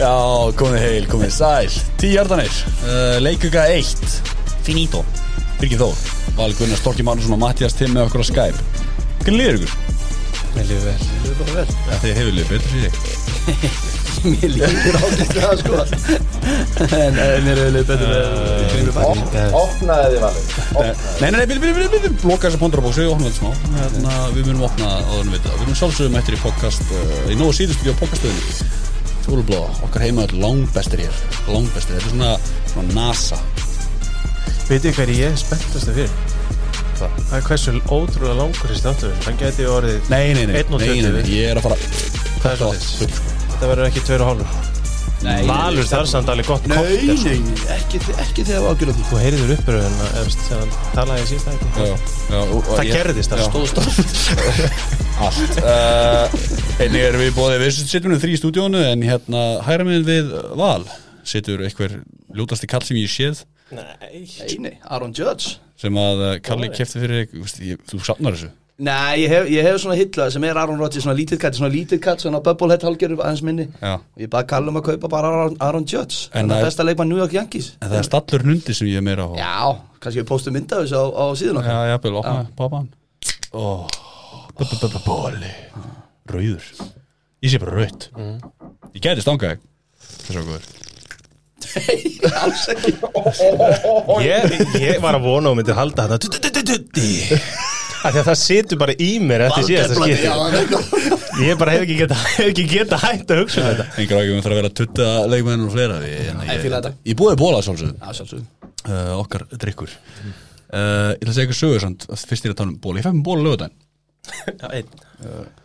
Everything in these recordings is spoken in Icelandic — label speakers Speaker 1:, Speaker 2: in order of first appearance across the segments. Speaker 1: Já, komið heil, komið sæl Tíu hjartanir, uh, leikuga 1
Speaker 2: Finito
Speaker 1: Birgir Þór, Vali Gunnar Storki Magnússon og Mattias Timm með okkur á Skype Hvernig liður ykkur?
Speaker 2: Mér líður vel
Speaker 1: Þetta er hefileg, betur fyrir þig
Speaker 2: Mér líður
Speaker 3: Það sko,
Speaker 2: en eh, mér hefur líður betur eh, í kringum bæ.
Speaker 3: opnaði þið valið
Speaker 1: Eh, Nei, nei, nei, byrjum, byrjum, byrjum, byrjum Loka þessa pondrabóksu, opnum þetta smá Þannig að Hérna, við munum opna á þannig við þetta Við munum sjálfsögum eftir í podcast uh, Í nógu síðust byggjum á podcastöðinu Skólublóða, okkar heima er langbestir hér Langbestir, þetta er svona, svona NASA
Speaker 4: Vitið þið hverju ég er spenntast fyrir?
Speaker 1: Hvað?
Speaker 4: Það er hversu ótrúlega langur þessi þáttur er. Hann geti orðið
Speaker 1: Nei, nei, nei, nei,
Speaker 4: 1 og
Speaker 1: nei, nei,
Speaker 4: 20
Speaker 1: ég er að fara
Speaker 4: Það er
Speaker 1: Hvað
Speaker 4: svolítið. Þetta verður ekki 2,5 Valur þar samt alveg gott
Speaker 1: Nei,
Speaker 4: koktel
Speaker 1: nei, nei, ekki, ekki þegar við ágjörðum
Speaker 4: Þú heyrður uppröðuna efst sem hann talaði í síðan
Speaker 1: Já,
Speaker 4: ekki
Speaker 1: já, og- og
Speaker 4: Það
Speaker 1: ég-
Speaker 4: gerðist, það
Speaker 1: já.
Speaker 4: stóðst
Speaker 1: allt uh, Einnig erum við bóðið, við sittum við þrý í stúdíónu en hérna hægra minn við val situr einhver ljótasti kall sem ég séð
Speaker 4: Nei
Speaker 2: Nei, nei, Aaron Judge
Speaker 1: sem að uh, Kalli kefti fyrir þú veist, ég- þú safnar þessu
Speaker 2: Nei, ég hef, ég hef svona hilla sem er Aaron Rodgers, svona lítið katt, svona lítið katt, svona bubblehead halgerur aðeins minni
Speaker 1: Já.
Speaker 2: og ég bara kalla um að kaupa bara Aaron, Aaron Judge
Speaker 1: En
Speaker 2: en það
Speaker 1: það
Speaker 2: er
Speaker 1: er-
Speaker 2: best að leipa New York Yankees
Speaker 1: en það er stallur nundi sem ég er meira á
Speaker 2: Já, kannski við postum mynda þessu á, á síðun okkar
Speaker 1: já, já, byrja, opna pappan oh, Bóli Rauður Ég sé bara raut Ég gæti stangað þig. Þessu er góður.
Speaker 2: Nei, alls ekki
Speaker 4: Ég, ég var að vona og myndi halda þetta Tutututututi. Af því að það situr bara í mér eftir síðasta
Speaker 2: Já,
Speaker 4: skipti
Speaker 2: það er gott.
Speaker 4: Ég bara hef ekki geta, hef ekki geta hægt að hugsa um þetta
Speaker 1: Engar ákveðum þarf að vera að tutta leikmenn og fleira við, en
Speaker 2: Ég fíla þetta.
Speaker 1: Ég búið bóla sjálfsögðu
Speaker 2: Já, sjálfsögðu
Speaker 1: uh, okkar drikkur uh, Ég ætla að segja eitthvað sögur samt að Fyrst ég er að tala um ból, ég fæði með ból lögudaginn
Speaker 4: Já, einn.
Speaker 1: Ég-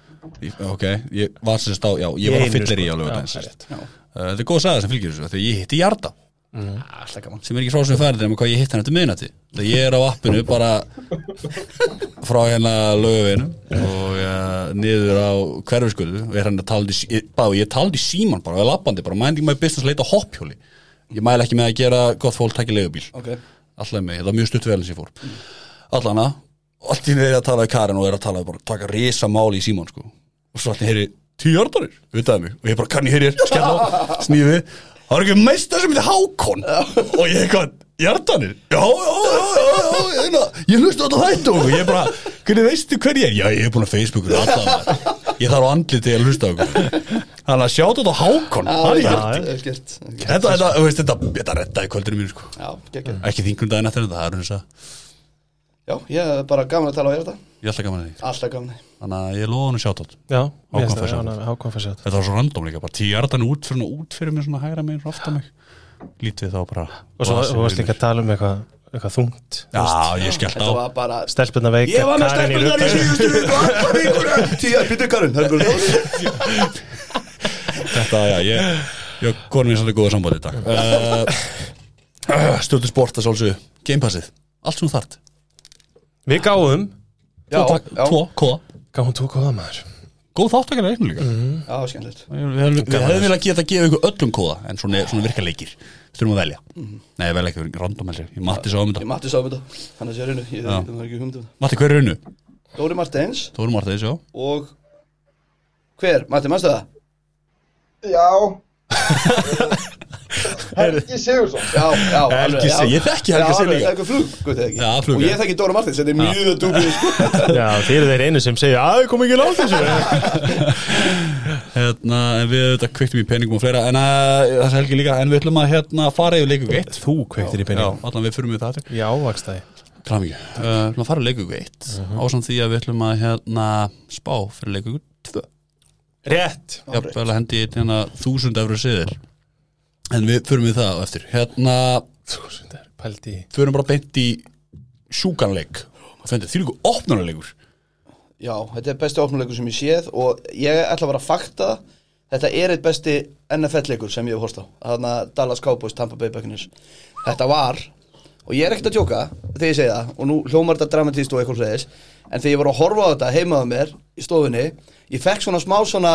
Speaker 1: Ok, ég var sem stá, já, ég var
Speaker 4: Í
Speaker 1: að
Speaker 4: einu,
Speaker 1: fyllir í
Speaker 4: sko.
Speaker 1: á lögudaginn
Speaker 4: Já,
Speaker 1: sem sagt. uh, Þetta er góð saga sem fylgir þessu Þegar ég hitti Jarda,
Speaker 2: Alltaf gaman
Speaker 1: sem er ekki frá sem færið Þegar hvað ég hitti hann eftir miðnætti Þegar ég er á appinu bara Frá hérna löguvinu Og uh, niður á hverfiskötu Og er hann að tala í, sí- ég, bara, ég taldi í síman bara, og er lappandi bara, minding my business leita á hoppjóli Ég mæla ekki með að gera gott fólk takk í leigubíl
Speaker 2: Ok
Speaker 1: alltaf mig, þetta var mjög stutt vel eins og ég fór allan að, allt í einu er ég að tala við Karin og er að tala bara, taka risa máli í síman sko. og svo allt í einu heyri tíu hjartanir, vitaði mig, og ég bara kann ég heyri hér, skella á, snýði við það var ekki meista sem heitir Hákon og ég eitthvað, hjartanir já, já, já, já, já, já, já, ég hlustu alltaf þetta og ég bara, hvernig veistu hver ég er já, ég er búin að Facebooku alltaf ég þarf á andlið til að hlusta á okkur þannig að sjáttu þetta á Hákon hann er
Speaker 2: Já,
Speaker 1: hjartanir.
Speaker 2: vel gert Já,
Speaker 1: þetta, þetta, þú veist, þetta, þetta rettaði kvöldinu mínu sko
Speaker 2: geggjart
Speaker 1: ekki þingum daginn eftir en það er eins að
Speaker 2: Já, ég er bara gaman að tala á þér þetta
Speaker 1: ég er alltaf gaman að því
Speaker 2: Alltaf gaman að því.
Speaker 1: þannig að ég loða hann sjátt
Speaker 4: Já, mér
Speaker 1: Hákon
Speaker 4: finnst
Speaker 1: fær
Speaker 4: það-
Speaker 1: sjátt.
Speaker 4: hann- Hákon fær sjátt
Speaker 1: þetta var svo random líka bara tíu arðan út fyrir, út fyrir mér svona hægra meginn rafta mig lítið þá bara
Speaker 4: Og svo
Speaker 1: blasir
Speaker 4: þú varst
Speaker 1: við
Speaker 4: líka
Speaker 1: mér.
Speaker 4: að tala um eitthvað eitthvað þungt
Speaker 1: já ég skellt á
Speaker 2: Þetta var bara
Speaker 4: Stelpunna veik
Speaker 2: Ég var með stelpunar í síðustu viku Alla vikuna Tíu, býttu Karin Það er bara
Speaker 1: þetta já ég ég konum eins og þetta góða sambandi í dag uh, stöldur Eh, sport að svolsög gamepassið allt sem þú þart
Speaker 4: Við gáum
Speaker 2: Já, já,
Speaker 1: tvo kóða
Speaker 4: Gáum tók á það maður
Speaker 1: góð þáttakar einu líka
Speaker 2: já, skemmtilegt
Speaker 1: við hefðum við hefðum viljað geta að gefa ykkur öllum kóða en svona, svona virka leikir þurfum að velja nei velja ekki random heldur ég matti sá um
Speaker 2: Ég
Speaker 1: þetta
Speaker 2: matti sá um þetta Þannig að sér einu Ég það er ekki humdum
Speaker 1: matti hver er unnu
Speaker 2: Dóri Martins
Speaker 1: Þórum Arteis, já
Speaker 2: og Hver? Matti, mannstu það?
Speaker 3: Já Helgi Sigursson
Speaker 2: Já, já
Speaker 4: Helgi
Speaker 2: alveg, já.
Speaker 1: Sig, ég þekki Helgi
Speaker 2: Já,
Speaker 1: Sig
Speaker 2: alveg,
Speaker 1: líka.
Speaker 2: Það er eitthvað flug, gutt, eða ekki
Speaker 1: Já, flug,
Speaker 2: Og
Speaker 1: já.
Speaker 2: ég þekki Dóri Martins Þetta er mjög dúbið sko.
Speaker 4: Já, þeir eru þeir einu sem segja að við komum ekki látt þessu
Speaker 1: Hérna, en við auðvitað kveiktum í peningum og fleira En uh, þessi helgi líka, en við ætlum að hérna fara yfir leikugu 1
Speaker 4: Þú kveiktir í
Speaker 1: Já,
Speaker 4: penning
Speaker 1: allan við förum við það til
Speaker 4: Já, vakstæði
Speaker 2: um
Speaker 1: Kramíu, uh, við ætlum að fara leikugu 1
Speaker 2: Mhm.
Speaker 1: Ásamt því að við ætlum að hérna spá fyrir leikugu 2
Speaker 4: Rétt
Speaker 1: Jafnvel að hendi ég hérna 1000 eurur siðir En við förum við það á eftir Hérna,
Speaker 4: Þú sundar, pældi í
Speaker 1: förum bara beint í sjúkanleik Fendið, því líku opnunarleikur
Speaker 2: Já, þetta er besti opnuleikur sem ég séð og ég ætla að vera að fakta það. Þetta er eitt besti NFL-leikur sem ég hef horst á Þannig að Dallas Cowboys, Tampa Bay Buccaneers Þetta var og ég er ekkert að tjóka þegar ég segi það og nú hljómar þetta dramatíst og eitthvað hlæðis en þegar ég var að horfa á þetta heimaða mér í stofunni ég fekk svona smá svona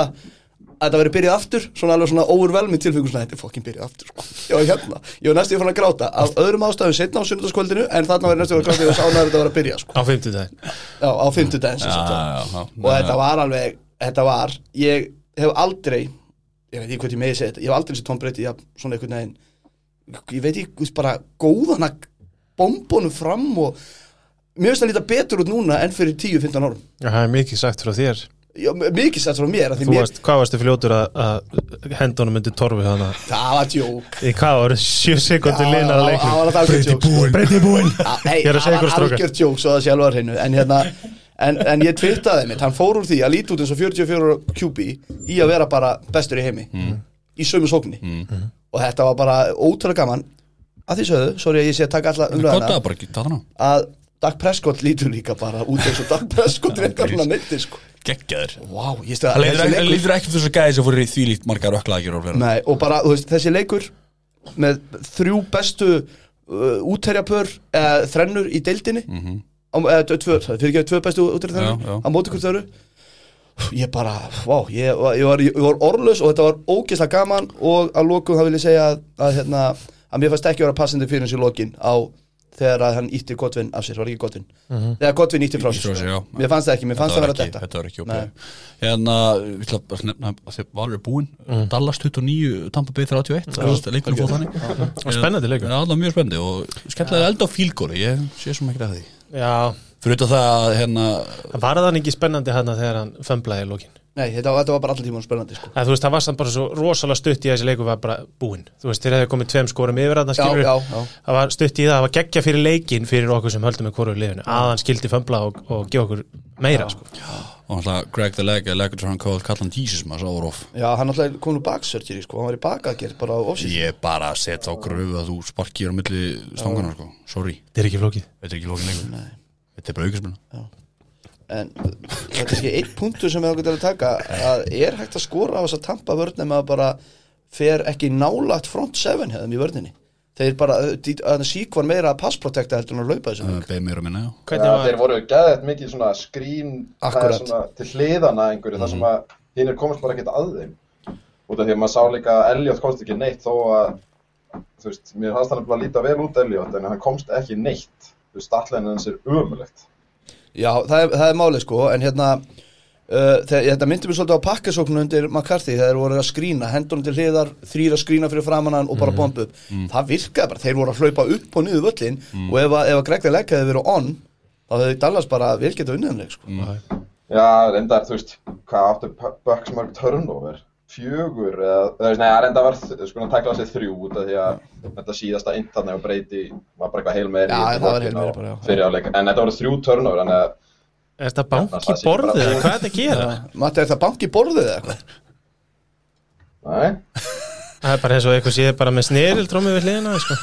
Speaker 2: að þetta verið byrjað aftur svona alveg svona overwhelming tilfengur svona þetta er fokkin byrjað aftur sko. ég var hérna, ég var næstu ég fann að gráta af öðrum ástæðum setna á sunnudagskvöldinu en þarna var ég næstu ég fann að gráta ég var sánaður þetta var að byrja sko.
Speaker 4: Á fimmtudaginn
Speaker 2: Já, á fimmtudaginn sem sagt.
Speaker 1: já, já, já.
Speaker 2: Og þetta var alveg, þetta var Ég hef aldrei ég veit ekki hvað ég megi að segja þetta ég hef aldrei sér Tom Brady, já, svona einhvern veginn ég veit ekki, þú veist, bara góðan að bombonu fram og mér finnst það líta betur út núna en fyrir 10-15 árum
Speaker 4: Já, það er mikið sagt frá þér
Speaker 2: já, m- mikið sætt frá mér, af því
Speaker 4: Þú
Speaker 2: mér
Speaker 4: varst, hvað varstu fljótur að, að henda honum undir torfi hana
Speaker 2: það var djók
Speaker 4: Í hvað voru sjö sekundi linar að
Speaker 2: það
Speaker 4: leiknum
Speaker 2: var algjör djók sko.
Speaker 4: Breyti búinn
Speaker 2: Ah, nei,
Speaker 4: Ég er að segja
Speaker 2: það
Speaker 4: ykkur
Speaker 2: var
Speaker 4: strókar.
Speaker 2: algjör djók svo það sé alveg að hreinu en, hérna, en, en ég twittaði mitt, hann fór úr því að líti út eins og 44 ára QB í að vera bara bestur í heimi í sömu sókni
Speaker 4: Mm.
Speaker 2: og þetta var bara ótrúlega gaman að því sögðu, sorry að ég sé að taka alla
Speaker 1: Gott
Speaker 2: umræðina
Speaker 1: að bara ekki, það er ná
Speaker 2: að Dag Prescott lítur líka bara út eins og Dag Prescott reyndar hún að myndi sko
Speaker 1: Gekkjaður
Speaker 2: Vá, ég stið
Speaker 1: Það
Speaker 2: að
Speaker 1: leiður
Speaker 2: þessi
Speaker 1: ekki,
Speaker 2: leikur-
Speaker 1: leiður ekki þessu gæði sem fór í þvílíkt margar öklaðakir og fleira
Speaker 2: Nei, og bara, þú veist, þessi leikur með þrjú bestu uh, útherjapör, uh, þrennur í deildinni mm -hmm. eða tvö- tvö, fyrir ekki tvö bestu
Speaker 1: Mhm. Já, já.
Speaker 2: útherjarþrennur á móti hvort þau eru ég bara, vá, ég, var- ég, var, ég var orðlaus og þetta var ógeðslega gaman og að lokum það vil ég segja að, að, hérna, að mér fannst ekki vera passandi fyrir hans í lokin á þegar að hann ítti Godvin af sér, var ekki Godvin þegar Godvin ítti frá
Speaker 1: Ítti frá sér, já.
Speaker 2: sér, sko. mér fannst það ekki, mér fannst það
Speaker 1: var
Speaker 2: vera
Speaker 1: ekki,
Speaker 2: þetta
Speaker 1: þetta var ekki
Speaker 2: Nei.
Speaker 1: opið Hérna, við ætla bara að nefna að þeir valur er búinn Dallas 29, Tampa Bay 31 Það er leikunum fóð þannig
Speaker 4: Og spennandi leikur.
Speaker 1: Já, alltaf mjög spennandi og skemmtilega elda á fílgóli Ég sé sem ekki að því
Speaker 4: Já,
Speaker 1: Fyrir þetta það að, hérna
Speaker 4: var það ekki spennandi hana þegar hann fömblaði í lokin
Speaker 2: Nei, þetta, þetta var bara allan tímann spennandi sko.
Speaker 4: Það, þú veist, það var samt bara svo rosalega stutt í að þessi leikur var bara búinn. Þú veist, þeir hefði komið tveim skorum yfir að það
Speaker 2: já,
Speaker 4: skilur
Speaker 2: já, já.
Speaker 4: Það var stutt í það, það var geggja fyrir leikin fyrir okkur sem höldum með hvoru liðinu að hann skildi fömbla og, og gefa okkur meira sko.
Speaker 1: Og alltaf Greg the Leg, eh, Legatur hann kóð Kallan Jesus, maður sáður of
Speaker 2: Já, hann alltaf kom nú baksurgery sko, hann var í bakaðgerð bara á ofsýtt
Speaker 1: Ég bara set á gröfu að þú sparkir á milli stangarnar, sko Sorry,
Speaker 4: Þetta er ekki flókið
Speaker 1: þetta er ekki lókin leikur Þetta er bara aukismenn
Speaker 2: En þetta er kannski einn punktur sem við okkur til að taka að er hægt að skora á þess að tampa vörnum að bara fer ekki nálagt front seven hefðum í vörninni Þeir bara, þannig sík var meira að passprotekta heldur en að laupa þessum leik.
Speaker 1: Beð mér að minna, já
Speaker 4: Hvernig
Speaker 3: Já,
Speaker 4: var,
Speaker 3: þeir voru gæðið mikið svona skrín
Speaker 2: Akkúrat.
Speaker 3: svona, til hliðana einhverju þar
Speaker 4: Mhm.
Speaker 3: sem að hinn er komast bara ekkert að þeim út af því að maður sá líka að Elliot komst ekki neitt þó að þú veist, mér fannst hann nefnilega að líta vel út Elliot en hann komst ekki neitt þú veist, allan hans er ömulegt
Speaker 2: Já, það er, það er málið sko, en hérna Uh, þegar, þetta myndi mér svolítið á pakkasóknu undir McCarthy þegar þeir voru að skrína, hendunum til hliðar þrýra skrína fyrir framannan og bara bombu upp það virkaði bara, þeir voru að hlaupa upp og niður völlin og ef, að- ef að Greg Delegg hefði verið on, þá hefði Dallas bara vel getað unniðanleg sko.
Speaker 3: Já, reyndar, þú veist, hvað áttu Bucks mörg turnover? Fjögur, eða, eða veist, nei, reyndar var, þ- sko, hann taklaði sér þrjú út af því að þetta síðasta intarni og breyti var bara eitthvað heilmeiri.
Speaker 2: Já, það var Hail Mary bara, já.
Speaker 3: Fyrir áleik, en þetta voru þrjú turnover, þannig að,
Speaker 4: er þetta bank í
Speaker 3: það sé bara-
Speaker 4: borðið? eða Hvað er þetta að gera?
Speaker 2: Matti, er það banki borðið eða eitthvað?
Speaker 3: nei,
Speaker 4: Það er bara eins og eitthvað séð bara með sneril trómið við hliðina sko.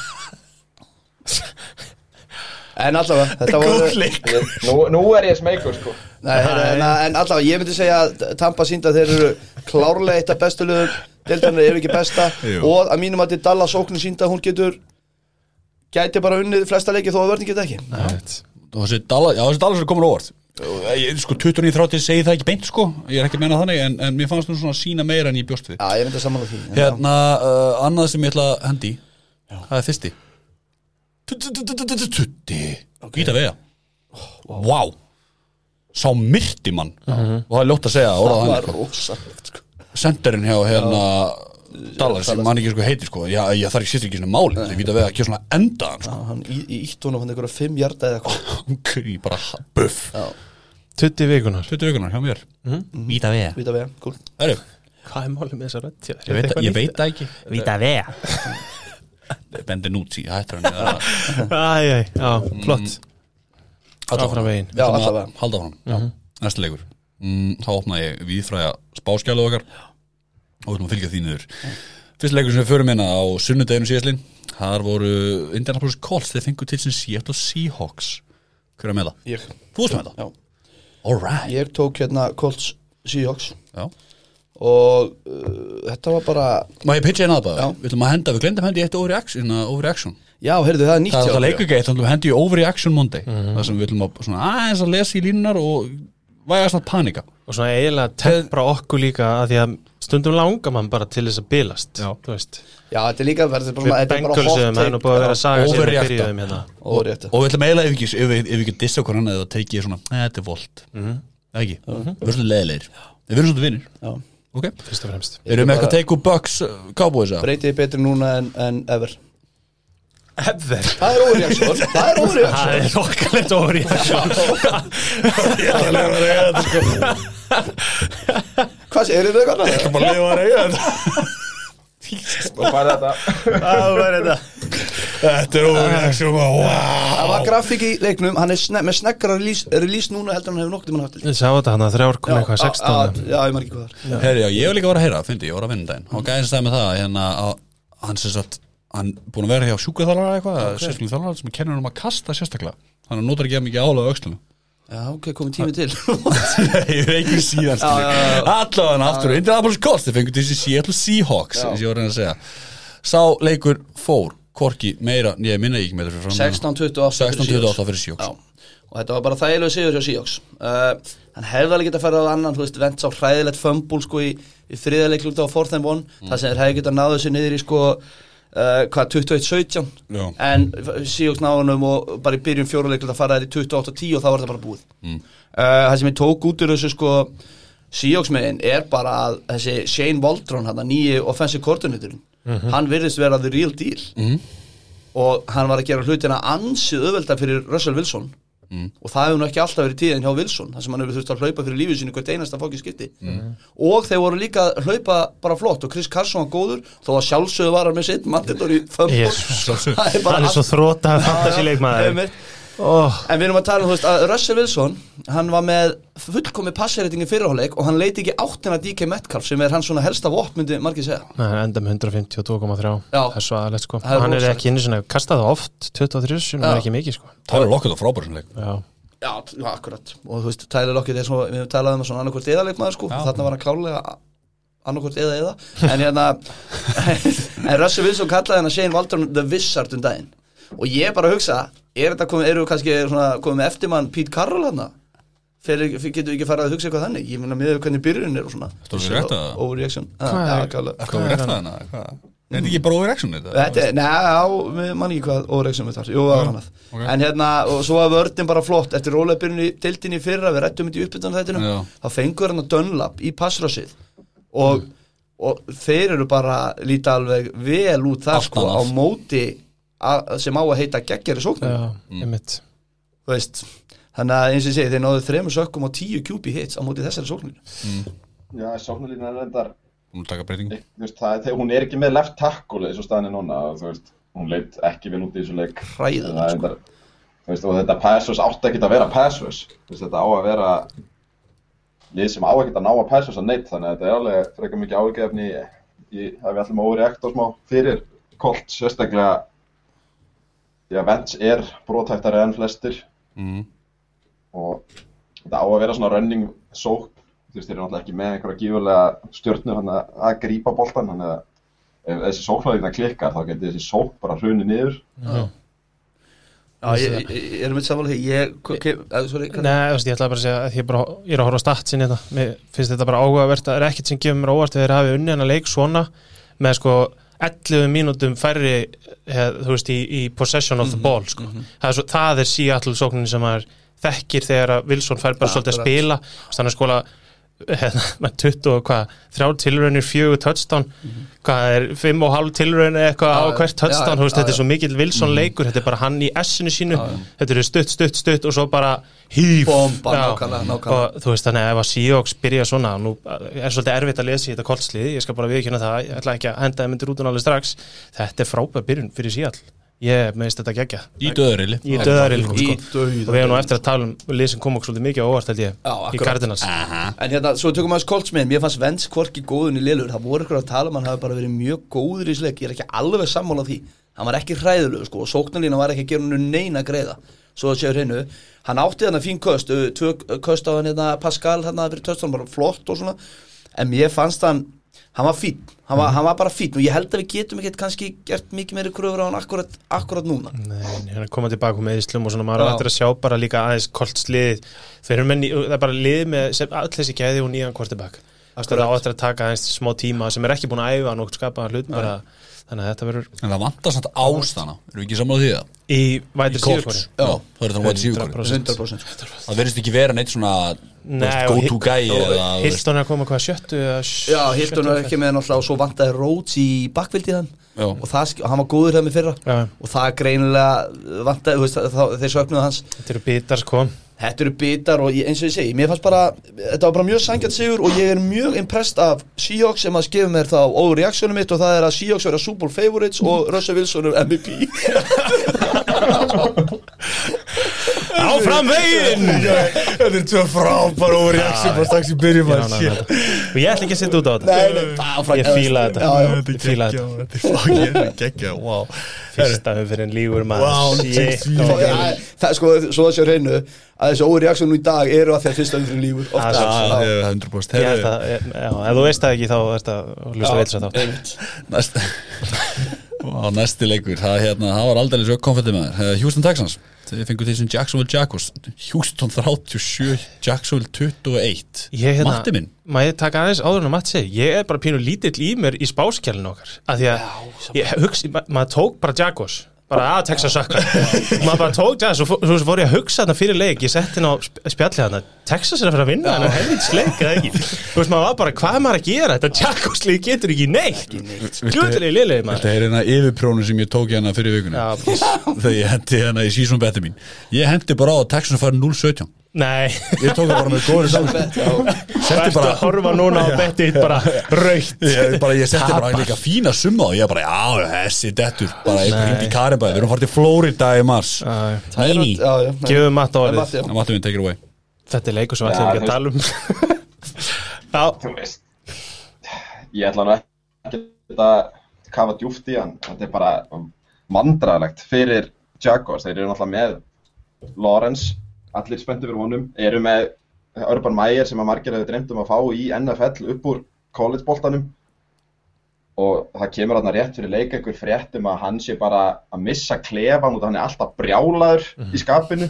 Speaker 2: En allavega, þetta var Nei,
Speaker 3: ég, nú, nú er ég smeykur, sko.
Speaker 2: heyrðu, en, en allavega, ég myndi segja að Tampa sínd að þeir eru klárlega eitt af bestu liður Deildarnir eru ekki besta
Speaker 1: Jú.
Speaker 2: Og að mínum að Dallas óknum sínd að hún getur Gæti bara unnið flesta leiki þó að vörðin geta ekki
Speaker 1: og þessi Dallas, já þessi Dallas er komin á óvart ég, sko 29-30 segi það ekki beint sko ég er ekki að menna þannig en, en mér fannst nú svona sína meira en ég bjóst við
Speaker 2: Já, ég myndi að samanlega því en já.
Speaker 1: hérna uh, annað sem ég ætla að hendi það er fyrsti tutti Gita vega wow sá myrti mann og það er ljótt að segja orða
Speaker 2: Það
Speaker 1: þannig,
Speaker 2: var
Speaker 1: sko.
Speaker 2: rosalegt sko.
Speaker 1: senderinn hjá hérna Dallas, ég man ekki sko heitir sko já, ég þarf ekki sýttir ekki svona máli ég vita vega ekki svona enda hann,
Speaker 2: Já, Hann í, í ítt hún og hann einhverja fimm hjarta eða eitthvað
Speaker 1: sko. hún krý bara buff
Speaker 4: Tutti vikunar
Speaker 1: 20 vikunar hjá mér vita vega
Speaker 2: Vita vega, cool
Speaker 1: Mhm. Herru,
Speaker 4: Hvað er málið með þessa rödd? hér?
Speaker 1: ég
Speaker 4: Er
Speaker 1: veit,
Speaker 4: þetta
Speaker 1: ég
Speaker 4: eitthvað
Speaker 1: veit það ekki
Speaker 5: Vita vea.
Speaker 1: Bendi Núti, það hættur hann að-
Speaker 4: nýtt? Æ, æ, já, flott Áfram veginn
Speaker 1: Við ætlum
Speaker 2: Já,
Speaker 1: að
Speaker 2: allavega.
Speaker 1: Halda fram Næsta leikur Mm, Þá opnaði ég viðfræja spáskjælu okkar og við ætlum að fylgja því niður Fyrst leikur sem við förum hérna á sunnudeginu síðaslinn Þar voru Indianapolis Colts þeir fengu til sem Seattle Seahawks Hver er með það?
Speaker 2: Ég,
Speaker 1: Þú veist með það?
Speaker 2: já.
Speaker 1: Alright
Speaker 2: ég tók hérna Colts Seahawks
Speaker 1: Já.
Speaker 2: Og uh, þetta var bara
Speaker 1: Má ég pitcha hérna það bara?
Speaker 2: Já.
Speaker 1: Við ætlum að henda, við glemdum hendi eitt overreaction, hérna, overreaction.
Speaker 2: Já, heyrðu, það er nýtt
Speaker 1: Það er alltaf
Speaker 2: hjá okkur, já.
Speaker 1: leikugeitt, þannig að hendi ég overreaction Monday mm Það sem við ætlum að svona aðeins að lesa í línunar og vægast að panika
Speaker 4: og svona eiginlega tempra okkur líka að því að stundum langar mann bara til þess að bilast
Speaker 1: Já.
Speaker 4: þú veist,
Speaker 2: Já, þetta er líka verður bara
Speaker 4: við
Speaker 2: þetta er bara hot
Speaker 4: bengulsum
Speaker 2: take.
Speaker 4: hann og búið að vera að saga sér
Speaker 1: Overreacta.
Speaker 4: og byrjuðum hérna
Speaker 2: og rétt
Speaker 1: og við ætlum eiginlega ef ekki, ef, við- ef við ekki dissa okkur "Eh, Mhm. annað eða tekið svona, neða þetta er volt mm -hmm. ekki, við erum svolítið leðilegir við erum svolítið vinnir,
Speaker 2: Já.
Speaker 1: ok
Speaker 4: fyrst og fremst
Speaker 1: Erum við eitthvað take-up bucks uh, kábúið þess að?
Speaker 2: Breytið betri núna en, en ever
Speaker 4: Ever
Speaker 2: Það er óriðaksjón Það er óriðaksjón
Speaker 4: Það er okkarlegt ofur í þessu
Speaker 2: Hvað segir þið eitthvað annað?
Speaker 1: Bara leiðu að reyja þetta
Speaker 3: og færði þetta
Speaker 4: Það var þetta
Speaker 1: Þetta er overreaction
Speaker 2: Það
Speaker 1: wow.
Speaker 2: var grafík í leiknum, hann er sne með sneggra release, release núna heldur en hann hefur nokkuð mann hættil
Speaker 4: Ég sá þetta hann að þrjár kom eitthvað 16
Speaker 2: Já, Mhm. ég maður ekki hvað það er
Speaker 1: Herri, já, ég hef líka voru að heyra, fyndi, ég voru að vinna daginn Og gæðins það með það, hérna að Hann sem sagt, hann búin að vera hjá sjúkaþálara eitthvað okay. Sérstaklega þálara sem kennir hann um að kasta sérstaklega Þannig að hann notar ekki að mikið álega á öxlum
Speaker 2: Já, ok, komið tími til
Speaker 1: Nei, ég veit ekki síðan
Speaker 2: Já, já, já.
Speaker 1: Allavega aftur, Indianapolis Colts Þeir fengur þessi Seattle Seahawks eins og ég voru að reyna að segja Sá leikur fór, Korki meira, nýja minna ég ekki með þessu
Speaker 2: 16-28 fyrir
Speaker 1: 16-28 fyrir
Speaker 2: Já,
Speaker 1: Seahawks
Speaker 2: og þetta var bara þægilegu sigur hjá Seahawks uh, Hann hefði alveg getað að fara á annan, þú veist, vent sá hræðilegt fömbul sko í, í þriðaleikluta á 4th and 1 mm. Það sem þeir hefði getað náðu sér niður í sko, uh, hvað, 21-17
Speaker 1: Já.
Speaker 2: En Seahawks náðunum og bara í byrjun fjóruleikluta fara þeir í 28-10 og þá var þetta bara búið mm. Það sem ég tók út úr þessu sko Seahawks megin er bara að þessi Shane Waldron, hann nýju offensive coordinatorinn Hann virðist vera the real deal og hann var að gera hlutina ansið auðvelda fyrir Russell Wilson og það hefur nú ekki alltaf verið tíðin hjá Wilson þar sem hann hefur þurft að hlaupa fyrir lífið sinni hvert einasta fókin skipti og þeir voru líka að hlaupa bara flott og Chris Carson var góður þó að sjálfsögðu var hann með sitt manditor í fömbol
Speaker 4: Jesus.
Speaker 2: það er
Speaker 4: Hann er svo þróta fantasileikmaður
Speaker 2: Einmitt.
Speaker 4: oh,
Speaker 2: En við erum að tala um þú veist, að Russell Wilson hann var með fullkomi passeritingi fyrirháleik og hann leiti ekki áttina DK Metcalf sem er hann svona helsta vopn myndi margir segja
Speaker 4: Hann er enda með 152,3
Speaker 2: Já.
Speaker 4: Það er svo aðalegt sko
Speaker 2: Það er
Speaker 4: Hann er
Speaker 2: rosalegt.
Speaker 4: ekki einu svona Kastað það oft 23 sinum
Speaker 2: Já.
Speaker 4: er ekki mikið sko
Speaker 1: Það er lokkað og frábært sem leik
Speaker 4: Já
Speaker 2: Já, já, akkurat Og þú veist, Tyler Lockett er svo, við hefum talað um að svona annarkvort eðaleikmaður sko Þarna var hann klálega annarkvort eða eða En hérna, en Russell Wilson kallaði hann að Shane Waldron The Wizard um daginn Og ég bara hugsa, er þetta komið, eru við kannski svona, komið með eftirmann Pete Carroll hana? Fyrir, fyrir getum við ekki farið að hugsa eitthvað þannig Ég meina miðað við hvernig byrjunin er og svona
Speaker 1: Ertu alveg rétt að það?
Speaker 2: Overreaction Já,
Speaker 4: Hvað
Speaker 2: já,
Speaker 4: er-
Speaker 2: klálega.
Speaker 1: Hvað er þetta hana? Hvað? Er þetta ekki bara overreaction þetta?
Speaker 2: Þetta er, neða, já, mann ekki hvað óreiksum þetta var, jú, það var hann
Speaker 1: ok.
Speaker 2: En hérna, og svo var vördin bara flott Eftir rólega byrjun í deildin í fyrra, við rættum þetta í uppbytun þættinum
Speaker 1: Já.
Speaker 2: Þá fengur hann að Dunlap í passrásið og, og þeir eru bara líta alveg vel út það
Speaker 1: Allt
Speaker 2: sko Á
Speaker 1: annað.
Speaker 2: móti a, sem á að heita geggjari sóknum
Speaker 4: Já, einmitt
Speaker 2: Þú veist, þannig að eins og ég segi, þeir náðu þremur sökkum og tíu QB hits á móti þessari sóknum
Speaker 3: já, sóknarlínan er reyndar
Speaker 1: Nú taka breytingu
Speaker 3: þú veist, það, er- þegar hún er ekki með left tackle eins og staðan er núna og, þú veist, hún leitt ekki vel út í þessu leik
Speaker 2: Hræðilegt,
Speaker 3: Það er
Speaker 2: sko.
Speaker 3: reyndar- þú veist, og þetta passers átti ekki að vera passers veist, þetta á að vera lið sem á ekki að ná að passers að neitt þannig að þetta er alveg frekar mikið ágefni í, í að við ætlum að óri ekta smá fyrir kolt sérstaklega því að Vents er brotæktari enn flestir
Speaker 1: Mhm.
Speaker 3: og þetta á að vera svona running sók þú veist, þeir eru náttúrulega ekki með einhverja gífurlega stjórnur hann að, að grípa boltan hann að ef þessi sóknarleikna klikkar þá getur þessi sók bara hruni niður
Speaker 2: Já, ég, ég, ég er mitt sammála því, ég, okay, að, sorry, hvað-
Speaker 4: Nei, þú veist, ég ætla bara að segja að ég, bara, ég er að horfa á statsin þetta Mér finnst þetta bara áhugavert Það er ekkert sem gefur mér óvart Þegar þeir hafi unni hann að leik svona Með sko 11 mínútum færri hef, Þú veist, í, í possession of the ball sko. það, er svo, það er Seattle sóknin sem maður þekkir Þegar að Wilson fær bara svolítið að
Speaker 2: akkurat.
Speaker 4: spila Þannig að skóla hérna, með 20 og hvað, þrjá tilraunir fjögur touchdown, hvað er 5 og hálf tilraun eða eitthvað á
Speaker 2: Mhm. já.
Speaker 4: hvert
Speaker 2: Já,
Speaker 4: touchdown
Speaker 2: já,
Speaker 4: þú veist,
Speaker 2: já,
Speaker 4: þetta er
Speaker 2: já. Mhm.
Speaker 4: svo mikill Wilson leikur þetta er bara hann í S-inu sínu þetta eru stutt, stutt, stutt og svo bara hýf
Speaker 2: Bomba, nákvæmlega, nákvæmlega.
Speaker 4: og þú veist þannig að ef að Seahawks byrja svona nú er svolítið erfitt að lesa í þetta koltsliði ég skal bara viðkjöna það, ég ætla ekki að henda þeim myndir út alveg strax, þetta er frábæð byrjun fyrir Seattle, ég meðist þetta gegja
Speaker 1: Í döðurili
Speaker 4: í döðaril
Speaker 2: Í
Speaker 4: sko.
Speaker 2: dauðarylgum.
Speaker 4: og við erum nú eftir að tala um lið sem kom okkur svolítið mikið á óvart held ég,
Speaker 2: Já,
Speaker 4: í
Speaker 2: akkurat.
Speaker 4: Cardinals
Speaker 2: En hérna, svo tökum maður Colts með, mér fannst Vents hvorki góðun í liðlur, það voru ykkur að tala um hann hafi bara verið mjög góður í sleik, ég er ekki alveg sammála því, hann var ekki hræðulegu sko og sóknarlína var ekki að gera hennu neina greiða svo að séu hreinu, hann átti þarna fín köst, ö, tvö ö, köst á hann hérna Pascal hérna fyrir töstunum, bara flott og svona en mér fannst hann, hann var fín hann var, hann var bara fín og ég held að við getum ekkert kannski gert mikið meiri kröfur á hann akkurat, akkurat núna
Speaker 4: Nei, hann er komað tilbaka með íslum og svona maður
Speaker 2: Já.
Speaker 4: ættir að sjá bara líka aðeins koltsliðið þeir eru með, ný- það er bara lið með sem allir þessi gæði og nýjan kortibak þetta á eftir að taka aðeins smá tíma sem er ekki búin að æfa nokkuð skapa hlut bara, þannig að þetta verður
Speaker 1: En það vantar samt ástana, erum við ekki sammála því það?
Speaker 4: í vætir
Speaker 1: Coach,
Speaker 4: síðurkori
Speaker 1: já, það er það vætir síðurkori
Speaker 4: 100%
Speaker 2: 100% sko.
Speaker 1: Það verðist ekki vera neitt svona þú veist,
Speaker 4: Nei, og
Speaker 1: go-to
Speaker 4: Hil-
Speaker 1: guy eða, þú veist,
Speaker 4: Hilton er að koma hvað sjöttu eða sj-
Speaker 2: Já, Hilton
Speaker 4: sjöttu
Speaker 2: var ekki með náttúrulega og svo vantaði Rhodes í bakvildi þann
Speaker 1: Já.
Speaker 2: og það, sk- og hann var góður hefði fyrra
Speaker 4: Já, já.
Speaker 2: og það greinilega vantaði, þú veist, þá, þeir söknuðu hans
Speaker 4: Þetta eru bitar sko
Speaker 2: Þetta eru bitar og ég, eins og ég segi, mér fannst bara þetta var bara mjög sangjart sigur og ég er mjög impressed af Seahawks sem að skefa mér þá overreaksjónum mitt og það er að Seahawks verða Super Bowl favorites og Russell Wilson er MVP
Speaker 4: Áfram veginn
Speaker 1: Þetta er tvö frábær overreaction bara strax í byrjum
Speaker 4: Ah. Já, ná, ná, ná. Og ég ætla ekki að setja út á
Speaker 2: Nei, nei,
Speaker 4: þetta
Speaker 2: það var
Speaker 4: Ég fíla þetta
Speaker 2: Já, já.
Speaker 4: Ég fíla þetta
Speaker 1: Þetta er fucking geggja, wow
Speaker 4: Fyrsta umfyrin lígur
Speaker 1: Vá,
Speaker 4: maður
Speaker 1: Jesus.
Speaker 4: Ah, Shit.
Speaker 2: Það, það, það sko, svo það sé á hreinu að þessi overreaksjónum í dag eru að því að fyrsta umfyrir lífur
Speaker 4: Það er
Speaker 2: oftast.
Speaker 4: svo-
Speaker 2: Já.
Speaker 1: Það er 100%
Speaker 4: Ég
Speaker 1: Heyrðu,
Speaker 4: ætla að- ég- já, Ef þú veist það ekki þá er þetta Hlusta veitur þetta
Speaker 2: Einmitt.
Speaker 1: Næst Á næsti leikur, það, hérna, það var aldrei svo konfetti með þér Eh, Houston Texans, þeir fengu til sem Jacksonville Jaguars Houston 37, Jacksonville 21
Speaker 4: Ég hérna,
Speaker 1: Matti minn
Speaker 4: Má ég taka aðeins áður en að Matti segi Ég er bara pínu lítill í mér í spáskjælinu okkar Af því að ég hugsi ma Maður tók bara Jaguars Bara að Texas sökka Maður bara tók Jaguars og fó- svo fór ég að hugsa þarna fyrir leik Ég sett inn á sp- spjallið þarna Texas er að fara að vinna þarna helvits leik eða ekki Þú veist maður var bara hvað er maður að gera Þetta Jaguars leik getur ekki neitt Glutlega liðlega maður
Speaker 1: Þetta er hérna yfirprónu sem ég tók í hana fyrir vikuna
Speaker 4: Já, please.
Speaker 1: Þegar ég hendi hérna í season beti mín Ég hendi bara á að Texans fari 0-17
Speaker 4: Nei,
Speaker 1: Ég tók það bara með góður saman
Speaker 4: það
Speaker 1: Setti
Speaker 4: ertu að
Speaker 1: bara
Speaker 4: horfa núna á bettið bara raukt
Speaker 1: Ég, bara, ég setti bara líka fína summa og ég bara, já, þessi dettur bara, ég hindi Karinbæði, við erum farið til Florida í mars Neini,
Speaker 2: Já, já, já.
Speaker 4: Gefum Matt á orðið
Speaker 2: Matti, já.
Speaker 1: það máttum við take it away
Speaker 4: Þetta er leikur sem ætlum ekki að tala um Já,
Speaker 3: þú veist ég ætla nú ekki að kafa djúft í hann þetta er bara mandralegt fyrir Jaguars, þeir eru náttúrulega með Lawrence, allir spenntu fyrir honum eru með Urban Meyer sem að margir hefur dreymt um að fá í NFL upp úr collegeboltanum og það kemur hann rétt fyrir leik einhver frétt um að hann sé bara að missa klefan út að hann er alltaf brjálaður í skapinu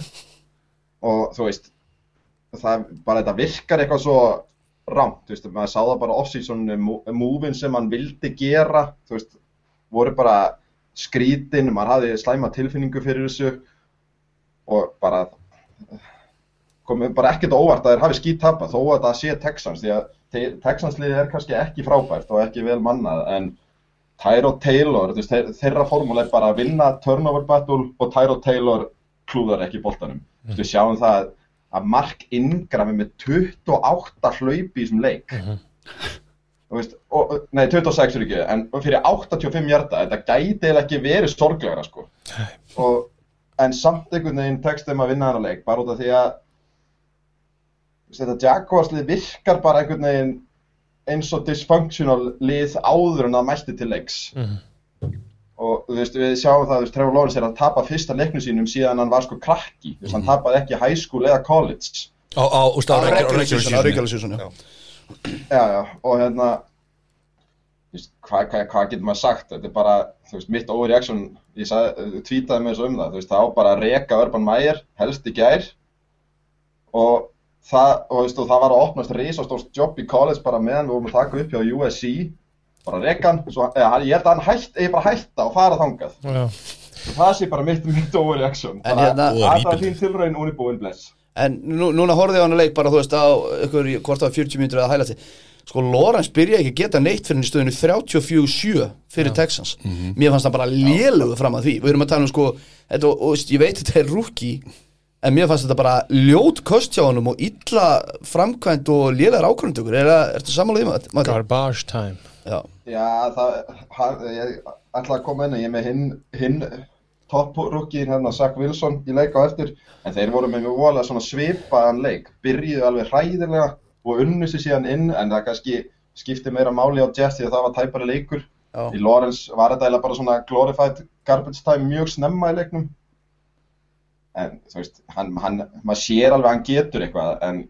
Speaker 3: og þú veist það bara þetta virkar eitthvað svo rámt, þú veist, maður sá það bara off-season eh, múvin sem hann vildi gera þú veist, voru bara skrítin, maður hafði slæma tilfinningu fyrir þessu og bara komið bara ekkert á óvart að þeir hafi skýt þó að það sé Texans, því að Te- Texans liðið er kannski ekki frábært og ekki vel mannað en Tyro Taylor, þú veist, þeir, þeirra formúla er bara að vinna turnover battle og Tyro Taylor klúðar ekki boltanum mm. við sjáum það að Mark Ingram er með 28 hlaupi í þessum leik mm veist, og, nei 26 er ekki en fyrir 85 hjarta, þetta gæti eða ekki verið sorglegra sko og, en samt einhvern veginn tekst þeim að vinna þennan leik bara út af því að þú veist, þetta Jaguarslið virkar bara einhvern veginn eins og dysfunctional lið áður en það mætti til leiks og þú veist, við sjáum það, þú veist, Trevor Lawrence er að tapa fyrsta leiknum sínum síðan hann var sko krakki, þú veist, hann tapaði ekki high school eða college
Speaker 1: á, á, úst, á,
Speaker 2: Á
Speaker 1: regular- regular
Speaker 2: regular season, á
Speaker 1: season,
Speaker 2: regular season, já.
Speaker 3: já, já, og hérna þú veist, hvað hva, hva getur maður sagt þetta er bara, þú veist, mitt overreaction ég sagði, tvítaði með þessu um það þú veist, það á bara að reka Urban Meyer helst í gær og það, og, þú veist, og það var að opnast risastórt jobb í college bara meðan við vorum að taka upp hjá USC bara reka hann, svo, eða, hann- ég held að hann hætt, eigi bara að hætta og fara þangað
Speaker 4: já.
Speaker 3: það sé bara mitt, mitt overreaction
Speaker 2: En
Speaker 3: Bara,
Speaker 2: hérna-
Speaker 1: Og
Speaker 3: það
Speaker 1: rebuild.
Speaker 3: er þín tilraun, hún er búin bless
Speaker 2: En nú, núna horfði ég á hann að leik bara, þú veist, á ykkur, hvort það var 40 mínútur eða hælætti Sko, Lawrence byrjaði ekki að geta neitt fyrir henni stöðinu 34-7 fyrir Texans Mér fannst það bara lélögu fram að því Við erum að tala um, sko, þetta, og, og, veist, ég veit þetta er rúki En mér fannst þetta bara ljót köst hjá honum og illa framkvæmt og lélegar ákvörndökur Er það, ertu sammálaðið maður? Matti?
Speaker 4: Garbage time
Speaker 2: Já,
Speaker 3: Já, það, hann, ég ætla að koma inn og ég er með hinn, hinn topprúkkin hérna, Zach Wilson í leik á eftir, en þeir voru með mjög voðalega svona svipaðan leik, byrjuðu alveg hræðilega og unnustu síðan inn, en það kannski skipti meira máli á Jets því að það var tæpari leikur.
Speaker 2: Já.
Speaker 3: Í Lawrence var þetta eiginlega bara svona glorified garbage time mjög snemma í leiknum, en þú veist, hann, hann, maður sér alveg að hann getur eitthvað, en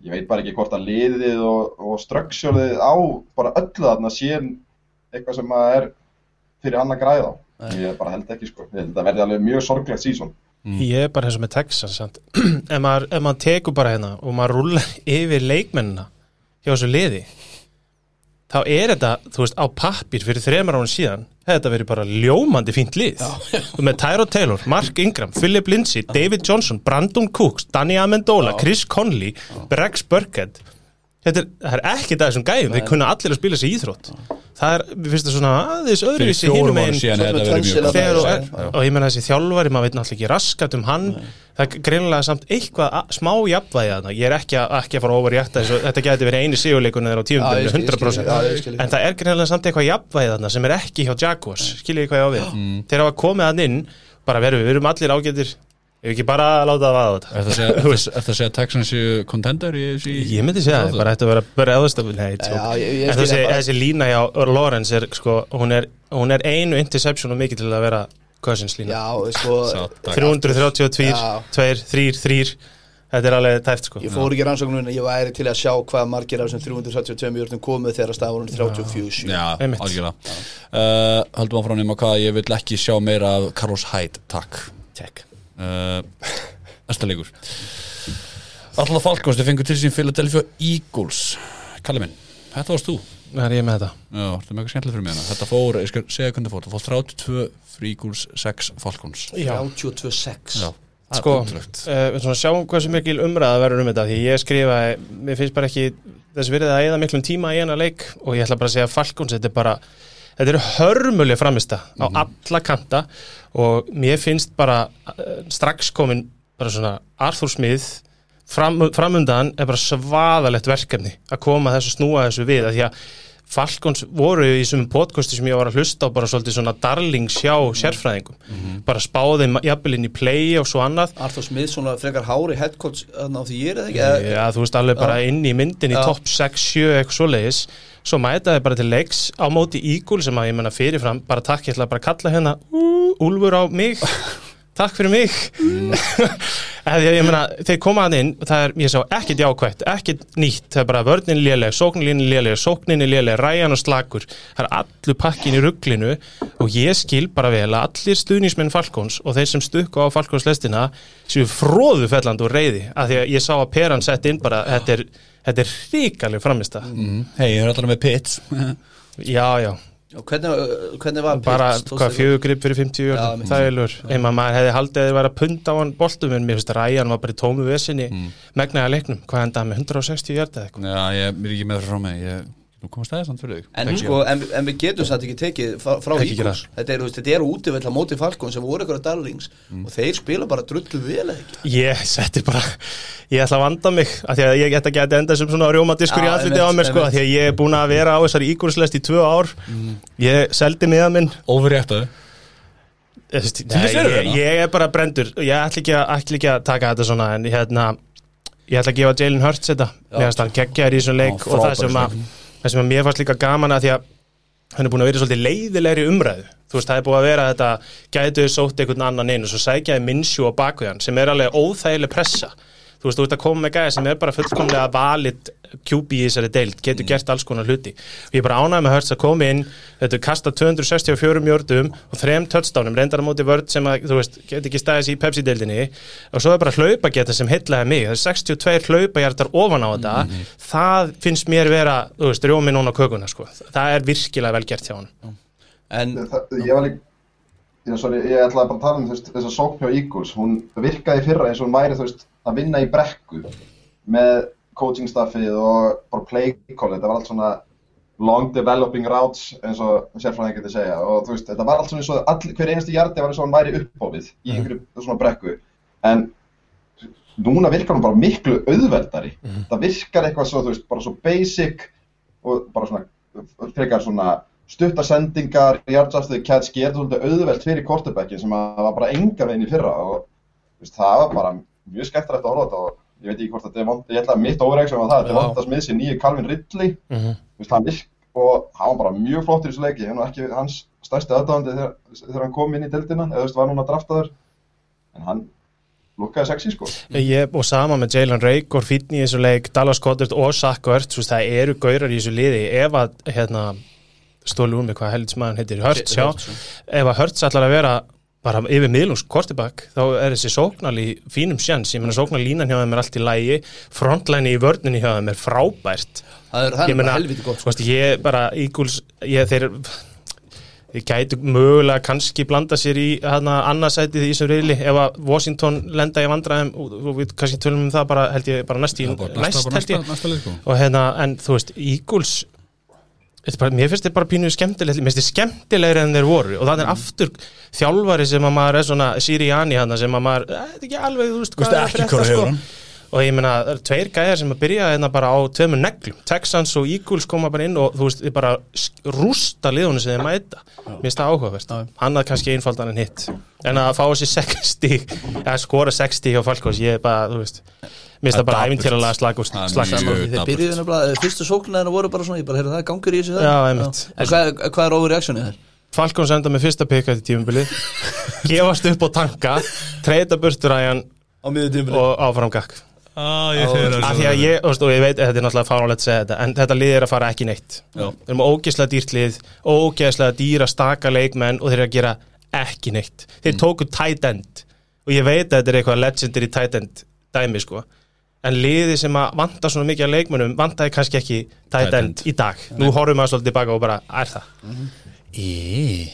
Speaker 3: ég veit bara ekki hvort að liðið og, og struktúrið á bara öllu þarna síðan eitthvað sem að er fyrir hann að græða á. Ég bara held ekki sko, ég held að þetta verði alveg mjög sorglegt sísón.
Speaker 1: Mm.
Speaker 4: Ég er bara eins og með Texas sant? ef, maður, ef maður tekur bara hérna og maður rúlar yfir leikmennina hjá þessu liði þá er þetta, þú veist, á pappir fyrir þremar án síðan, hefði þetta verið bara ljómandi fínt lið, og með Tyro Taylor Mark Ingram, Philip Lindsay, David Johnson Brandon Cooks, Danny Amendola Chris Conley, Brex Burkhead þetta er, það er ekki það sem gæfum þeir kunna allir að spila sér íþrótt það er, við finnst það svona aðeins
Speaker 1: Fyrir
Speaker 4: öðruvísi
Speaker 1: fjórum árum
Speaker 4: hinum megin
Speaker 1: síðan hefði
Speaker 2: Svona
Speaker 1: þetta verið
Speaker 2: tvensil
Speaker 1: mjög
Speaker 2: að-
Speaker 1: gott.
Speaker 4: þegar þú
Speaker 2: Já,
Speaker 4: er, og ég menna þessi þjálfari maður veit náttúrulega ekki raskat um hann það er greinilega samt eitthvað a- smá jafnvægi þarna, ég er ekki að, ekki að fara over í þetta þetta geti verið eini sigurleikun þeirra á
Speaker 2: Já, ég
Speaker 4: tímum
Speaker 2: skil, ég skil, já, ég
Speaker 4: 100%
Speaker 2: skil.
Speaker 4: en það er greinilega samt eitthvað jafnvægi þarna sem er ekki hjá Jaguars, skiljið þið hvað ég á við þegar hafa komið hann inn, bara verðum við við erum allir ágætir, ef ekki bara að láta það vaða á þetta
Speaker 1: Er það að segja Texans séu contender í þessi
Speaker 4: Ég myndi segja það, bara ætti að vera bregðast af Nei,
Speaker 2: Já,
Speaker 4: tjók.
Speaker 2: ég- ég
Speaker 4: En
Speaker 2: skil
Speaker 4: þessi,
Speaker 2: það bara.
Speaker 4: þessi lína hjá Lawrence er, sko, hún er, hún er einu interception og mikið til að vera Cousins lína
Speaker 2: Já, sko,
Speaker 1: Satt, takk.
Speaker 4: 332,
Speaker 2: Já.
Speaker 4: 2, 3, 3 Þetta er alveg tæft sko
Speaker 2: ég fór ekki rannsóknum en ég væri til að sjá hvað margir af þessum 332 mjörnum komu þegar að staðvonum 34
Speaker 1: Já,
Speaker 4: Einmitt.
Speaker 1: algjörlega uh, Haldum áfram nema hvað ég vil ekki sjá meira af Carlos Hyde, takk
Speaker 2: Tek
Speaker 1: uh, Næsta leikur Alltaf Falkons, þið fengur til sín Philadelphia Eagles Kalli minn, þetta varst þú
Speaker 4: Það er ég með þetta
Speaker 1: Já, þetta er mjög skemmtilegt fyrir mig hérna Þetta fór, ég skal segja hvernig það fór Það fór 32 fyrir Eagles, 6 Falkons
Speaker 4: Já.
Speaker 2: 32-6
Speaker 1: Já, það er
Speaker 4: Sko,
Speaker 1: ótrúlegt.
Speaker 4: uh, svona sjáum hversu mikil umræða verður um þetta Því ég skrifaði, mér finnst bara ekki þess virðið að eða miklum tíma í hana leik og ég ætla bara að segja að Falcons, þetta er bara þetta eru hörmuleg framista á
Speaker 1: Mhm.
Speaker 4: alla kanta og mér finnst bara uh, strax komin bara svona Arthur Smith fram, framundan er bara svaðalegt verkefni að koma þessu snúa þessu við að því að Falkons voru í þessum podcastu sem ég var að hlusta á bara svolítið svona darling sjá sérfræðingum bara spáði jafnvel inn í play og svo annað
Speaker 2: Arthur Smith svona frekar hári head coach þannig á því ég er það ekki eða-
Speaker 4: Já, þú veist alveg bara inn í myndin í
Speaker 2: Já.
Speaker 4: topp 6, 7, eitthvað svoleiðis svo mæta þið bara til leiks á móti Ígul sem að ég menna fyrirfram, bara takk ég ætla bara að kalla hérna, ú, Úlfur á mig takk fyrir mig eða ég, ég menna, þeir koma hann inn það er, ég sá ekkit jákvætt, ekkit nýtt það er bara vörnin léleg, sóknin léleg sóknin léleg, ræjan og slakur það er allur pakkin í rugglinu og ég skil bara vel að allir stuðnismenn Falkons og þeir sem stukku á Falkons lestina séu fróðu fellandi og reyði af því að ég sá að Peran sett inn bara þetta er, þetta er ríkaleg framist
Speaker 1: Mm, Hei, ég er allar með Pitts
Speaker 4: já, já,
Speaker 2: Já, hvernig, uh, hvernig var
Speaker 4: bara
Speaker 2: Pitts? Tókstu
Speaker 4: hvað
Speaker 2: eitthvað?
Speaker 4: fjögur grip fyrir 50
Speaker 2: Já,
Speaker 4: jörn
Speaker 2: einmitt.
Speaker 4: þælur, einma maður hefði haldið að þeir væri að punta á hann boltum en mér finnst að Ræjan var bara í tómu vesinni mm. megnaði leiknum, hvað endaði með 160 jörn eða eitthvað,
Speaker 1: Já, ég ég er ekki með það frá mig Ég nú komast aðeins samt fyrir þig
Speaker 2: En, sko, en, en við getum samt ekki tekið frá, frá
Speaker 4: Ekki gera
Speaker 2: Eagles Þetta eru, þú veist, þetta eru útivell á móti Falcon sem voru ykkur að darlings
Speaker 4: Mm.
Speaker 2: og þeir spila bara drullu vel eða ekki
Speaker 4: ég setti bara ég ætla að vanda mig, af því að ég ætla ekki að enda sem svona rjómadiskur í
Speaker 2: Já,
Speaker 4: andliti á
Speaker 2: einmitt, Mm.
Speaker 4: mér sko, af því að ég er búin að vera á þessari ígurslest í tvö ár ég seldi miða minn
Speaker 1: Overreaktaðu
Speaker 4: Þú veist,
Speaker 1: Til þess
Speaker 4: nei,
Speaker 1: eru
Speaker 4: ég,
Speaker 1: hérna.
Speaker 4: ég er bara brendur ég ætla ekki, að- ætla ekki að taka þetta svona en hérna, ég ætla að gefa Jalen Hurts þetta meðan hann geggjaður í þessum leik
Speaker 1: Já,
Speaker 4: og það
Speaker 1: frábær
Speaker 4: sem, að, það sem að mér fannst líka gaman að því að hann er búin að vera í svolítið leiðilegri umræðu þú veist, það er búið að vera þetta gætu þau sótt einhvern annan inn og svo sækjaði minnsjú á baku hann sem er alveg óþægileg pressa þú veist, þú ert að koma með gæja sem er bara fullkomlega valid QB í þessari deild getur gert alls konar hluti og ég er bara ánægði með Hurts að koma inn þetta kasta 264 mjördum og þrem touchdownum reyndar á móti vörð sem að, þú veist, get ekki staðis í Pepsi deildinni og svo er bara hlaupa geta sem heitlaði mig, það er 62 hlaupahjartar ofan á þetta, það finnst mér vera, þú veist, rjómi núna á kökuna sko. það er virkilega vel gert hjá hann
Speaker 2: En
Speaker 3: Það, ég var líka Já, sorry, ég ætlaði bara að tala um þú veist, þess að sókn hjá Eagles, hún virkaði í fyrra eins og hún væri þú veist, að vinna í brekku með coaching staffið og bara play call, þetta var allt svona long developing routes eins og sérfræðin getur segja og þú veist, þetta var allt svona eins og all, hver einasti hjarti var eins og hann væri upphófið í einhverju svona brekku en núna virkar hún bara miklu auðveldari það virkar eitthvað svo, þú veist, bara svo basic og bara svona frekar svona stuttar sendingar, hjartsastuði, catch gera svolítið auðvelt fyrir quarterbackin sem að það var bara enga veginn í fyrra og þú veist, það var bara mjög skemmtilegt að horfa á þetta og ég veit ekki hvort að Devonta, ég ætla að mitt óreiksum var það,
Speaker 2: Já.
Speaker 3: Devonta smið sér nýju Calvin Ridley þú veist, hann virk og hann var bara mjög flottur í þessu leiki, hann var ekki hans stærsti aðdáðandi þegar, þegar hann kom inn í deltina eða þú veist, var núna draftaður en hann lukkaði sexi sko
Speaker 4: Ég, og sama með Jalen Raygor, Fitni í þessu leik, Dallas Goddard og Sakko Ertz þú veist, það eru gaurar í þessu liði ef að, hérna, stólu úr mig hvað heldsmaðan heitir, Hurts, já
Speaker 2: Hurts,
Speaker 4: ef að Hurts ætlar að vera bara yfir miðlungs kortibak þá er þessi sóknal í fínum sjans ég meina sóknalínan hjá þeim er allt í lægi frontlæni í vörninni hjá þeim er frábært
Speaker 2: Það er, það
Speaker 4: ég
Speaker 2: er
Speaker 4: meina,
Speaker 2: bara helviti gott
Speaker 4: sko, veist, ég bara Eagles, ég þeir þeir gætu mögulega kannski blanda sér í hana, annarsætið í þessum reyli ef að Washington lenda í vandræðum og, og við kannski tölum um það bara held ég bara næst í
Speaker 1: Já, bara næsta-
Speaker 4: næst
Speaker 1: bara
Speaker 4: held
Speaker 1: næsta-
Speaker 4: ég
Speaker 1: næsta leik, sko.
Speaker 4: og hérna, en þú veist, Eagles þetta er bara, mér finnst þetta bara pínu skemmtilegt mér finnst þetta skemmtilegri en þeir voru og
Speaker 1: Mm.
Speaker 4: það er aftur þjálfari sem að maður er svona Siriani hann sem að maður, eh, þetta er ekki alveg þú veist
Speaker 1: Veist
Speaker 4: hvað er að
Speaker 1: ekki
Speaker 4: frétta
Speaker 1: hvað hefur
Speaker 4: sko
Speaker 1: hann.
Speaker 4: og ég meina, það eru tveir gæjar sem að byrja hérna bara á tveimur neglum Texans og Eagles koma bara inn og þú veist, þið bara sk- rústa liðunum sem þið mæta mér finnst það áhugavert, annað kannski einfaldan en hitt en að fá þessi 60 eða skora 60 hjá Falkos ég er bara, þú veist, mér finnst það bara
Speaker 1: Það er dapurt.
Speaker 4: ævintýralega slagust,
Speaker 1: Það er
Speaker 4: slagust
Speaker 1: mjög-
Speaker 2: Þeir byrjuðu nefnilega, eh, fyrstu sóknarinn voru bara svona, ég bara heyrði það, gangur í þessu það
Speaker 4: Já, einmitt.
Speaker 2: En hvað, er- hvað er overreaksjónið þér?
Speaker 4: Falkons enda með fyrsta pikka til tímumbili gefast upp á tanka treyta burtur æjan
Speaker 2: Á miður tímur
Speaker 4: og áfram gakk
Speaker 1: Ah, ég þeir
Speaker 4: af því að ég, þú veist, og ég veit að þetta er náttúrulega fáránlegt að segja þetta, en þetta lið er að fara ekki neitt
Speaker 2: Já.
Speaker 4: við erum með ógeðslega dýrt lið ógeðslega dýra staka leikmenn og þeir eru að gera ekki neitt þeir tóku tight end og ég veit að þetta er eitthvað legendary tight end dæmi sko, en liði sem að vanda svona mikið að leikmennum, vandaði kannski ekki tight
Speaker 1: Tight
Speaker 4: end
Speaker 1: end.
Speaker 4: í dag nú horfum við að svolítið baka og bara, er það
Speaker 1: Í,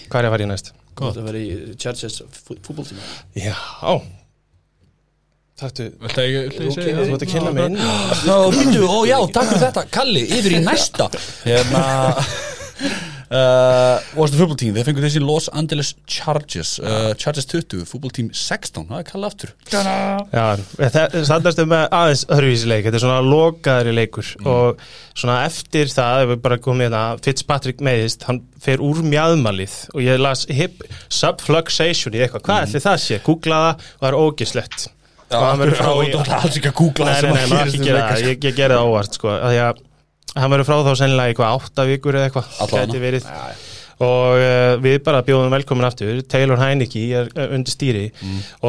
Speaker 4: hvað er að fara í næst?
Speaker 2: Það verið í Chargers fútboltíma
Speaker 4: Já Takktu
Speaker 1: Viltu að ég- viltu að ég segja
Speaker 4: Þú
Speaker 1: það?
Speaker 4: ert að kynna mig inn
Speaker 1: Ó, býttu, ó já, takk fyrir þetta Kalli, yfir í næsta Hérna uh, Washington fútboltím, þeir fengur þessi Los Angeles Chargers uh, Chargers 20, fútboltím 16 Það er Kalli aftur
Speaker 4: Já, þannast er með um aðeins öðruvísi leik Þetta er svona lokaðri leikur og svona eftir það ef við bara komið þetta, Fitzpatrick meðist hann fer úr mjadmalið og ég las hip subfluxation í eitthvað hvað mm. ætli það sé, googla það og það er ógislegt
Speaker 1: Já,
Speaker 4: hann verður frá í-
Speaker 1: Þú ætlar alls ekki að googla
Speaker 4: Nei,
Speaker 1: það
Speaker 4: nei,
Speaker 1: sem
Speaker 4: nei,
Speaker 1: að
Speaker 4: maður
Speaker 1: gerist
Speaker 4: ekki
Speaker 1: um
Speaker 4: gera
Speaker 1: leika,
Speaker 4: það,
Speaker 1: sko.
Speaker 4: ég, ég gerði það óvart sko, af því að hann verður frá þá sennilega eitthvað átta vikur eða eitthvað,
Speaker 1: Allavega.
Speaker 4: gæti verið og uh, við bara bjóðum velkomin aftur Taylor Heineke er uh, undir stýri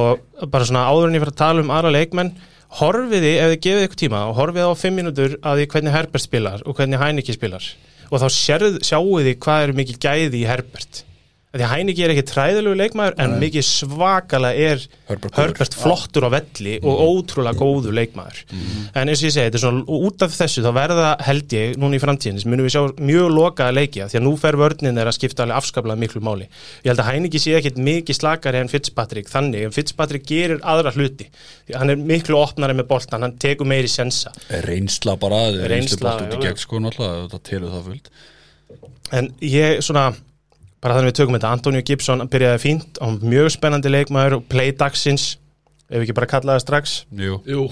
Speaker 4: og bara svona áður en ég fyrir að tala um aðra leikmenn, horfiði ef þið gefið ykkur tíma og horfiði á fimm mínútur að því hvernig Herbert spilar og hvernig Heineke spilar og þá sérð, sjáuði hvað eru mikil gæði í Herbert Af því að Heineke er ekki træðilegu leikmaður en mikið svakala er
Speaker 1: Herbert
Speaker 4: Herbert,
Speaker 1: góður.
Speaker 4: flottur á velli og ótrúlega góður leikmaður en eins og ég segi, þetta er svona og út af þessu þá verða held ég núna í framtíðin sem munum við sjá mjög lokaða leikja því að nú fer vörnin þeirra að skipta alveg afskaplega miklu máli ég held að Heineke sé ekkit mikið slakari en Fitzpatrick þannig, en Fitzpatrick gerir aðra hluti því að hann er miklu opnari með boltan hann tekur meiri sensa
Speaker 1: Reynsla bara,
Speaker 4: Reynsla,
Speaker 1: reynsla bara út í
Speaker 4: já, já.
Speaker 1: gegn sko náttúrulega, það telur það fullt
Speaker 4: en ég svona bara þannig við tökum þetta, Antonio Gibson byrjaði fínt á mjög spennandi leikmaður og play dagsins, ef ekki bara kalla það strax
Speaker 1: Jú,
Speaker 2: Jú,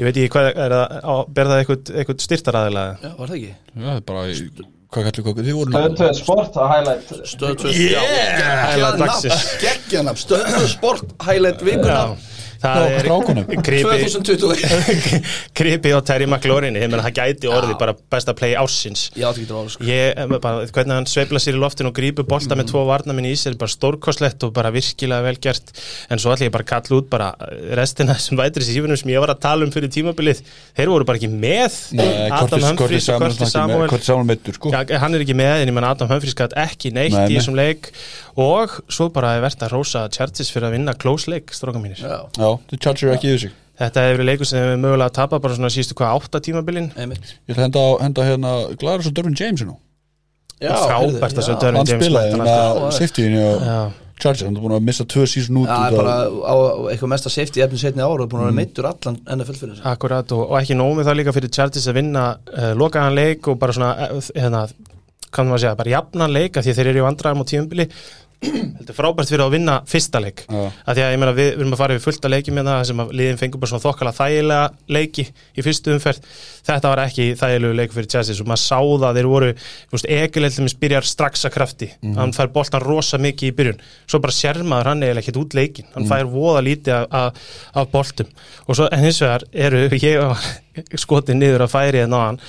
Speaker 4: ég veit ekki hvað er það, á, ber það eitthvað, eitthvað styrtaræðilega
Speaker 2: já, var það ekki?
Speaker 1: það er bara Hvað kallir hvað, þið voru
Speaker 3: Stöðtöð sport að highlight
Speaker 2: Stöð 2
Speaker 4: Highlight dagsins.
Speaker 2: Gekkjanam, stöð 2 sport Highlight vikuna
Speaker 4: það
Speaker 1: Frá-
Speaker 4: er
Speaker 1: strákunum.
Speaker 4: kripi,
Speaker 2: 2020
Speaker 4: kripi og Terry McLaurin ég menn það gæti orðið bara besta play ársins
Speaker 2: Já, það getur ára sko
Speaker 4: ég, em, bara, hvernig hann sveifla sér í loftin og grípu bolta með tvo varnamenn í sér, bara stórkoslegt og bara virkilega vel gert en svo ætla ég bara að kalla út bara eh, restina af þessum vætri sífunum sem ég var að tala um fyrir tímabilið, þeir voru bara ekki með Adam Humphries og Curtis Samuel
Speaker 1: Korti Samuel meittur sko
Speaker 4: Já, hann er ekki með, en ég menn Adam Humphries gæti ekki neitt
Speaker 1: Nei, nei.
Speaker 4: í þessum leik og svo bara er verðt að rósa Chargers fyrir að vinna close leik, stróka mínir
Speaker 2: Já,
Speaker 1: Já, þið charger ekki yfir sig
Speaker 4: Þetta hefur verið leikur sem við mögulega að tapa bara svona sístu hvað átta tímabilin
Speaker 2: einmitt
Speaker 1: Ég ætla að henda, á- henda hérna Glarus og Durbin James hérna.
Speaker 2: Já,
Speaker 4: frábært
Speaker 2: heyrðu,
Speaker 4: að sjá
Speaker 2: já.
Speaker 4: Derwin
Speaker 1: Hann
Speaker 4: James
Speaker 1: spilaði
Speaker 4: mættan
Speaker 2: alltaf.
Speaker 1: hérna safety-inni
Speaker 4: Já.
Speaker 1: og Charger, hann er búin að missa tvö sísun út
Speaker 2: Já,
Speaker 1: út af-
Speaker 2: það er bara á á eitthvað mesta safety efnið setni ára og búin að vera meittur allan NFL fyrir þessu
Speaker 4: Akkurat og, og ekki nóg með það líka fyrir Chargers að vinna uh, lokaðan leik og bara svona eh, hérna, kannu maður segja, bara jafnan leik af því að þeir eru í vandræðum á tíumbili heldur frábært fyrir að vinna fyrsta leik
Speaker 1: Já.
Speaker 4: af því að ég meina við, við erum að fara yfir fullta leiki með það hérna, sem að liðin fengur bara svona þokkala þægilega leiki í fyrstu umferð þetta var ekki þægilegu leik fyrir Chelsea og maður sá það að þeir voru þú veist, egileglumis byrjar strax að krafti hann fær boltan rosa mikið í byrjun svo bara sérmaður hann eiginlega ekkert út leikin hann fær voða lítið af, af, af boltum og svo en hins vegar eru ég var skotið niður að færi hérna en á hann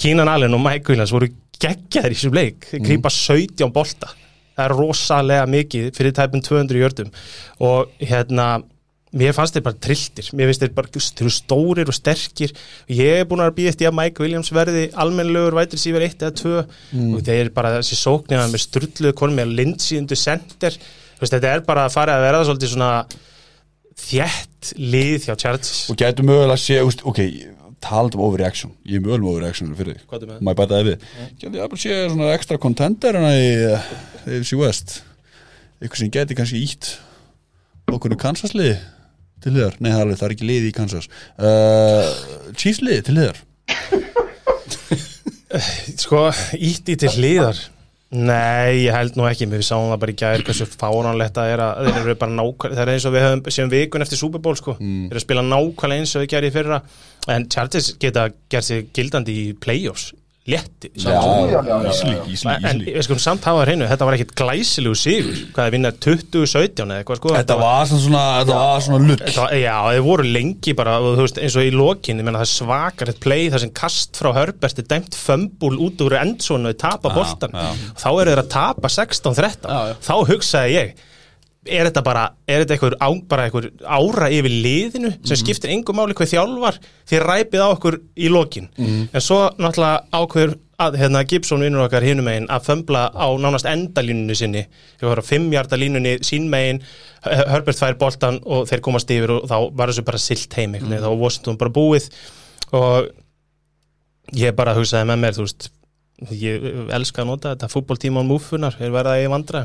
Speaker 4: Kínan Allen og Mike Williams voru geggjaðir í þessum leik, þeir grípa 17 bolta það er rosalega mikið fyrir tæpum 200 jördum og hérna, mér fannst þeir bara trilltir mér finnst þeir bara, þeir eru stórir og sterkir ég er búin að býja eftir að Mike Williams verði almennlegur vætir síver 1 eða 2 og þeir bara þessi sóknir hann með strulluð konum með lindsíundu center þú veist, þetta er bara að fara að verða svolítið svona þjætt lið hjá Chargers
Speaker 1: og gætu mögulega að sé, úst, ok, talað um overreaction, ég er mögulega um overreaction fyrir því,
Speaker 4: Hvað er með?
Speaker 1: maður bæta það við gætu ég að sé svona ekstra contender hérna uh, en að AFC West eitthvað sem gæti kannski ítt okkur í Kansas liði til liðar, nei það er alveg, það er ekki liði í Kansas uh, Chiefs liði til liðar
Speaker 4: Sko, ítt í til hliðar Nei, ég held nú ekki, við sáum það bara í gær hversu fáránlegt það er að þeir eru bara nákvæmlega, það er eins og við höfum séum vikun eftir Super Bowl sko, þeir eru að spila nákvæmlega eins og við gerði í fyrra, en Chargers geta gerð sig gildandi í playoffs létti,
Speaker 3: já, já, já.
Speaker 1: Ísli, Ísli,
Speaker 4: en
Speaker 1: Ísli
Speaker 4: við skulum samt hafa það á hreinu, þetta var ekkit glæsilegu sigur, hvað er vinna 2017 eða eitthvað sko,
Speaker 1: Þetta var svona, þetta var svona lull
Speaker 4: Þetta, já, þeir voru lengi bara, og þú veist, eins og í lokin, ég meina það er svakarlegt play, þar sem kast frá Herbert er dæmt fömbul út úr endsonu og tapa
Speaker 1: Já,
Speaker 4: boltan,
Speaker 1: já.
Speaker 4: og þá eru þeir að tapa 16-13,
Speaker 2: Já, já.
Speaker 4: þá hugsaði ég er þetta bara, er þetta einhver, á, bara einhver ára yfir liðinu
Speaker 2: Mhm.
Speaker 4: sem skiptir engum máli hvað þjálfar því ræpið á okkur í lokin
Speaker 2: Mhm.
Speaker 4: en svo náttúrulega ákveður að hérna Gibson vinnur okkar hinum megin að fömbla á nánast endalínunni sinni þau voru á fimmjarda línunni sín megin H- Herbert fær boltan og þeir komast yfir og þá var þessu bara silt heim
Speaker 2: Mhm.
Speaker 4: mm. þá var Washington bara búið og ég bara hugsaði með mér þú veist, ég elska að nota þetta fútboltíma á múfunar, er verið að ég vandra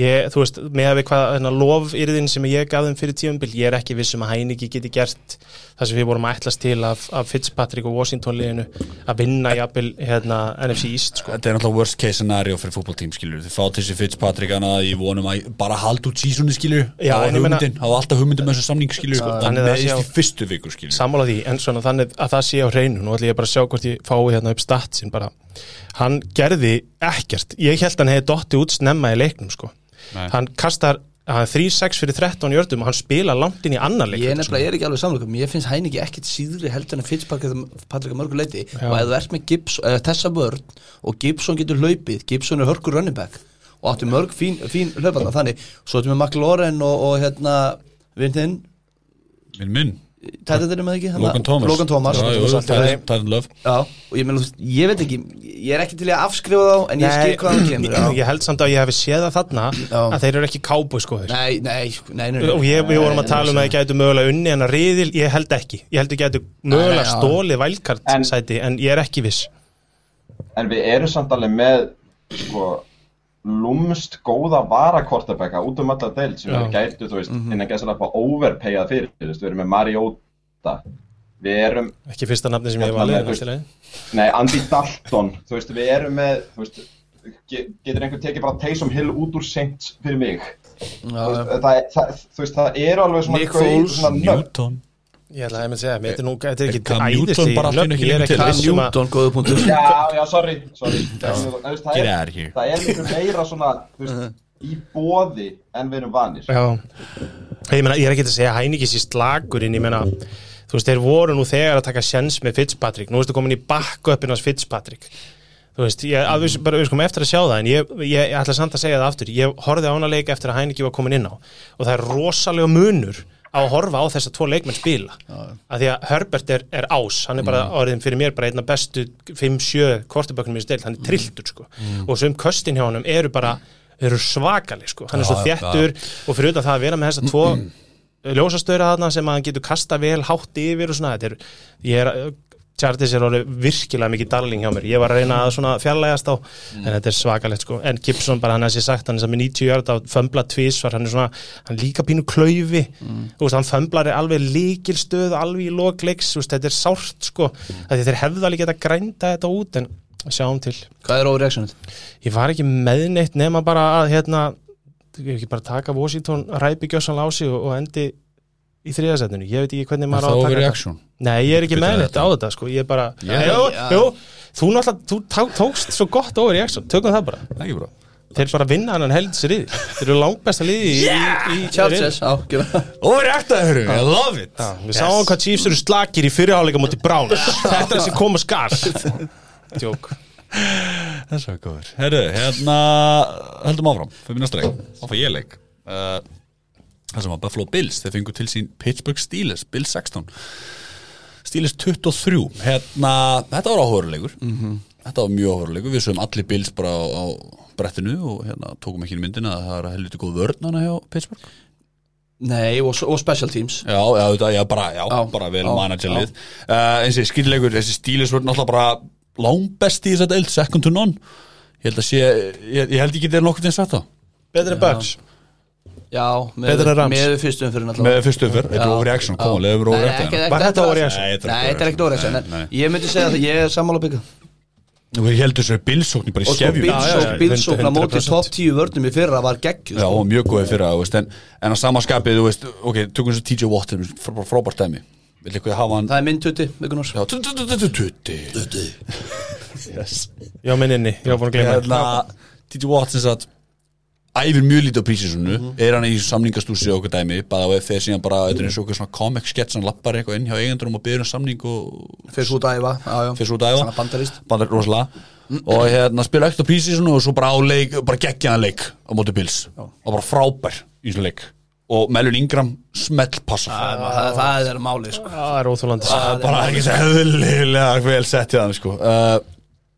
Speaker 4: ég, þú veist, með að við hvað hérna, lofyrðin sem ég gaf þeim fyrir tíumbil ég er ekki vissum að Hæniki geti gert það sem við vorum að ætlast til af, af Fitzpatrick og Washington liðinu að vinna jafnvel hérna, NFC East sko.
Speaker 1: Þetta er náttúrulega worst case scenario fyrir fútboltím skilur Þið fá til þessi Fitzpatrick hana Ég vonum að bara halda út sísunni skilur
Speaker 4: Já,
Speaker 1: Það var
Speaker 4: en ég meina-
Speaker 1: hugmyndin, það var alltaf hugmyndin með þessu samning skilur sko, Það
Speaker 4: þannig að það
Speaker 1: meðist
Speaker 4: sé á-
Speaker 1: í fyrstu viku skilur
Speaker 4: sammála því, en svona þannig að það sé á hreinu nú ætlum ég bara að sjá hvort ég fái hérna upp statsin bara, hann gerði ekkert ég held hann hefði dotti út snemma í leiknum sko,
Speaker 1: Nei.
Speaker 4: hann kastar hann er 3-6 fyrir 13 jördum og hann spila langt inn í annar leik sko.
Speaker 2: Ég er nefnilega ég er ekki alveg samlokum, ég finnst hæningi ekkit síðri heldur en Fitzpatrick að mörgu leiti og ef þú ert með Gibson, eða þessa vörn og Gibson getur hlaupið, Gibson er hörkur running back og áttu mörg fín, fín hlaupanda þannig, svo áttu með McLaurin og, og hérna, vinn þinn
Speaker 1: Minn minn,
Speaker 2: tætið þeirra með ekki? Hann-
Speaker 1: Logan Thomas
Speaker 2: Logan Thomas,
Speaker 1: Já,
Speaker 2: já,
Speaker 1: jú,
Speaker 4: Thomas, allt í lagi.
Speaker 1: Tyron- Tyron Love
Speaker 2: og ég, meina, þú veist, ég veit ekki ég er ekki til í að afskrifa þá en ég skil hvað hann kemur
Speaker 4: ég held samt að ég hefði séð það þarna
Speaker 2: Já.
Speaker 4: að þeir eru ekki kábúi sko þeir
Speaker 2: Nei, nei, nei, nei, nei.
Speaker 4: og ég, við vorum að tala um að ég gætu mögulega unni en að riðil, ég held ekki ég held ég gætu mögulega
Speaker 2: Nei, já.
Speaker 4: stólið vælkart
Speaker 3: En-
Speaker 4: sæti en ég er ekki viss
Speaker 3: En við erum samt alveg með sko, lúmst góða varakortabæka út um alla deild sem
Speaker 4: Já.
Speaker 3: við gætu, þú veist,
Speaker 2: Mhm.
Speaker 3: innan gæðslega bara overpayað fyrir, þú veist, við erum með Mariota við erum,
Speaker 4: ekki fyrsta nafni sem ég
Speaker 3: Hérna,
Speaker 4: valið
Speaker 3: nei,
Speaker 4: en
Speaker 3: þú
Speaker 4: allt í lagi.
Speaker 3: nei, Andy Dalton þú veist, við erum með, þú veist ge- getur einhver tekið bara Taysom Hill út úr Saints fyrir mig
Speaker 2: Já,
Speaker 3: Þú
Speaker 2: já.
Speaker 3: veist, það, það, þú veist, það eru alveg svona
Speaker 2: Nick
Speaker 3: gaur-
Speaker 2: Foles,
Speaker 3: svona nöfn.
Speaker 1: Newton
Speaker 4: ég ætla að ég með segja, þetta er nú þetta er
Speaker 1: Er Cam
Speaker 4: ekki
Speaker 1: Newton
Speaker 4: æðisli
Speaker 1: bara allt í einu ekki
Speaker 4: ég er
Speaker 1: lengur
Speaker 4: ekki
Speaker 1: til?
Speaker 2: Cam
Speaker 4: viss um að
Speaker 2: Newton, góðu punktur
Speaker 3: Já, já, sorry, sorry. Þú veist, Það
Speaker 1: Get
Speaker 3: er,
Speaker 1: out of here.
Speaker 3: það er miklu meira svona þú
Speaker 2: Uh-huh.
Speaker 3: veist, í bóði en við erum vanir
Speaker 4: Já, ég, meina, ég er ekki að segja hæningis í slagurinn, ég meina þú veist, þeir voru nú þegar að taka sjens með Fitzpatrick, nú ertu komin í bakköppin hans Fitzpatrick þú veist, ég, að, við, bara, við skum eftir að sjá það en ég, ég, ég ætla samt að segja það aftur ég horfði á hana leik eftir að Hæniki var komin inn á og það er rosalega munur á að horfa á þess að tvo leikmenn spila að því að Herbert er, er ás hann er bara
Speaker 1: Mm.
Speaker 4: orðin fyrir mér bara einna bestu 5-7 kortaböknum í stil, hann
Speaker 1: Mm.
Speaker 4: er trilltur sko. og sum köstin hjá honum eru bara eru svakali, sko. hann er svo
Speaker 1: Já, Mm. já.
Speaker 4: þjættur og fyrir auðvitað það að vera með þessa tvo ljósastöra þarna sem að hann getur kasta vel hátt yfir og svona þetta er, ég er, Tjardis er orðið virkilega mikið darling hjá mér, ég var að reyna að svona fjarlægast á en þetta er svakalegt sko, en Gibson bara hann er sér sagt, hann er sem er 90 jörð á fömbla tvísvar, hann er svona, hann er líka pínu klaufi, þú veist, hann fömblar er alveg líkilstöð, alveg í lokleiks þú veist, þetta er sárt sko, mm. þeir hefðu alveg geta grænda þetta út en sjáum til
Speaker 2: Hvað er óreaksjónið?
Speaker 4: ég var ekki meðneitt nema bara að hérna, ég ekki bara taka Washington ræpi gjössan lási og, og endi í þriðasettinu, ég veit ekki hvernig
Speaker 1: Það
Speaker 4: maður á
Speaker 1: var
Speaker 4: að taka
Speaker 1: overreaction
Speaker 4: þetta nei, ég er ekki
Speaker 1: Betra
Speaker 4: meðneitt
Speaker 1: þetta.
Speaker 4: á þetta sko, ég er bara
Speaker 1: Já.
Speaker 4: jú,
Speaker 2: Já.
Speaker 4: jú, þú náttúrulega, þú tá- tókst svo gott over í action, tökum það bara
Speaker 1: Ekki bra
Speaker 4: þeir bara vinna hann helds riði þeir eru langbesta liði í, í, í riðli.
Speaker 2: Chargers, já, gefa
Speaker 1: Overreactað, hörru, I love it
Speaker 4: við sáum hvað Chiefs eru slakir í fyrirháleika múti Browns, þetta er sem koma skar tjók
Speaker 1: Það er svo góður Herru, hérna Heldum áfram Fyrir minna streik Þá fæ ég leik uh, Það sem var Buffalo Bills Þeir fengu til sín Pittsburgh Steelers Bills 16 Steelers 23 Hérna Þetta var áhóruleikur mm -hmm. Þetta var mjög áhóruleikur Við sögum allir Bills bara á, á brettinu og hérna tókum ekki inn myndina að það er að helviti góð vörn hana hjá Pittsburgh
Speaker 2: Nei, og, og special teams
Speaker 1: Já, já, þetta, já, bara, já,
Speaker 2: Já,
Speaker 1: bara vel
Speaker 2: já,
Speaker 1: managerlið uh, eins og skýrleikur, þessi stílis vörn alltaf bara langbest í þetta eild, second to none ég held að sé, ég, ég held ekki þetta er nokkuð eins að það
Speaker 4: Betri Bucks
Speaker 2: Já,
Speaker 4: Betra
Speaker 2: með,
Speaker 4: Rams.
Speaker 2: með fyrstu umfyrir
Speaker 1: með fyrstu yfir, þetta er overreaction, koma, leiður
Speaker 2: Nei,
Speaker 1: overreaction
Speaker 2: ekki-
Speaker 4: Var
Speaker 2: ekki-
Speaker 4: þetta
Speaker 2: ekki-
Speaker 4: overreaction?
Speaker 1: Nei, þetta er
Speaker 2: Nei,
Speaker 1: ekki
Speaker 2: þetta er ekkert óreaksjón
Speaker 1: Nei, nei.
Speaker 2: Ég myndi segja það, ég er sammála byggja
Speaker 1: og ég held þessu bilsókn bara
Speaker 2: Og
Speaker 1: í
Speaker 2: sko
Speaker 1: skefju
Speaker 4: Já, já, já.
Speaker 2: bilsókn- bilsókn á móti
Speaker 4: 100%.
Speaker 2: top 10 vörnum í fyrra var geggjur
Speaker 1: Já, og mjög góðið fyrir það, þú veist, en, en að samaskapið, þú veist, ok, tökum þessu TJ Watt, þetta er bara frábært dæmi. Vil eitthvað hafa hann...
Speaker 2: Það er minn tutti, Vikunars
Speaker 1: Já, tutti, tutti, tutti. Tutti. Yes.
Speaker 4: Já, minn inni, ég var búin að gleyma
Speaker 1: Hérna, TJ Watt sem sagt, æfir mjög lítið á prísinsunu, er hann í samningastúsi og okkur dæmi, bara á FF síðan bara, þetta er eins og okkur svona comic sketch, hann lappar eitthvað inn hjá eigendurum og byrjur um samning og
Speaker 2: Fyrst út að æfa já, já.
Speaker 1: fyrst út að
Speaker 2: Svona
Speaker 1: æfa
Speaker 2: bandarist
Speaker 1: bara rosalega og hérna spila ekkert á prísísonu og svo bara á leik bara geggjaðan leik á móti bils og bara frábær í þessu leik og Melun Ingram smell passa
Speaker 2: Það það er málið sko
Speaker 4: Það er óþúlandis
Speaker 1: bara ekki þess eðlilega vel sett í það sko uh,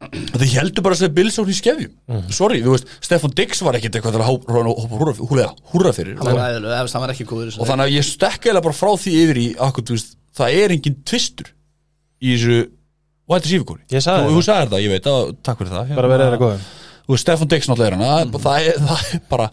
Speaker 1: það heldur bara að segja bils á hún í skefjum
Speaker 4: Mhm.
Speaker 1: sorry, þú veist, Stefan Dix var ekkit eitthvað til að hó- hó- hó- húrra- húrra- húrra fyrir
Speaker 2: Það var
Speaker 1: og
Speaker 2: æðilega, ef það var ekki góður í þessu.
Speaker 1: þannig að ég stekkaðilega bara frá því yfir í akkur, þú veist, það er engin tvistur í þessu og þetta er sífikóri
Speaker 4: Ég sagði
Speaker 1: þú, þú
Speaker 4: það.
Speaker 1: sagði það, ég veit að, takk fyrir það hérna.
Speaker 4: Bara verið þeirra góðum
Speaker 1: Þú veist, Stefan Dix náttúrulega er hann það, mm. það, er, það er bara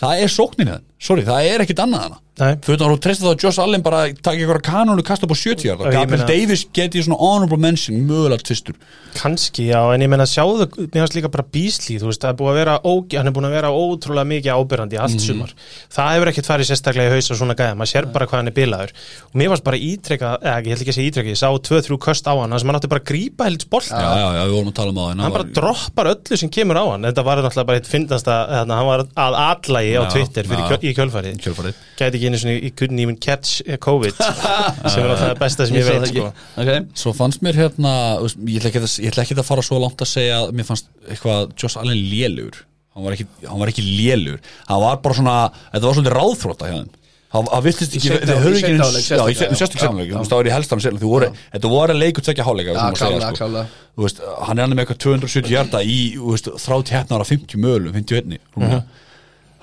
Speaker 1: Það er sóknin henn, sorry, það er ekkit annað hana
Speaker 4: Nei.
Speaker 1: Fyrir þá að þú treysta þá að Josh Allen bara Takk eitthvað kanonu, kasta upp á 70
Speaker 4: Já,
Speaker 1: jarða.
Speaker 4: ég
Speaker 1: Gabriel
Speaker 4: meina-
Speaker 1: Davis geti svona honorable mention Mögulega tvistur
Speaker 4: Kanski, já, en ég menna sjáðu mér varst líka bara bíslíð, þú veist, það er búið að vera óg, hann er búin að vera ótrúlega mikið ábyrrandi allt sumar. Það hefur ekkert farið sérstaklega í haus á svona gæða, maður sér bara hvað hann er bilaður og mér varst bara ítreka, eða ég held ekki að segja ítreka ég sá 2-3 köst á hann, þannig að hann átti bara að grípa helds bolta,
Speaker 1: Já, já, já, við vorum að tala um það
Speaker 4: hann bara droppar öllu sem kemur á hann, þetta var náttúrulega bara eitt fyndasta, þannig hann var að aðlægi á
Speaker 1: Já,
Speaker 4: Twitter
Speaker 1: já.
Speaker 4: fyrir kjöl, í kjölfarið
Speaker 1: Kjölfarið
Speaker 4: gæti ekki einu svona, ég couldn't even catch eh, COVID sem er alltaf það besta sem ég,
Speaker 2: Ég sá
Speaker 4: veit
Speaker 2: það
Speaker 4: sko.
Speaker 2: ekki Ok
Speaker 1: Svo fannst mér hérna, þú veist, ég ætla ekki að- ég ætla ekki að fara svo langt að segja að Mér fannst eitthvað Josh Allen lélugur Hann var ekki, hann var ekki lélugur Hann var bara svona, þetta var svolítið ráðþróta hjá þeim Hann hann virtist ekki,
Speaker 2: seinni
Speaker 1: þeir
Speaker 2: hálfleik,
Speaker 1: höfðu
Speaker 2: seinni
Speaker 1: ekki eins- Já,
Speaker 2: hálfleik,
Speaker 1: í
Speaker 2: sérstaklega, já.
Speaker 1: sérstaklega
Speaker 2: Já,
Speaker 1: samleik
Speaker 2: já.
Speaker 1: Þú veist, það var í helstanum sérlega Þú voru, þetta voru leikur tvekja hálfleika
Speaker 2: Já,
Speaker 1: við þurfum að sko.
Speaker 2: klálega, klálega.
Speaker 1: Þú veist, hann er annað með eitthvað 270 hjarta í, þú veist, þrátt hefnar á 50 mögulum, 51 rúmlega.
Speaker 2: Mhm.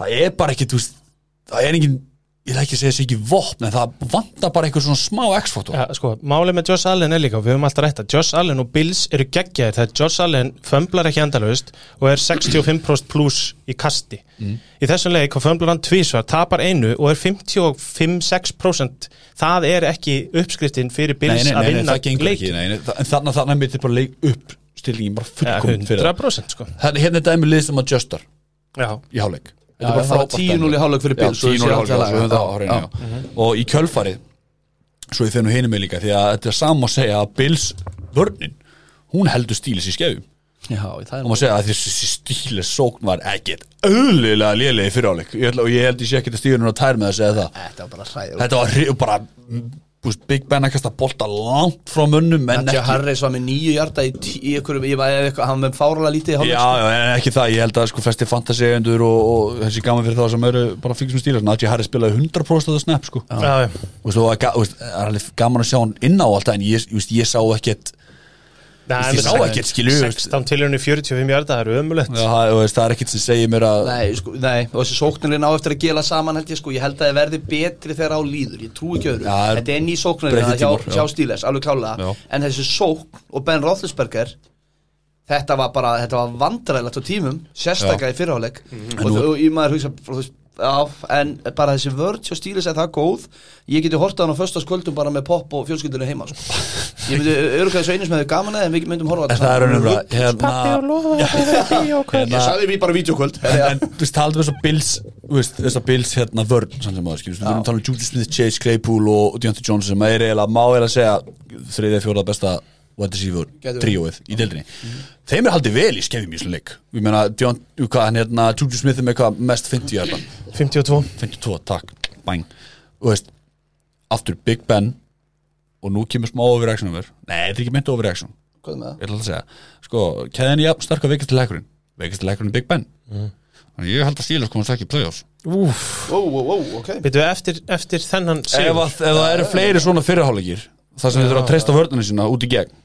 Speaker 1: Það er bara ekki, þú veist, það er engin Ég ætla ekki að segja þessi ekki vopn, en það vantar bara eitthvað svona smá X-faktor.
Speaker 4: Ja, sko, málið með Josh Allen er líka og við höfum alltaf rætt að Josh Allen og Bills eru geggjaðir þegar Josh Allen fömblar ekki endalaust og er 65% pluss í kasti
Speaker 1: Mm.
Speaker 4: í þessum leik og fömblar hann tvísvar, tapar einu og er 55-6% það er ekki uppskriftin fyrir Bills að vinna
Speaker 1: það gengur
Speaker 4: leik
Speaker 1: ekki, nei, nei, þa- en þannig að þannig að mitt er bara leik upp stilingin bara fullkom fyrir það
Speaker 4: 100% sko
Speaker 1: Þannig hérna er dæmi lið sem adjustar
Speaker 4: Já.
Speaker 1: í hálfleik
Speaker 2: Já, það var 10-0 í hálfleik fyrir Bills,
Speaker 1: Já,
Speaker 2: svo þessi
Speaker 1: 10-0 í
Speaker 2: alltaf
Speaker 1: hálfleik,
Speaker 2: laga.
Speaker 1: svo þetta á hreinu,
Speaker 2: Já. Mhm.
Speaker 1: já. og í kjölfarið svo ég fennu hinum mig líka því að þetta er saman að segja að Bills vörnin hún heldur stílis í skefjum
Speaker 2: Já, það er
Speaker 1: og maður segja að þessi stílis sókn var ekkert auðlilega lélegi fyrir hálfleik Ég ætla- og ég held ég sé ekkert að stíðunum að tær með að segja það
Speaker 2: Þetta var bara hræður
Speaker 1: þetta var hri- bara mm, þú veist, Big Ben að kasta bolta langt frá munnum en
Speaker 2: Natja
Speaker 1: ekki
Speaker 2: Harris var með nýju hjarta í, tí- í ykkur, ég var eitthvað, hann var með fárala lítið í hálfleik
Speaker 1: Já, já, en ekki það, ég held að sko festi fantasíendur og, og þessi gaman fyrir þá sem eru bara fíkir sem stíla, Nadji Harris spilaði 100% að snap sko,
Speaker 4: Já. Já.
Speaker 1: og svo var ga- þú veist, það er alveg gaman að sjá hann inn á alltaf en ég, ég, veist, ég sá ekkert,
Speaker 4: Nei,
Speaker 1: Ég sá ekkert, skilju, þú veist.
Speaker 4: 16 tilhjörni 45 hjarta, það eru ömulegt
Speaker 1: já, það, þú veist, það er ekkert sem segir mér að
Speaker 2: Nei, sko, nei, og þessi sóknarinn á eftir að gela saman held ég sko, ég held að það verði betri þegar á líður, ég trúi ekki
Speaker 1: Já,
Speaker 2: öðru
Speaker 1: það er
Speaker 2: Þetta er ný
Speaker 1: breyttir
Speaker 2: sóknarinn hjá,
Speaker 1: tímar, já.
Speaker 2: hjá Stíles, alveg klálega
Speaker 1: Já.
Speaker 2: En þessi sókn og Ben Roethlisberger Þetta var bara, þetta var vandræðilegt á tímum, sérstaklega í fyrirháleik og,
Speaker 1: En nú-
Speaker 2: og, og ég maður hugsa, frá þú veist, já, en bara þessi vörd hjá Stíles er það góð Ég geti hortað hann á föstaskvöldum bara með popp og fjölskyldinu heima sko. Ég myndi örgæði svo einu sem hefði gaman að það en við myndum horfa á
Speaker 1: en það er raunum
Speaker 2: saman.
Speaker 1: að hérna,
Speaker 2: Ég sagði því bara vídeokvöld
Speaker 1: en, en þú veist, talaðu þess að Bills þú veist, þess að Bills hérna vörn samt sem maður, skilur, við erum að tala um Juju Smith, Chase Claypool og Deontay Johnson sem er eiginlega, má eiginlega segja þriðið, fjórða besta wide receiver
Speaker 2: Gæti verið. Mhm.
Speaker 1: tríóið í deildinni þeim er haldið vel í skefjum í þessum leik við meina, Deont, hvað, hann hérna, Juju Smith er með hvað mest 50 hjarta,
Speaker 4: 52
Speaker 1: 52, takk, bæn þú veist, aftur Big Ben og nú kemur smá overreaction over, nei, þetta er ekki meint overreaction
Speaker 2: Hvað er með það?
Speaker 1: ég ætla að segja sko, keðin ég starka veikast til leikurinn veikast til leikurinn er Big Ben þannig ég held að stílast komast ekki í playoffs
Speaker 4: Úf,
Speaker 2: Ó, ó, ó, ok
Speaker 4: byrju, eftir, eftir þennan
Speaker 1: ef, að, ef það eru fleiri svona fyrirháleikir þar sem þið þurfa að treysta vörðinu sína út í gegn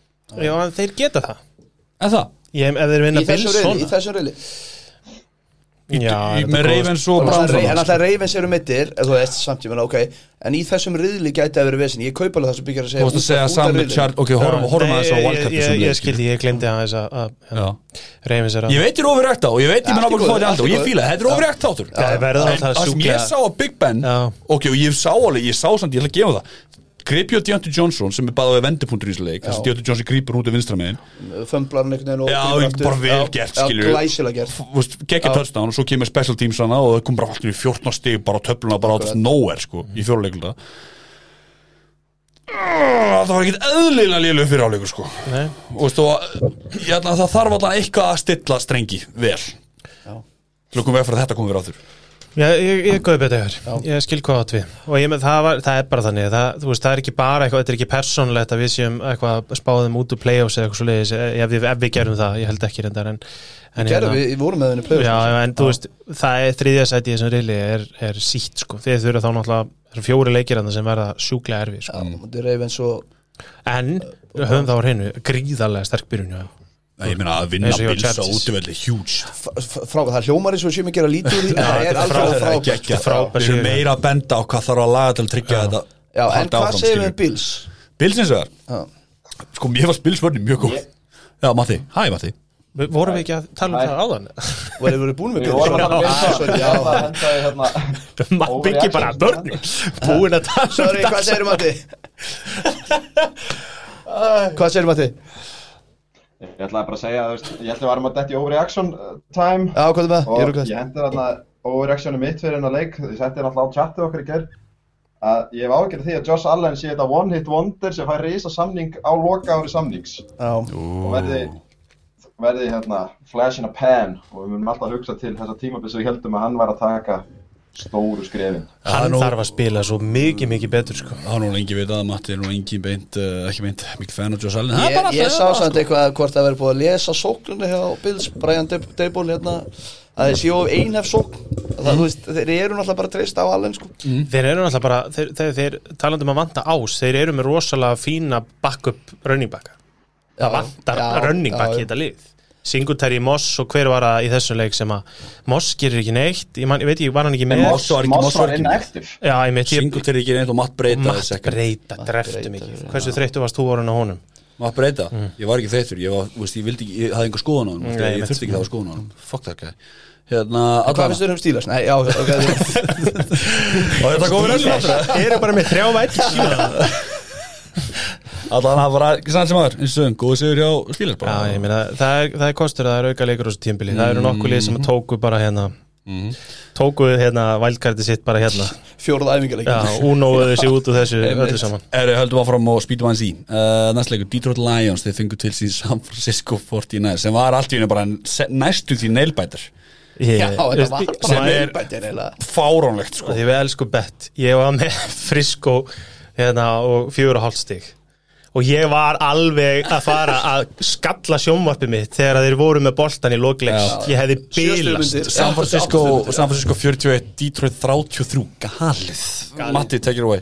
Speaker 4: Já, þeir geta það
Speaker 1: en það,
Speaker 4: Ég, ef þeir
Speaker 2: Í
Speaker 4: vinna Bills
Speaker 2: þessu reyli, í
Speaker 4: svona
Speaker 2: þessu reyli
Speaker 1: í,
Speaker 4: Já,
Speaker 1: í,
Speaker 4: þetta
Speaker 1: með
Speaker 4: er góð-
Speaker 1: Ravens og
Speaker 2: En
Speaker 1: Browns
Speaker 2: alltaf reyfins eru mittir eða Þú veist samt, ég menna, ok En í þessum riðli gæti að vera vesin Ég kaup alveg það sem byggjar
Speaker 1: Þú
Speaker 2: að segja
Speaker 1: veist að
Speaker 2: út-
Speaker 1: segja
Speaker 2: út af
Speaker 1: saman með
Speaker 2: riðlinum.
Speaker 1: Charles Ok, horfum horfum aðeins á Wildcard
Speaker 4: Ég,
Speaker 1: þessum
Speaker 4: ég,
Speaker 1: leik,
Speaker 4: ég skildi, ég glemdi aðeins að, að,
Speaker 1: Já.
Speaker 4: að reyfins er að
Speaker 1: Ég veit ég er ofurrekt á og ég veit ég
Speaker 2: Ja,
Speaker 1: menn
Speaker 2: allt í
Speaker 1: ábúin
Speaker 2: góðu,
Speaker 1: fóðið
Speaker 2: allt
Speaker 1: aldrei
Speaker 2: í
Speaker 1: og ég
Speaker 2: góðu.
Speaker 1: fíla, þetta er ofurrekt þáttur
Speaker 4: Já, það verður
Speaker 1: En
Speaker 4: alltaf
Speaker 1: það sem
Speaker 4: sjúklega-
Speaker 1: ég sá á Big Ben
Speaker 4: Já.
Speaker 1: Ok, og ég sá alveg, ég sá samt, ég ætla að gefa það Gripi og Deontay Johnson sem er bæða við vendupunktur í þessu leik Þessi Deontay Johnson grípur út af vinstra megin
Speaker 2: Fömblar hann einhvern veginn og
Speaker 1: Já,
Speaker 2: grípur aftur.
Speaker 1: bara vel
Speaker 2: Já,
Speaker 1: gert,
Speaker 2: já,
Speaker 1: skilurðu.
Speaker 2: Glæsilega gert
Speaker 1: Gekki touchdown og svo kemur special teams hana og það kom bara allir í 14 stig bara á töfluna bara out of nowhere sko í fjóruleikulda Ah, Það var ekkert eðlilega lélu fyrir áleikur sko
Speaker 4: Nei.
Speaker 1: og veistu, og, ég ætla að það þarf alltaf eitthvað að stilla strengi vel
Speaker 2: Já.
Speaker 1: Lókum veg fyrir að þetta komið verið áþur
Speaker 4: Já, ég, ég kaupi þetta yfir, ég skil hvað átt við og ég með það, var, það er bara þannig það, þú veist, það er ekki bara eitthvað, þetta er ekki persónlegt að við séum eitthvað að spáðum út úr play-offs eða eitthvað svo leiðis, ef við, ef við gerum það ég held ekki reyndar en, en
Speaker 2: Gerðu, við við vorum með henni
Speaker 4: já,
Speaker 2: plöður
Speaker 4: sko. já, en þú veist, það er þriðja sæti í þessum reyli er, er sítt sko, þið þurfa þá náttúrulega það eru fjóri leikir þarna sem verða sjúklega erfi sko.
Speaker 2: Þetta er reyfins og
Speaker 4: en höfum þá á hreinu gríðarlega sterk byrjun já.
Speaker 1: Ég meina að vinna
Speaker 4: Eins og hjá
Speaker 1: Bills á
Speaker 4: Chargers.
Speaker 1: útivelli huge
Speaker 2: f- f- frá, það hljómar eins og séum ekki að líta úr því en Það er alveg
Speaker 1: Það er
Speaker 2: frábært
Speaker 1: geggjað.
Speaker 4: frábær
Speaker 1: Við erum
Speaker 4: sigur.
Speaker 1: meira að benda á hvað þarf að laga til að tryggja þetta
Speaker 2: Já, en
Speaker 1: halda
Speaker 2: hvað
Speaker 1: áfram,
Speaker 2: segir við
Speaker 1: skilur.
Speaker 2: um Bills?
Speaker 1: Bills eins og það
Speaker 2: Já.
Speaker 1: Sko, mér var spilsvörnum mjög góð Já, Matti, hæ Matti
Speaker 4: Við- vorum við ekki að tala um
Speaker 3: Nei.
Speaker 4: það áðan
Speaker 2: Verður verið búin með
Speaker 3: Við
Speaker 2: Bills?
Speaker 3: vorum að tala um
Speaker 2: Já,
Speaker 3: Bills,
Speaker 2: sorry,
Speaker 3: ég ætla að
Speaker 2: já.
Speaker 3: henda því hérna
Speaker 4: maður byggir bara að börni búin að tala um
Speaker 2: Sorry, hvað segir Matti? Hvað segir Matti?
Speaker 3: Ég ætlaði bara að segja, þú veist, ég ætlaði að varum að detti overreaction uh, time
Speaker 2: Já, hvað er með? Ég er
Speaker 3: og
Speaker 2: okkur
Speaker 3: ég hendi þarna overreactionu mitt fyrir hennar leik ég setti hann alltaf á chatu okkar í gerð að ég hef ágjörð því að Josh Allen sé þetta one hit wonder sem fær reysa samning á loka ári samnings
Speaker 2: Já,
Speaker 3: og verði, verði hérna flash in a pan og við munum alltaf hugsa til þessa tímabil sem við heldum að hann var að taka stóru skrefin
Speaker 1: Það er
Speaker 4: hann
Speaker 1: nú-
Speaker 4: þarf að spila svo mikið mikið betur sko.
Speaker 1: Það er nú lengi vitað að Matti er nú engin beint, uh, ekki beint, mikil fan og Joss Allen Það er
Speaker 2: ég,
Speaker 1: bara
Speaker 2: ég
Speaker 1: alltaf-
Speaker 2: sá
Speaker 4: sko.
Speaker 2: samt eitthvað hvort það verið búið að lesa sóknunni hjá Bills, Brian Dab- Dable hérna að þeir séu of einhef sókn það,
Speaker 4: Mm.
Speaker 2: þú veist, þeir eru náttúrulega bara að treysta á allen sko.
Speaker 4: þeir eru náttúrulega bara þeir, þeir, þeir talandum að vanta ás þeir eru með rosalega fína backup running backa
Speaker 2: Já,
Speaker 4: það vantar
Speaker 2: já,
Speaker 4: running back
Speaker 2: já.
Speaker 4: í þetta lið Singutari Moss og hver var það í þessum leik sem að Moss gerir ekki neitt ég, man, ég veit ekki, var hann ekki með
Speaker 1: Moss var ekki- Moss
Speaker 3: Moss
Speaker 1: var
Speaker 3: var
Speaker 1: ekki með.
Speaker 3: inactive
Speaker 4: já, ég veit, ég,
Speaker 1: Singletary ekki reynd og Matt breyta
Speaker 4: Matt breyta, dreftu
Speaker 2: Breida,
Speaker 4: mikið
Speaker 2: já.
Speaker 4: hversu þreyttu varst þú orðin á honum
Speaker 1: Matt breyta, ég var ekki þreytur Ég var, þú veist, ég vildi ekki, ég hafði enga skoðan á hann Ég
Speaker 4: Nei, ég
Speaker 1: þurfti
Speaker 4: veit.
Speaker 1: ekki að hafa skoðan á hann Fuck that guy Hérna,
Speaker 2: Hvað
Speaker 1: allan
Speaker 2: finnst þér um stílas? Nei, já, ok
Speaker 1: Og þetta komið næstum aftur
Speaker 4: eru bara með þrjá vætt
Speaker 1: Allan það var ekki sann sem aður Eins og um, góðu sigur hjá Steelers
Speaker 4: já,
Speaker 1: bara
Speaker 4: ég meina, það er, það er kostur það er auka leikur á þessu tímbili, það eru nokkuð lið
Speaker 2: Mhm.
Speaker 4: sem tóku bara hérna tóku hérna, valdkarti sitt bara hérna
Speaker 2: Fjórða æfingarleik
Speaker 4: já, unóðu þessi út úr þessu öllu saman
Speaker 1: Erðu, höldum áfram og spýtum hans í uh, Næstleikur, Detroit Lions, þeir fengu til sín San Francisco 49 sem var allt í henni bara se- næstu því neilbætur
Speaker 4: Ég-
Speaker 2: Já, þetta var
Speaker 4: sem
Speaker 2: bara
Speaker 4: er-
Speaker 2: einbættir eiginlega.
Speaker 1: Fáránlegt sko
Speaker 4: Af Því við elskum bett Ég var með frisk og, hérna, og fjögur og hálft stig Og ég var alveg að fara að skalla sjónvarpið mitt þegar þeir voru með boltan í lokleiks Ég hefði
Speaker 2: Sjö stigum
Speaker 4: bilast
Speaker 2: undir.
Speaker 1: San Francisco,
Speaker 2: Já,
Speaker 1: San Francisco 41, Detroit 33 Galið, Matti, take it away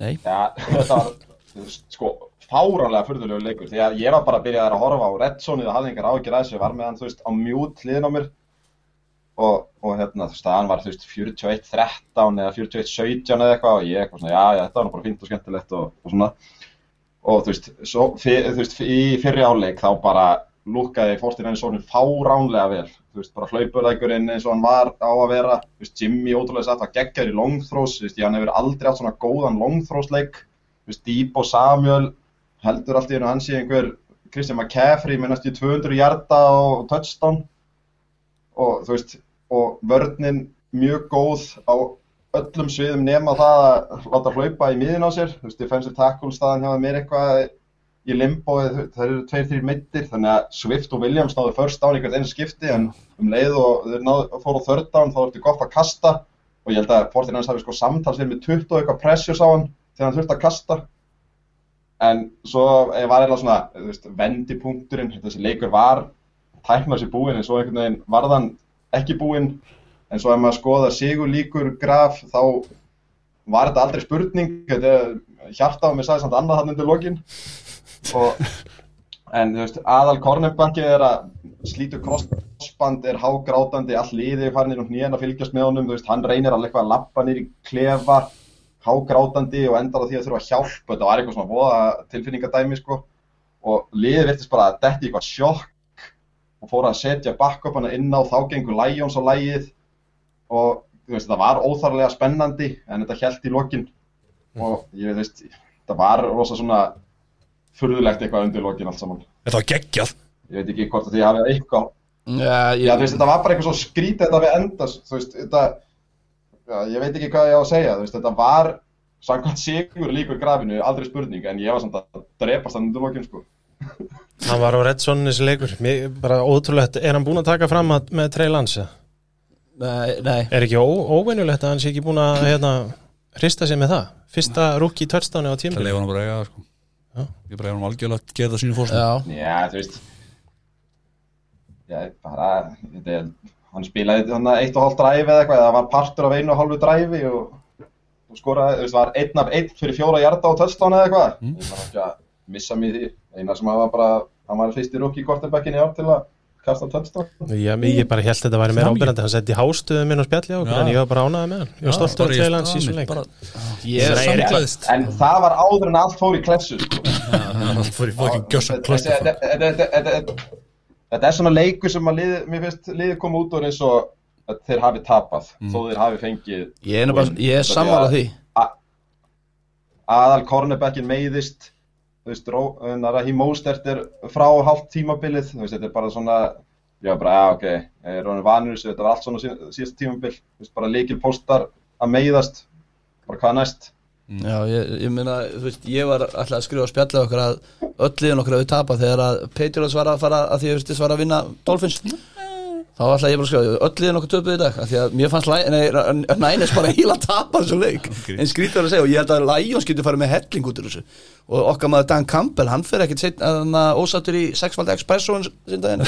Speaker 2: Nei,
Speaker 3: Já, þetta var sko fárálega fyrðulegu leikur því að ég var bara að byrja að horfa á Redsonið og hafði engar ágjur að þessu, var með hann þú veist á mjút hliðin á mér og, og hérna þú veist að hann var þú veist 41-13 eða 41-17 eða eitthvað og ég eitthvað svona já, já, þetta var nú bara fínt og skemmtilegt og, og svona og þú veist, svo, fyr, þú veist í fyrri áleik þá bara lúkkaði fórstinn eins og hann fáránlega vel þú veist, bara hlaupuleikurinn eins og hann var á að vera, þú veist, Jimmy ótrúlega satt að geggjaður í long throws, þú veist, ég hann hefur aldrei átt svona góðan long throws leik þú veist, Deep og Samuel heldur allt í hennu hans í einhver Christian McCaffrey með næstu 200 hjarta og touchdown og þú veist, og vörninn mjög góð á öllum sviðum nema það að láta hlaupa í miðin á sér, þú veist, defensive tackle staðan hjá mér eitthvað í limbo, það eru tveir, þrjir mittir, þannig að Swift og Williams náðu first down í hvert einu skipti, en um leið og þeir náðu, fóru á third down, þá ertu gott að kasta og ég held að Fortin hans hafi sko samtals verið með 20 og eitthvað pressures á hann þegar hann þurfti að kasta en svo eh, var eitthvað svona, þú veist, vendipunkturinn, þessi leikur var tæknað sér búinn en svo einhvern veginn varðan ekki búinn en svo ef maður skoða sigurlíkur graf þá var þetta aldrei spurning þetta hjarta á mér sagði samt annað hann undir lokin og, En þú veist, aðal kornerbankið er að slítur crossband er hágrátandi, all liði farin inn og hnýjan að fylgjast með honum, þú veist, hann reynir alveg eitthvað að lappa nýr í klefa, hágrátandi og endar á því að þurfa hjálp, þetta var eitthvað svona voða tilfinningadæmi, sko, og liðið virtist bara að detti í eitthvað sjokk og fóra að setja backupana inn á, þá gengur Lions á lægið og þú veist, það var óþarlega spennandi, en þetta held í lokin og ég veist, það var rosa svona furðulegt eitthvað undir lokin allt saman
Speaker 1: Þetta var geggjað
Speaker 3: ég veit ekki hvort að því hafið eitthvað
Speaker 2: Já,
Speaker 3: já, þú veist, þetta var bara eitthvað svo skrítið þetta við endast, þú veist, þetta já, ég veit ekki hvað ég á að segja, þú veist, þetta var samkvæmt sigur líkur grafinu aldrei spurning, en ég var samt að drepast hann undir lokin, sko
Speaker 4: Hann var á Redson þessi leikur, Mér, bara ótrúlegt, er hann búin að taka fram að, með Trey Lance? eða?
Speaker 2: Nei, nei
Speaker 4: Er ekki ó, óvenjulegt að hann sé ekki búin að hérna, hrista sig með það? Fyrsta rúki í törstani á
Speaker 1: Það
Speaker 4: tímbil
Speaker 1: leiði hann bara að eiga það,
Speaker 4: Já.
Speaker 1: sko Ég bara hefði hann algjörlega að gera það sínu fórsum
Speaker 2: Já,
Speaker 3: Já, þú veist Já, bara þetta er, hann spilaði hann eitt og hálf dræfi eða eitthvað, það var partur af einu og hálfu dræfi og, og skoraði, þú veist, var einn af einn fyrir fjóra hjarta á töðstána eða eitthvað ég var ekki að missa mig í því eina sem hann var bara, hann var fyrst í rúki í korterbækinni ár til að kasta töðstán
Speaker 4: Já, ég bara held að þetta væri meira
Speaker 1: Framhjá.
Speaker 4: ábyrjandi hann setti hástöðum minn og spjalli á okkur
Speaker 1: Já.
Speaker 4: en ég var bara ánaði með hann ég var stoltur af Trey Lance í svona leik
Speaker 2: ég er
Speaker 4: Nei,
Speaker 1: Samklæðist
Speaker 3: en það var áður en allt fór í klessu sko.
Speaker 1: Það fór í fucking gjössan
Speaker 3: Þetta-
Speaker 1: klösta
Speaker 3: þetta- þetta- þetta- þetta- Þetta er svona leikur sem að liði, mér finnst liðið koma út úr eins og að þeir hafi tapað, þó þeir hafi fengið
Speaker 2: Ég er, bara, ég er
Speaker 3: Því að
Speaker 2: sammála því
Speaker 3: a- aðal cornerbackin meiðist þú veist, Ró- hérna, Raheem Mostert er frá hálft tímabilið, þú veist, þetta er bara svona já, bara, já, ok, ég er honum vanur þessu, þetta var allt svona sí, síðast tímabil þú veist, bara líkil póstar að meiðast bara hvað næst
Speaker 2: Já, ég, ég meina, þú veist, ég var alltaf að skrifa og spjalla okkar að öll liðin okkar hefur tapað þegar að Patriots var að fara að því að Justis var að vinna Dolphins þá var alltaf ég bara að skrifa, öll liðin okkar töpuð í dag af því að mér fannst Lion- nei, Nænes bara heila tapa þessu leik en skrítið var að segja og ég held að Lions getur farið með helling út úr þessu og okkar maður Dan Campbell, hann fer ekkit seinna en að ósattur í sexfaldi expresso sinn daginn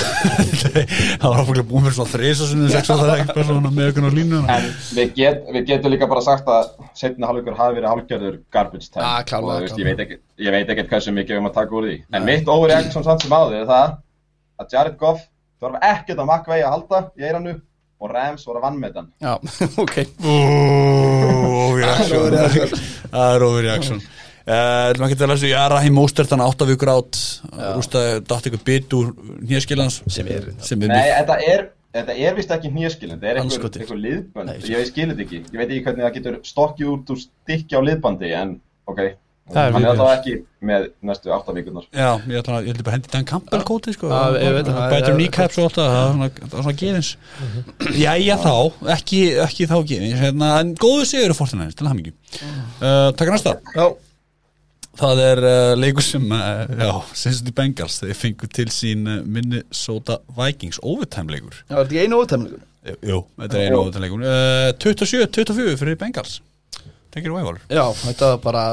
Speaker 1: Það var áfækilega búin fyrir svona þrisasunum sexuáð Það er eitthvað svona með eitthvað á línuna
Speaker 3: en við, get, við getum líka bara sagt að setni hálfleikur hafi verið hálfgerður garbage time
Speaker 2: Ah, klárlega,
Speaker 3: og þú veist, ég
Speaker 2: klárlega.
Speaker 3: veit ekkert- ég veit ekkert hversu mikið við erum að taka úr því en mitt overreaction samt sem áður er það að Jared Goff þarf ekkert að makk að halda í eiranu og Rams voru að vannmetan
Speaker 2: Já, ok
Speaker 1: Overreaction Það er overreaction Það er ekki að lesa, já, Rahim Mostert hann átta vikur átt Rústaði, datt eitthvað bit úr nýjaskilans Sem er Sem er
Speaker 3: Nei, þetta er, þetta er vist ekki hnýjaskilin, þetta er einhver,
Speaker 2: Andskotir.
Speaker 3: einhver liðbönd, ég skil þetta ekki, ég veit ekki hvernig það getur stokkið út úr stykki á liðbandi, en ok,
Speaker 4: Það er
Speaker 3: hann er
Speaker 4: viðbjörn.
Speaker 3: alltaf ekki með næstu áttavíkunar.
Speaker 1: Já, ég ætla að, ég ætla bara að hendi Dan Campbell kótið sko
Speaker 2: Já, Mhm. ég veit það,
Speaker 1: Bætur
Speaker 2: það-
Speaker 1: nýkaps og allt það, það er svona- það er svona geðins Jæja þá, ekki, ekki þá geðins hérna, En góðu sigur er fórtina til hamingju uh, Takk næsta
Speaker 2: Já,
Speaker 1: Það er uh, leikur sem, uh, já, Cincinnati Bengals Þeir fengu til sín uh, Minnesota Vikings Overtime leikur
Speaker 2: það var þetta ekki einu ótæmleikur
Speaker 1: Jú, þetta er einu
Speaker 3: Jú.
Speaker 1: overtime leikur uh, 27-24 fyrir Bengals Tekir og ævalur
Speaker 2: Já, þetta var bara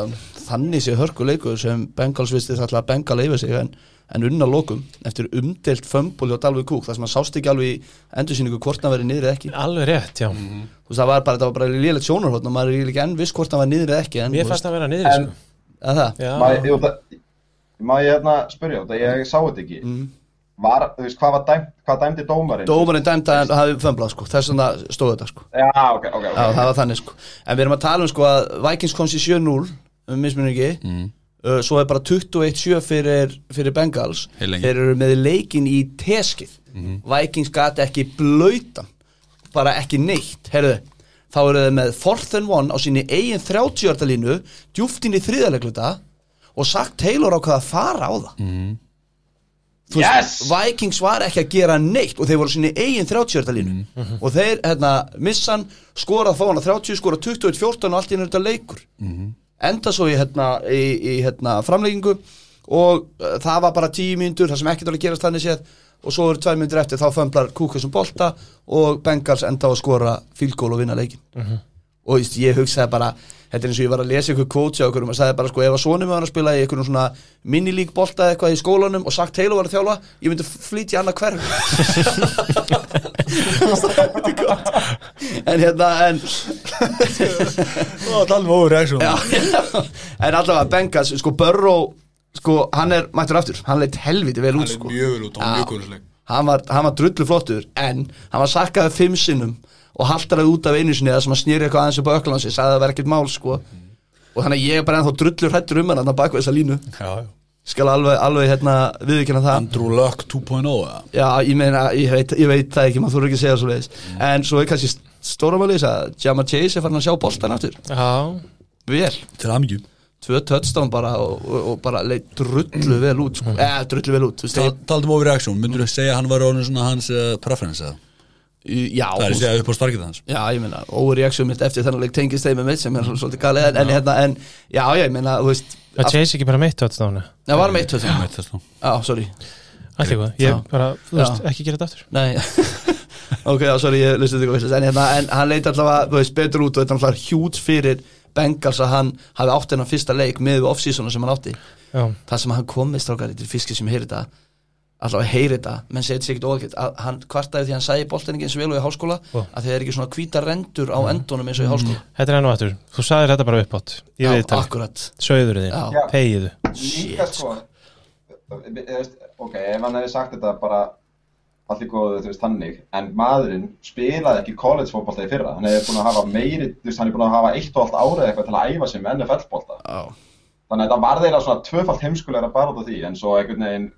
Speaker 2: þannig sé hörkuleikur sem Bengals vistið alltaf að Bengala yfir sig en, en unna lókum eftir umdelt fömbul hjá Dalvi Kúk þar sem hann sást ekki alveg í endursýningu hvort hann verið niður eða ekki
Speaker 4: alveg rétt, já,
Speaker 2: þú veist það var bara, það var bara lélegt sjónarhótt og maður er eiginlega ekki enn viss hvort hann var niður eða ekki en,
Speaker 4: mér
Speaker 2: þú
Speaker 4: fannst
Speaker 2: veist,
Speaker 4: að vera niður
Speaker 3: En-
Speaker 4: sko.
Speaker 2: að það
Speaker 4: Já.
Speaker 3: Má ég, jú, það- má ég hérna spyrja þetta, ég sá þetta ekki, var, þú veist, hvað, var dæm, hvað dæmdi dómarinn?
Speaker 2: Dómarinn dæmda en hafi fömblað sko þess vegna stóð þetta sko
Speaker 3: Já, ok, ok,
Speaker 2: Já,
Speaker 3: ok,
Speaker 2: það var þannig sko En við erum að tala um sko að Vikings komst í 7-0 um mismunningi mm. uh, Svo er bara 21-7 fyrir, fyrir Bengals
Speaker 1: Heil lengi.
Speaker 2: Þeir eru með leikin í teskið Vikings gati ekki blöytan Bara ekki neitt Herðu, þá eru þeir með 4th and 1 á sinni eigin 30. línu Djúftin í þriðalegluta Og sagt Taylor á hvað að fara á það Þú veist,
Speaker 3: Yes!
Speaker 2: Vikings var ekki að gera neitt og þeir voru á sinni eigin 30. línu og þeir, hérna, missan skorað fá hana 30, skorað 21, 14 og allt í nörda leikur enda svo í, hérna, í, í hérna, framleggingu og uh, það var bara 10 mínútur, það sem ekkert var að gerast þannig séð og svo eru 2 mínútur eftir, þá fömblar Kúka sem bolta og Bengals enda á að skora fílgól og vinna leikin og ég, ég hugsaði bara þetta er eins og ég var að lesa ykkur kóti á ykkur og maður sagði bara sko ef að sonum var að spila í ykkur svona minilík bolta eða eitthvað í skólanum og sagt Taylor var að þjálfa ég myndi flytja í annað hverf þetta er gott en hérna en,
Speaker 1: Það er alveg overreaction
Speaker 2: já, en allavega Bengals sko Burrow sko, hann er mættur aftur, hann leitt helviti vel út
Speaker 1: er
Speaker 2: sko.
Speaker 1: mjög vel út, hann er
Speaker 2: Já.
Speaker 1: mjög góðsleg.
Speaker 2: hann var, hann var drullu flottur en hann var sakkaðið fimm sinnum og haltaraði út af einu sinni eða sem hann snýri eitthvað aðeins upp á öklansi, sagði að það vera ekkert mál sko. og þannig að ég er bara ennþá drullu hrættur um hann hann bak við þessa línu,
Speaker 1: Já, já.
Speaker 2: skal alveg, alveg hérna, viðkynna það
Speaker 1: Andrew Luck 2.0 eða?
Speaker 2: Já, ég meina, ég veit, ég veit það ekki, maður þú ekki að segja svo leiðis En svo er kannski st- stóra málið þess að Jama Chase er farin að sjá boltan aftur
Speaker 4: Já,
Speaker 2: Vel,
Speaker 1: Til amgju
Speaker 2: tvö touchdown bara og, og, og bara leitt drullu vel út
Speaker 1: Mhm.
Speaker 2: sko. Eh, drullu vel út, þú veist ég,
Speaker 1: Taldum over reaction, myndur þú um segja að hann var orðin svona hans uh, preference eða?
Speaker 2: Já,
Speaker 1: Það er að
Speaker 2: þú-
Speaker 1: segja upp á starkið hans
Speaker 2: já, ég meina, óreaksjum mitt eftir þennan leik tengist þeim með mitt sem er svolítið galið en, en, hérna, en já, já, ég meina, þú veist
Speaker 4: að Chase ekki bara meitt á þetta þána
Speaker 2: Það var um meitt touchdown
Speaker 1: Mætt þess þá
Speaker 2: Já, sorry,
Speaker 4: Allir hvað, ég
Speaker 2: Já.
Speaker 4: bara, þú veist,
Speaker 2: Já.
Speaker 4: ekki gera þetta aftur
Speaker 2: nei Ok, já, sorry, ég listið þetta eitthvað en, hérna, en hann leit allavega, þú veist, betur út og þetta er allavega hjút fyrir Bengals að hann hafi átt hennan fyrsta leik með off-seasona sem hann átti
Speaker 4: Já,
Speaker 2: það sem hann kom með strákar í til fiskir sem heyri þetta allavega heyri þetta, menn segir þetta sér ekkert óvægt að hann kvartaði því að hann sæði boltin ekki eins og vel og í háskóla
Speaker 4: Ó. Mm.
Speaker 2: að það er ekki svona hvítar rendur á endunum eins og í háskóla
Speaker 4: þetta er enn og aftur Þú sagðir þetta bara upp átt, ég veit
Speaker 2: já,
Speaker 4: það
Speaker 2: akkurat
Speaker 4: Sögður þín,
Speaker 2: Já.
Speaker 3: Já.
Speaker 4: pegiðu
Speaker 3: líka
Speaker 2: Shit,
Speaker 3: sko þú veist, ok, ef hann hefði sagt þetta bara allir góðu, þú veist, þannig en maðurinn spilaði ekki collegefótbolta í fyrra, hann hefði búin að hafa meiri þú veist, hann hefði búin að hafa eitt og allt árið eitthvað til að æfa sig með NFL-bólta
Speaker 2: Já.
Speaker 3: þannig að þetta var þeirra svona tvöfalt heimskulegra bara út af því, en svo einhvern veginn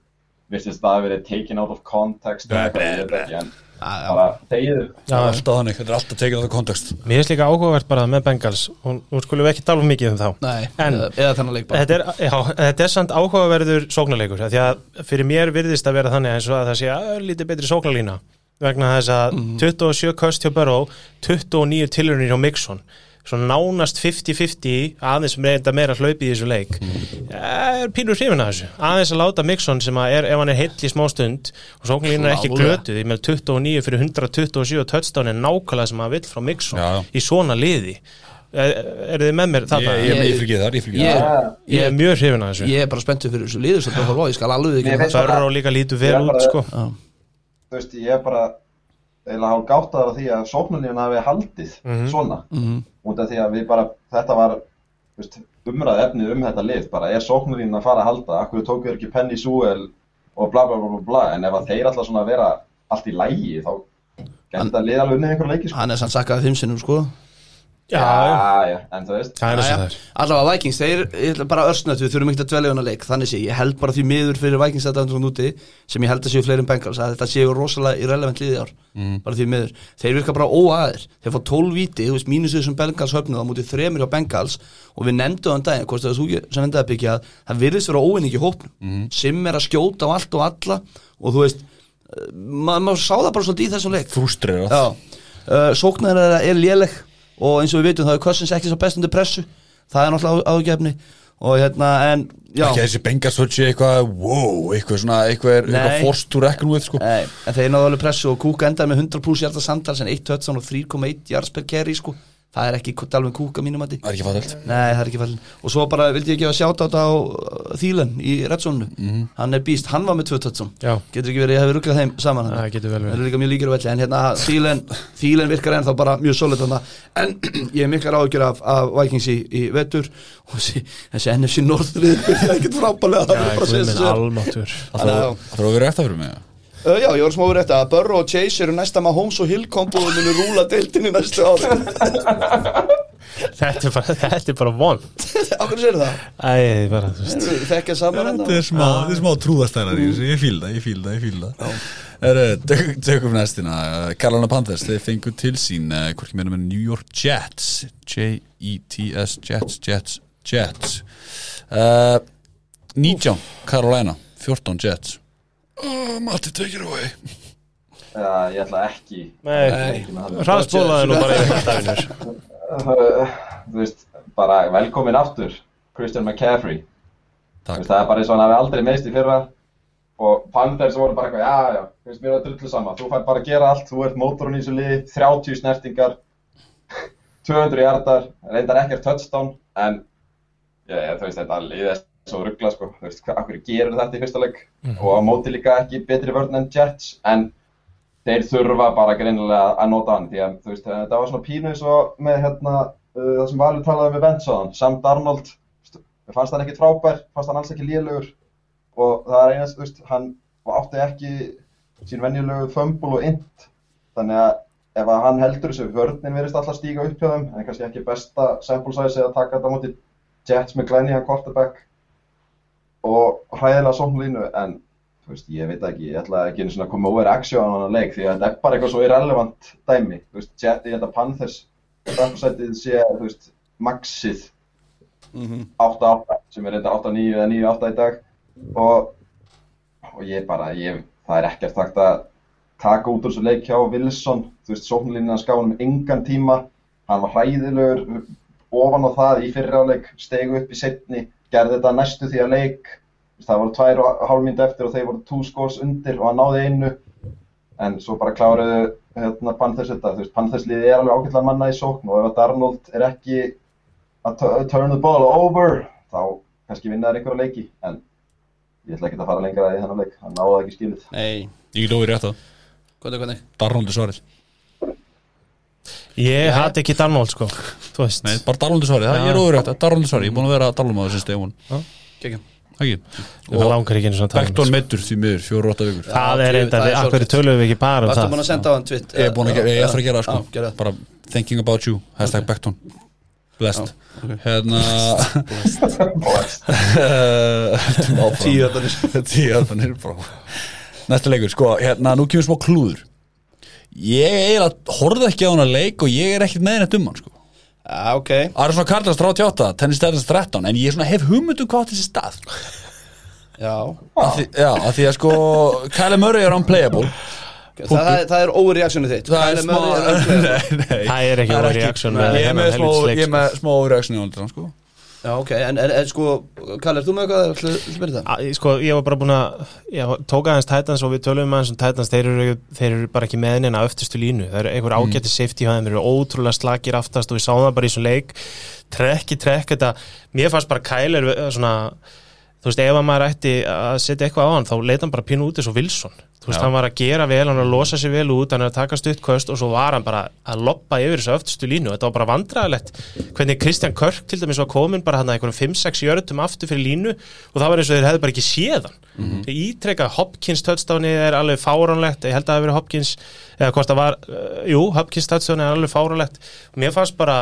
Speaker 3: virtist það að verið taken out of context eða eitthvað, ég veit ekki, en bara þeir
Speaker 1: Það er
Speaker 4: Já,
Speaker 1: alltaf þannig, þetta er alltaf tekið á það kontekst
Speaker 4: mér er líka áhugavert bara með Bengals og nú skulum við ekki tala of mikið um þá
Speaker 2: nei,
Speaker 4: En-
Speaker 2: eða, eða þennan leik bara
Speaker 4: Þetta er, já, þetta er samt áhugaverður sóknarleikur, af því að fyrir mér virðist að vera þannig eins og að það sé að lítið betri sóknarlína vegna þess að
Speaker 1: Mhm.
Speaker 4: 27 köst hjá Burrow 29 tilhörnir hjá Mixon svo nánast 50-50 aðeins reynda meira hlaupi í þessu leik
Speaker 1: Mhm.
Speaker 4: er pínur hrifin að þessu aðeins að láta Mixon sem að er, ef hann er heill í smá stund og sóknarlína er ekki
Speaker 2: Klálega.
Speaker 4: glötuð ég með 29 fyrir 127 touchdown er nákvæmlega sem að vill frá Mixon
Speaker 1: Já, já.
Speaker 4: í svona liði er, er þið með mér
Speaker 1: Ég,
Speaker 4: þarna?
Speaker 1: ég, ég fyrir þar, ég fyrir
Speaker 2: ég,
Speaker 1: þar
Speaker 4: Ég er
Speaker 2: ég,
Speaker 4: mjög hrifin að þessu
Speaker 2: ég er bara spenntur fyrir þessu liður þetta er horfa á, ég skal alveg
Speaker 3: Mér
Speaker 2: ekki
Speaker 3: finnst-
Speaker 2: það
Speaker 4: Börró líka lítur vel
Speaker 3: Ég er
Speaker 4: út
Speaker 3: bara-
Speaker 4: sko
Speaker 2: Já.
Speaker 3: þú veist, ég er bara eiginlega hálf gáttaður af því að sóknarlífin hafi haldið svona
Speaker 2: mhm.
Speaker 3: út af því að við bara, þetta var þú veist, umræð efnið um þetta lið bara, er sóknarlífin að fara að halda akkur tókuður ekki Penny Sewell og bla bla bla bla bla, en ef að þeir alltaf svona vera allt í lægi, þá getur þetta lið alveg unnið einhver leiki, sko
Speaker 2: hann er sann sakkaðið fimm sinnum sko
Speaker 4: Já,
Speaker 3: já, já, en þú veist
Speaker 4: það er þessi
Speaker 2: Jæja.
Speaker 4: þar
Speaker 2: Allavega Vikings, þeir ég ætla bara örsnött við þurfum ekki að dvelja á hana leik, þannig sé ég held bara því miður fyrir Vikings þetta andur úti sem ég held að séu fleiri en Bengals, að þetta séu rosalega irrelevant liðið ár,
Speaker 4: Mm.
Speaker 2: bara því miður þeir virka bara óaðir, þeir fá 12 víti þú veist, mínus við sem Bengals höfnuð á mútið þremur hjá Bengals og við nefndum þann daginn hvort það var þú ekki sem endaði að byggja að það virðist vera óinningi hópnum,
Speaker 4: Mm.
Speaker 2: sem er að skjóta á allt og alla og þú veist eh, ma- maður sá það bara svolítið í þessum leik
Speaker 1: Frústreira
Speaker 2: Já, uh, sóknar þeirra er léleg og eins og við vitum þá er Cousins ekki svo best undir pressu það er náttúrulega ágefni og hérna en já,
Speaker 1: Ekki að þessi bengarsvöld sé eitthvað, wow, eitthvað svona, eitthvað er
Speaker 2: Nei.
Speaker 1: eitthvað forced to reckon with sko
Speaker 2: nei, en þeir náðu alveg pressu og Kúka endar með 100 pluss hjarta samtals en 1 touchdown og 3,1 yards per carry sko, það er ekki alveg Kúka mínum að
Speaker 1: Það er ekki fattöld
Speaker 2: Nei, það er ekki fallin og svo bara vildi ég gefa sjátt á þetta á uh, Þílan í Redsónu hann er býst, hann var með 2 touchdown
Speaker 4: Já,
Speaker 2: getur ekki verið, ég hef ruggað þeim saman
Speaker 4: það getur vel
Speaker 2: Það
Speaker 4: verið
Speaker 2: eru líka mjög líkir á velli En hérna, Thielen, Thielen virkar ennþá bara mjög solid hana. En ég hef miklar áhyggjur af, af Vikings í, í vetur Og þessi, þessi NFC Norðrið byrja ekkert frábælega Það
Speaker 4: Já,
Speaker 2: er bara að
Speaker 4: guð
Speaker 2: segja
Speaker 4: minn
Speaker 2: þessu
Speaker 4: almáttur
Speaker 1: Það
Speaker 2: Þannig að-
Speaker 1: þarf að vera eftir fyrir mig eða?
Speaker 2: Uh, Já, ég var smá verið þetta að Burrow og Chase eru næsta maður Holmes og Hill kombo og munu rúla deildinni næstu ári
Speaker 4: Þetta er bara, þetta er bara von
Speaker 2: Akkur sér það?
Speaker 4: Æ, bara, þú veist
Speaker 2: Þeir Þekkja saman
Speaker 1: Þetta
Speaker 2: þetta
Speaker 1: er smá, þetta er smá trúðastælar í þessu, ég fíl það, ég fíl það, ég fíl það Herru, tök- Tökum næstina, uh, Carolina Panthers, þeir fengu til sín, uh, hvorki meina með New York Jets, J-E-T-S, Jets, Jets, Jets uh, 19, Carolina, 14 Jets uh, Matti, take it away
Speaker 3: já, ég ætla ekki
Speaker 4: Nei,
Speaker 3: ekki með það
Speaker 4: hraðspólaði nú bara yfir þetta vinur.
Speaker 3: Uh, þú veist, bara velkomin aftur Christian McCaffrey Þú
Speaker 1: Takk.
Speaker 3: veist, það er bara eins og hann hafi aldrei meðst í fyrra og Panthers voru bara eitthvað, já, já, þú veist, mér er það drullu sama þú fær bara að gera allt, þú ert mótorun í þessu liði 30 snertingar 200 hjartar, reyndar ekkert touchdown, en já, já, þú veist, þetta liðið er svo ruggla, sko, þú veist, hvað, akkur gerur þetta í fyrsta leik og á móti líka ekki betri vörn en Jets, en þeir þurfa bara greinilega að nota hann því að þú veist, um þetta var svona pínu svo með hérna, uh, það sem Valur talaði með Benson, Sam Darnold þú veist, Mér fannst hann ekki frábær, fannst hann alls ekki lélugur og það er einast, þú veist, hann átti ekki sín venjulegu fömbul og int þannig að ef að hann heldur þessu vörnin verist alltaf stíga upp hjá þeim en kannski ekki besta sample size eða taka þetta á móti Jets með Glenny hann quarterback og hræðilega sóknlínu en þú veist, ég veit ekki, ég ætla ekki einu sinni að koma over action á hann leik því að þetta er bara eitthvað svo irrelevant dæmi, þú veist, Jet, ég held að Panthers framsætið sé, þú veist, maxið
Speaker 2: Mhm.
Speaker 3: 8-8 sem er reynda 8-9 eða 9-8 í dag og, og ég bara, ég, það er ekkert takt að taka út úr þessu leik hjá Wilson þú veist, sóknlínu hans gaf hann engan tíma hann var hræðilegur ofan á það í fyrráleik stegu upp í setni, gerði þetta næstu því að leik Þú veist, það voru tvær og hálfmynd eftir og þeir voru tú skors undir og hann náði einu en svo bara kláruðu hérna, Panthers þetta, þú veist, Panthers liðið er alveg ágætlega manna í sókn og ef að Darnold er ekki að tu- turn the ball over þá kannski vinnaður einhverja leiki en ég ætla ekki að fara lengra í þennan leik, hann náði það ekki skilið
Speaker 5: Nei,
Speaker 1: Ég lóði rétt að
Speaker 5: hvernig, hvernig
Speaker 1: Darnoldi svarið
Speaker 4: Ég hati ekki Darnold sko Þú veist
Speaker 1: Nei, bara Darnoldi svarið, það ég er óður rétt að Darnoldi svarið Ég er búin að um vera að Darnoldi maður sem stegum hún
Speaker 5: Kekjum
Speaker 1: Ekki
Speaker 4: Það
Speaker 1: Og
Speaker 4: langar ekki einu svona
Speaker 1: Becton meittur því miður, fjóru ótta vikur
Speaker 4: um Það
Speaker 5: Já, það
Speaker 4: er eitthvað,
Speaker 5: er
Speaker 4: af hverju
Speaker 5: sorglegt.
Speaker 4: tölum við ekki bara um
Speaker 5: Varstu búin
Speaker 4: það
Speaker 5: að senda á hann tvitt?
Speaker 1: Ég er búin að gera, ég þarf að gera
Speaker 5: Já, gera
Speaker 1: það sko
Speaker 5: það.
Speaker 1: Bara thinking about you, hashtag Becton Blessed Hérna Blessed
Speaker 5: Tíu öðanir
Speaker 1: Tíu öðanir Næsta leikur, sko, hérna, nú kemur smá klúður Ég eiginlega horfði ekki á hana leik og ég er ekkert með henni dumman, sko
Speaker 5: Já, ok
Speaker 1: Arizona Cardinals 38, Tennis Titans 13 en ég svona hef hugmyndu hvað átti þessi stað
Speaker 5: Já
Speaker 1: af því, já, af því að sko Kylie Murray er unplayable
Speaker 5: Það, það, það er overreaksjónu þitt
Speaker 1: það er
Speaker 5: Kyler
Speaker 1: smá
Speaker 5: Murray er unplayable.
Speaker 1: Nei, nei.
Speaker 4: Það er ekki overreaction
Speaker 1: Nei, ég
Speaker 4: með
Speaker 1: er
Speaker 4: þennan
Speaker 1: með smá,
Speaker 4: helvítis leik,
Speaker 1: ég er með smá overreaction í honum sko.
Speaker 5: Já, ok, en, en, en sko, Kalle, er þú með eitthvað ætlu- ætlu að byrja það?
Speaker 4: Á, ég- Sko, ég var bara búin að ég var- tók aðeins Titans og við tölum aðeins um Titans, þeir eru, þeir eru bara ekki með neina öftustu línu, það eru einhver ágæti safety hjá þeim, þeir eru ótrúlega slakir aftast og við sáum það bara í svona leik, trekk í trekk þetta, mér fannst bara Kyler eh, svona, þú veist, ef að maður ætti að setja eitthvað á hann, þá leit hann bara pínu út eins og Wilson, þú veist, hann var að gera vel hann var að losa sér vel út, hann er að taka stuttköst og svo var hann bara að loppa yfir þessu öftustu línu þetta var bara vandræðilegt hvernig Kristján Körk til dæmis var komin bara hann að einhverjum 5-6 jörutum aftur fyrir línu og það var eins og þeir hefðu bara ekki séð hann mm -hmm. ítrekka Hopkins touchdowni er alveg fáránlegt, ég held að það hefur verið Hopkins eða hvort það var, uh, jú, Hopkins touchdowni er alveg fáránlegt, mér fannst bara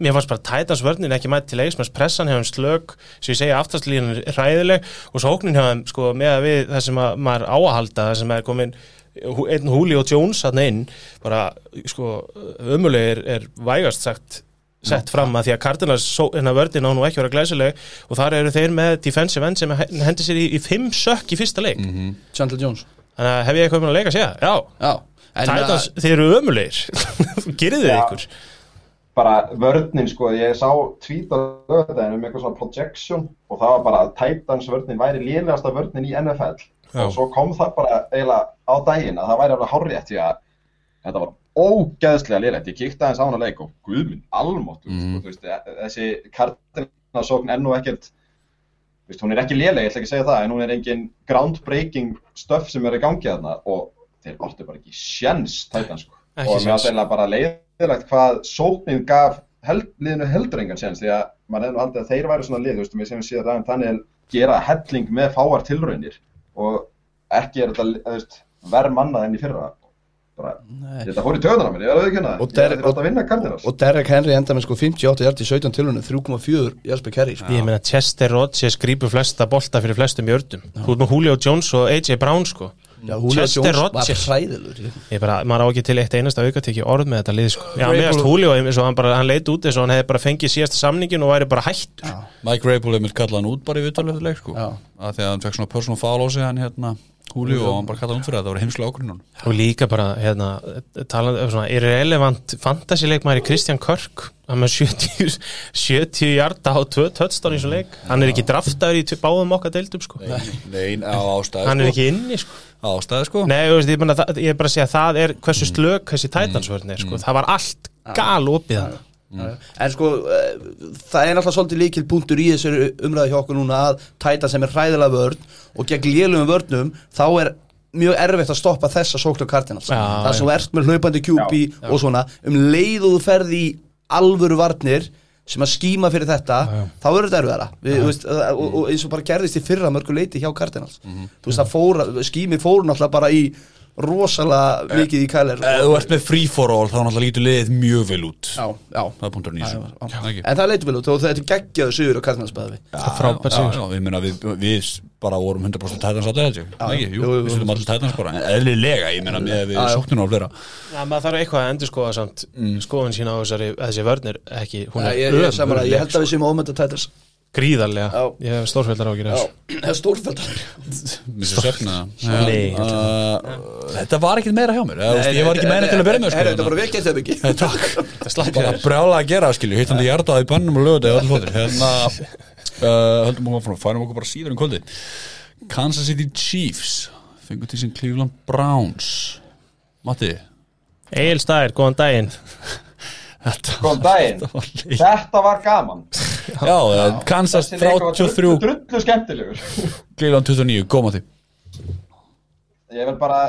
Speaker 4: mér fannst bara Titans vörnin ekki mætt til leiks, mér fannst pressan hefum slök sem ég segja aftastlíðan ræðileg og sóknin hefum sko með að við það sem að maður á að halda, það sem er komin hú- einn húli og Jones aðna inn bara sko ömuleg er, er vægast sagt sett fram að því að Cardinals só- hérna vörnin á nú ekki að vera glæsileg og þar eru þeir með defensive end sem he- hendi sér í, í fimm sökk í fyrsta leik
Speaker 3: Mhm.
Speaker 5: Chandler Jones
Speaker 4: þannig að hef ég eitthvað með að leika að segja, já uh,
Speaker 5: Já En
Speaker 4: Titans, þeir eru ömulegir gerðu þeir
Speaker 3: Já.
Speaker 4: ykkur
Speaker 3: bara vörnin sko, ég sá tvítar lögðaðin um eitthvað svona projection og það var bara að Titans vörnin væri lélegasta vörnin í NFL og svo kom það bara eiginlega á daginn að það væri alveg hárrétt því að þetta var ógeðslega lélægt, ég kíkti aðeins á hana leik og guðminn almáttur mm. veist, e- þessi kartinasókn enn og ekkert þú veist, hún er ekki léleg, ég ætla ekki að segja það en hún er engin groundbreaking stöf sem er í gangi þarna og þeir áttu bara ekki sjens Titans sko.
Speaker 4: Ekki
Speaker 3: og mér
Speaker 4: séns.
Speaker 3: átti eiginlega bara leiðilegt hvað sóknin gaf held, liðinu heldur engan sjens því að maður hefði nú aldrei að þeir væri svona lið, þú veist, við sem séð ræðan þannig gera helling með fáar tilraunir og ekki er þetta þú veist, verð mannað enn í fyrra bara, þetta fór í töðan á mér, ég verði ekki hérna
Speaker 5: Og
Speaker 3: ég er
Speaker 5: Derek-
Speaker 3: þetta að vinna Cardinals
Speaker 5: uh, Og Derek Henry enda með sko 58 hjart í 17 tilunum 3,4 Jasper Kerry sko.
Speaker 4: Ég meina Chester Rodgers grípur flesta bolta fyrir flestum jördum Þú ert með Julio Jones og AJ Brown sko
Speaker 5: Já, Julio
Speaker 4: Chester
Speaker 5: Jones var
Speaker 4: Rodgers.
Speaker 5: hræðilur
Speaker 4: Ég bara, maður á ekki til eitt einasta aukatekki orð með þetta lið sko Já,
Speaker 1: Vrabel-
Speaker 4: meðast Julio eins og hann bara, hann leit út eins og hann hefði bara fengið síðasta samningin og væri bara hættur
Speaker 1: Mike Rabel hefur kallað hann út bara í viðtalöfðu leik sko.
Speaker 5: Já.
Speaker 1: af því að hann fekk svona personal foul á sig hann hérna húli og hann bara kallaði hann fyrir það það var heimslega ákvörðin honum
Speaker 4: Og líka bara, hérna, talað um svona irrelevant fantasileikmaður í Christian Kirk Hann með 70, 70 hjarta á tvö touchdown í svona leik Hann er ekki draftaður í tve- báðum okkar deildum sko
Speaker 1: Nein, á ástæði
Speaker 4: Hann
Speaker 1: sko,
Speaker 4: er ekki inni sko
Speaker 1: ástæði, sko.
Speaker 4: Nei, þú veist, ég, mena, ég er bara að segja að það er
Speaker 5: Mm.
Speaker 4: hversu slök þessi tætansvörn er, sko, það var allt gal opið hann
Speaker 5: Mm. En sko, eh, það er náttúrulega svolítið líkil punktur í þessari umræði hjá okkur núna að tæta sem er hræðilega vörn og gegn lélugum vörnum þá er mjög erfitt að stoppa þessa sóknar Cardinals
Speaker 4: Já,
Speaker 5: það sem þú ert með hlaupandi QB og svona um leið og þú ferði í alvöru varnir sem að skíma fyrir þetta þá eru þetta erfiðara Við, þú veist, og, og- og eins og bara gerðist í fyrra mörgu leiti hjá Cardinals
Speaker 4: Mhm.
Speaker 5: þú veist það fór, skími fór náttúrulega bara í rosalega mikið í kælir
Speaker 1: Ef þú ert með free for all þá náttúrulega lítur liðið mjög vel út
Speaker 5: já, já,
Speaker 1: Það er punktur nýsum
Speaker 5: já. en það leitum vel út og þetta er geggjaðu sigur á Cardinals bæði við
Speaker 1: Það er
Speaker 4: frábær sigur.
Speaker 1: Já, já, ég meina við, við bara vorum 100% tætans allir held ég Nei, ekki, jú,
Speaker 5: jú, jú,
Speaker 1: við slutum allir tætans bara En eðlilega, ég meina með við sóknum á fleira
Speaker 4: Já, maður þarf eitthvað að endur skoða samt skoðun sína á þessari, að þessi vörnir ekki, hún
Speaker 5: Mm. Já,
Speaker 4: er
Speaker 5: ég, ég, ég, samanlega, ég held að við
Speaker 1: sko.
Speaker 5: séum ómönda tætars
Speaker 4: gríðarlega,
Speaker 5: Já.
Speaker 4: ég hef stórfjöldar ágjur þessu
Speaker 5: stórfjöldar
Speaker 1: Missið söfna
Speaker 4: Nei, ég held
Speaker 1: Uh, Þetta var ekkit meira hjá mér eða, þú veist, Ég var ekki meina til að byrja með
Speaker 5: Þetta er
Speaker 1: sko
Speaker 5: bara vel gert ef ekki
Speaker 1: Nei, Takk Bara brjála að gera skilju Hittandi hjartaði í bannum og lögðu þetta Þannig hérna uh, Höldum okkur frá Færum okkur bara síður um kvöldi Kansas City Chiefs Fengur til sín Cleveland Browns Matti
Speaker 4: Egil Stær, góðan daginn
Speaker 1: Þetta
Speaker 3: Góðan daginn.
Speaker 1: þetta var leik.
Speaker 3: Þetta var gaman
Speaker 1: Já, eh, Kansas
Speaker 3: Þessi leikur var
Speaker 1: 33
Speaker 3: drullu- Drullu skemmtilegur
Speaker 1: Cleveland 29, góð Matti
Speaker 3: Ég vil bara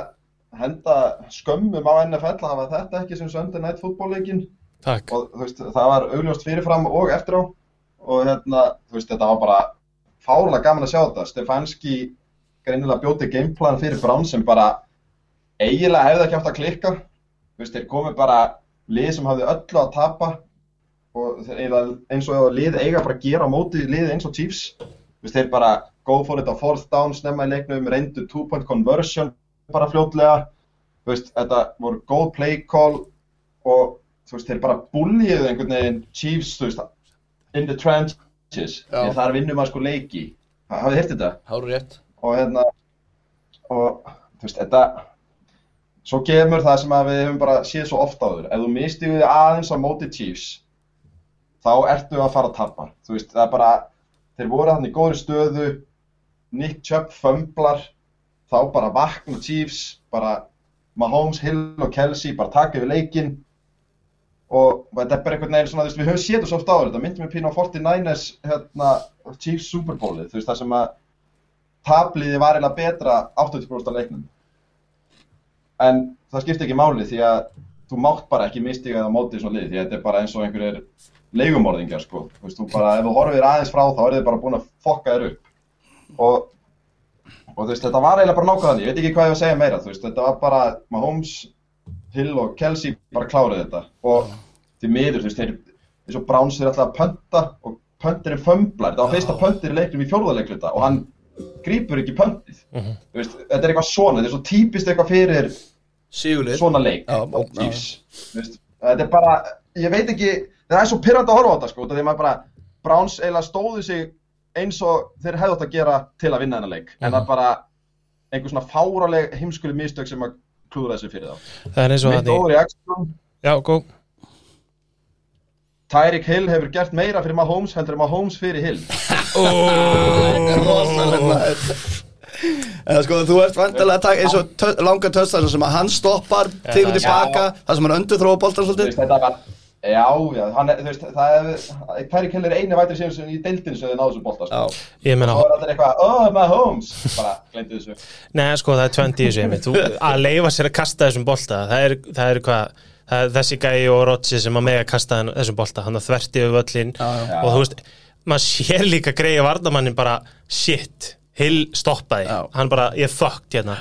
Speaker 3: henda skömmum á NFL að hafa þetta ekki sem Sunday Night fútbólleikin
Speaker 4: Takk,
Speaker 3: og þú veist, það var augljóst fyrirfram og eftir á og hérna, þú veist, þetta var bara fárlega gaman að sjá þetta Stefanski greinilega bjóti gameplan fyrir Brown sem bara eiginlega hefði ekki átt að klikka þú veist, þeir komi bara lið sem hafði öllu að tapa og þeir eiginlega eins og lið eiga bara að gera á móti lið eins og Chiefs þú veist, þeir bara go for it á fourth down snemma í leiknum, reyndu two point conversion bara fljótlega þú veist, þetta voru góð play call og þú veist, þeir bara búljiðu einhvern veginn Chiefs, þú veist, in the trenches
Speaker 5: Já.
Speaker 3: en þar vinnum maður sko leiki Ha- hafið hirt þetta?
Speaker 5: Háru rétt
Speaker 3: og hérna og þú veist, þetta svo kemur það sem að við hefum bara séð svo oft áður, ef þú mistiðu þig aðeins á móti Chiefs þá ertu að fara að tapa, þú veist, það er bara þeir voru hann í góðri stöðu Nick Chubb fömblar þá bara vakna Chiefs bara Mahomes, Hill og Kelsey bara taka yfir leikinn og þetta er bara einhvern veginn svona, þú veist, við höfum séð þessu oft áður, þetta myndi mér pínu á 49ers hérna, Chiefs Super Bowlið, þú veist, það sem að tabliði var eiginlega betra 80% af leiknum en það skipti ekki máli því að þú mátt bara ekki mistiga það á móti svona lið því að þetta er bara eins og einhverjir leigumorðingar sko, þú veist, þú bara ef þú horfir aðeins frá þá er þið bara búin að fokka þér upp og, og þú veist, þetta var eiginlega bara nákvæðan, ég veit ekki hvað ég var að segja meira þú veist, þetta var bara Mahomes Hill og Kelsey bara kláruði þetta og því miður, þú veist, þeir eins og Browns er alltaf að pönta og pöntir er fömblar, þetta var fyrsta pöntir í leiknum í fjórðarleikluta og hann grípur ekki pöntið
Speaker 5: Mhm.
Speaker 3: Þú veist, þetta er eitthvað svona, þetta er svo típist eitthvað fyrir
Speaker 5: Sigurleir
Speaker 3: svona leik
Speaker 5: Já,
Speaker 3: og
Speaker 5: já.
Speaker 3: Chiefs Þú veist, þetta er bara, ég veit ekki það er svo pyrrandi að horfa á þetta sko þegar maður bara, Browns eiginlega stóðu sig eins og þeir hefðu átt að gera til að vinna þennan leik, en það
Speaker 5: Mhm.
Speaker 3: er bara einhver svona fáraleg heimskuli mistök sem að klúðra þessu fyrir þá
Speaker 4: það er eins og
Speaker 3: mitt
Speaker 4: hann í
Speaker 3: óver í Axlum,
Speaker 4: Já, góð,
Speaker 3: Tyreek Hill hefur gert meira fyrir Mahomes heldur en Mahomes fyrir Hill
Speaker 5: En sko, þú ert vantilega að taka eins og tö- langa töstar sem að hann stoppar, tegur tilbaka það sem hann öndur þróa boltan
Speaker 3: Þú
Speaker 5: svolítið
Speaker 3: veist, þetta var Já, já, hann, er- þú veist, það er, Tyreek Hill er eini vætri síðan sem í deildinu sem þið náðu sem bolta, sko.
Speaker 5: Já,
Speaker 4: ég meina
Speaker 3: þá er allir eitthvað, oh Mahomes bara gleyndi þessu
Speaker 4: Nei, sko, það er 20 í þessu einmitt. Þú- að leifa sér að kasta þessum bolta það er, það er hvað það er þessi gæi og Rotsi sem að mega kasta þennan- þessum bolta hann að þverti yfir völlin
Speaker 5: já.
Speaker 4: og þú veist, maður sér líka greiði vardamannin bara, shit Hill stoppaði,
Speaker 5: Já.
Speaker 4: hann bara, ég fucked hérna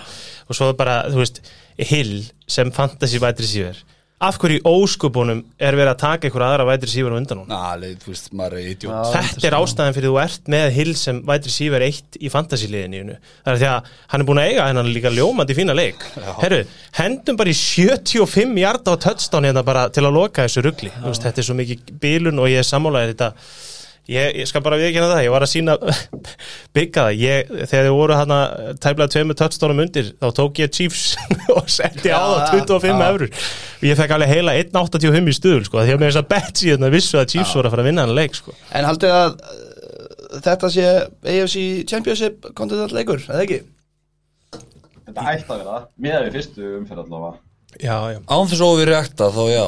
Speaker 4: og svo bara, þú veist Hill sem fantasy vætri síver af hverju í óskupunum er verið að taka ykkur aðra vætri síver og undan hún
Speaker 1: Ná, leið, þú veist, maður er idiot
Speaker 4: Þetta er ástæðan fyrir þú ert með Hill sem vætri síver eitt í fantasíliðinu í hinu. Það er því að hann er búin að eiga hennan líka ljómandi fína leik Herru, hendum bara í 75 hjarta á touchdown hérna bara til að loka þessu rugli Þú veist, Þetta er svo mikið bílun og ég er sammálaðið þetta Ég, ég skal bara viðkynna það, ég var að sína bygga það, ég, þegar þið voru hana tæmlega tveimur touchdownum undir þá tók ég Chiefs og setti á það 25
Speaker 5: já.
Speaker 4: eurur og ég fekk alveg heila 1.85 í stuðul sko, því að mér þess að bett síðan að vissu að Chiefs voru að fara að vinna hann leik sko.
Speaker 5: En haldið að uh, þetta sé AFC Championship kontinent leikur, eða ekki?
Speaker 3: þetta ætti að vera það, miðað við fyrstu umferð allavega
Speaker 4: Já, já.
Speaker 1: Án þess að við reakta, þá já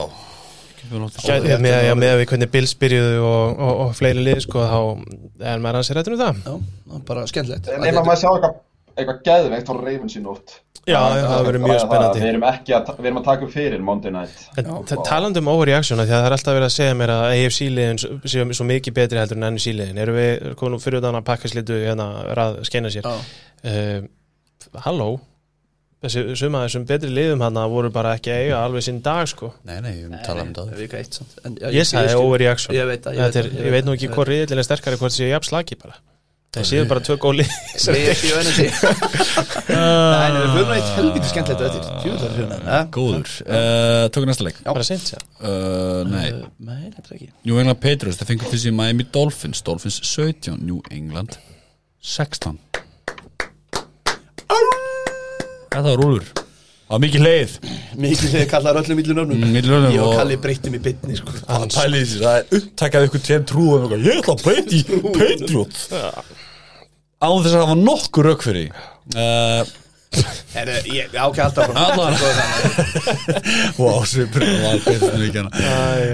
Speaker 4: Gæti, já, með, já, með við hvernig Bills byrjuðu og, og, og fleiri lið sko, þá er maður hans er rættur um það
Speaker 5: Já, það er bara skemmtilegt
Speaker 3: en ef maður sjá eitthvað eitthvað geðveikt frá Ravens í nótt
Speaker 4: Já, já, það verður mjög
Speaker 3: Ræða
Speaker 4: spennandi.
Speaker 3: Við erum, ekki að, ta- við erum að taka upp fyrir Monday Night
Speaker 4: En ta- talandi um overreaction af því að það er alltaf verið að segja mér að AFC liðin séu svo mikið betri heldur en NFC liðin erum við komin úr fyrir þannig að pakka slitu hérna að skeina sér
Speaker 2: Já.
Speaker 4: um, Halló þessi suma af þessum betri liðum hann voru bara ekki að eiga alveg sinn dag sko
Speaker 1: Nei, nei, við talaðum um það
Speaker 2: Vika eitt samt En, já,
Speaker 4: Ég sagði
Speaker 2: skil.
Speaker 4: overreaction
Speaker 2: Ég veit það, ég
Speaker 4: Þetta
Speaker 2: veit
Speaker 4: er,
Speaker 2: það,
Speaker 4: ég veit nú ekki
Speaker 2: það.
Speaker 4: hvort riðilin er sterkari hvort séu jafn slagi bara Það séu bara tvö góli
Speaker 2: Ég ég- ég veit það Nei, nei, við fyrir eitt helvítið skemmtilegt að þetta Tjúðar fyrir hann
Speaker 1: Ah. Góður, uh, tökum næsta leik
Speaker 4: bara seint sér
Speaker 1: uh, Nei,
Speaker 2: Nei, þetta er ekki
Speaker 1: New England Patriots, það fengur fyrst í Miami Dolphins Dolphins 17, New England 16 Þetta var rúlur Það var mikið leið
Speaker 2: Mikið þegar kallar öllum illu
Speaker 4: Mm,
Speaker 2: nörnum Ég og Kalli breytum í bytni sko
Speaker 1: Hann pæli þessi, það er upptækjað ykkur tveim trúum og um eitthvað, ég ætla að beita í Patriots Án þess að hafa nokkur rauk fyrir því. uh,
Speaker 2: Er það, ég, já, ok, alltaf bara
Speaker 1: Allan Vá, svipurinn var betur mikið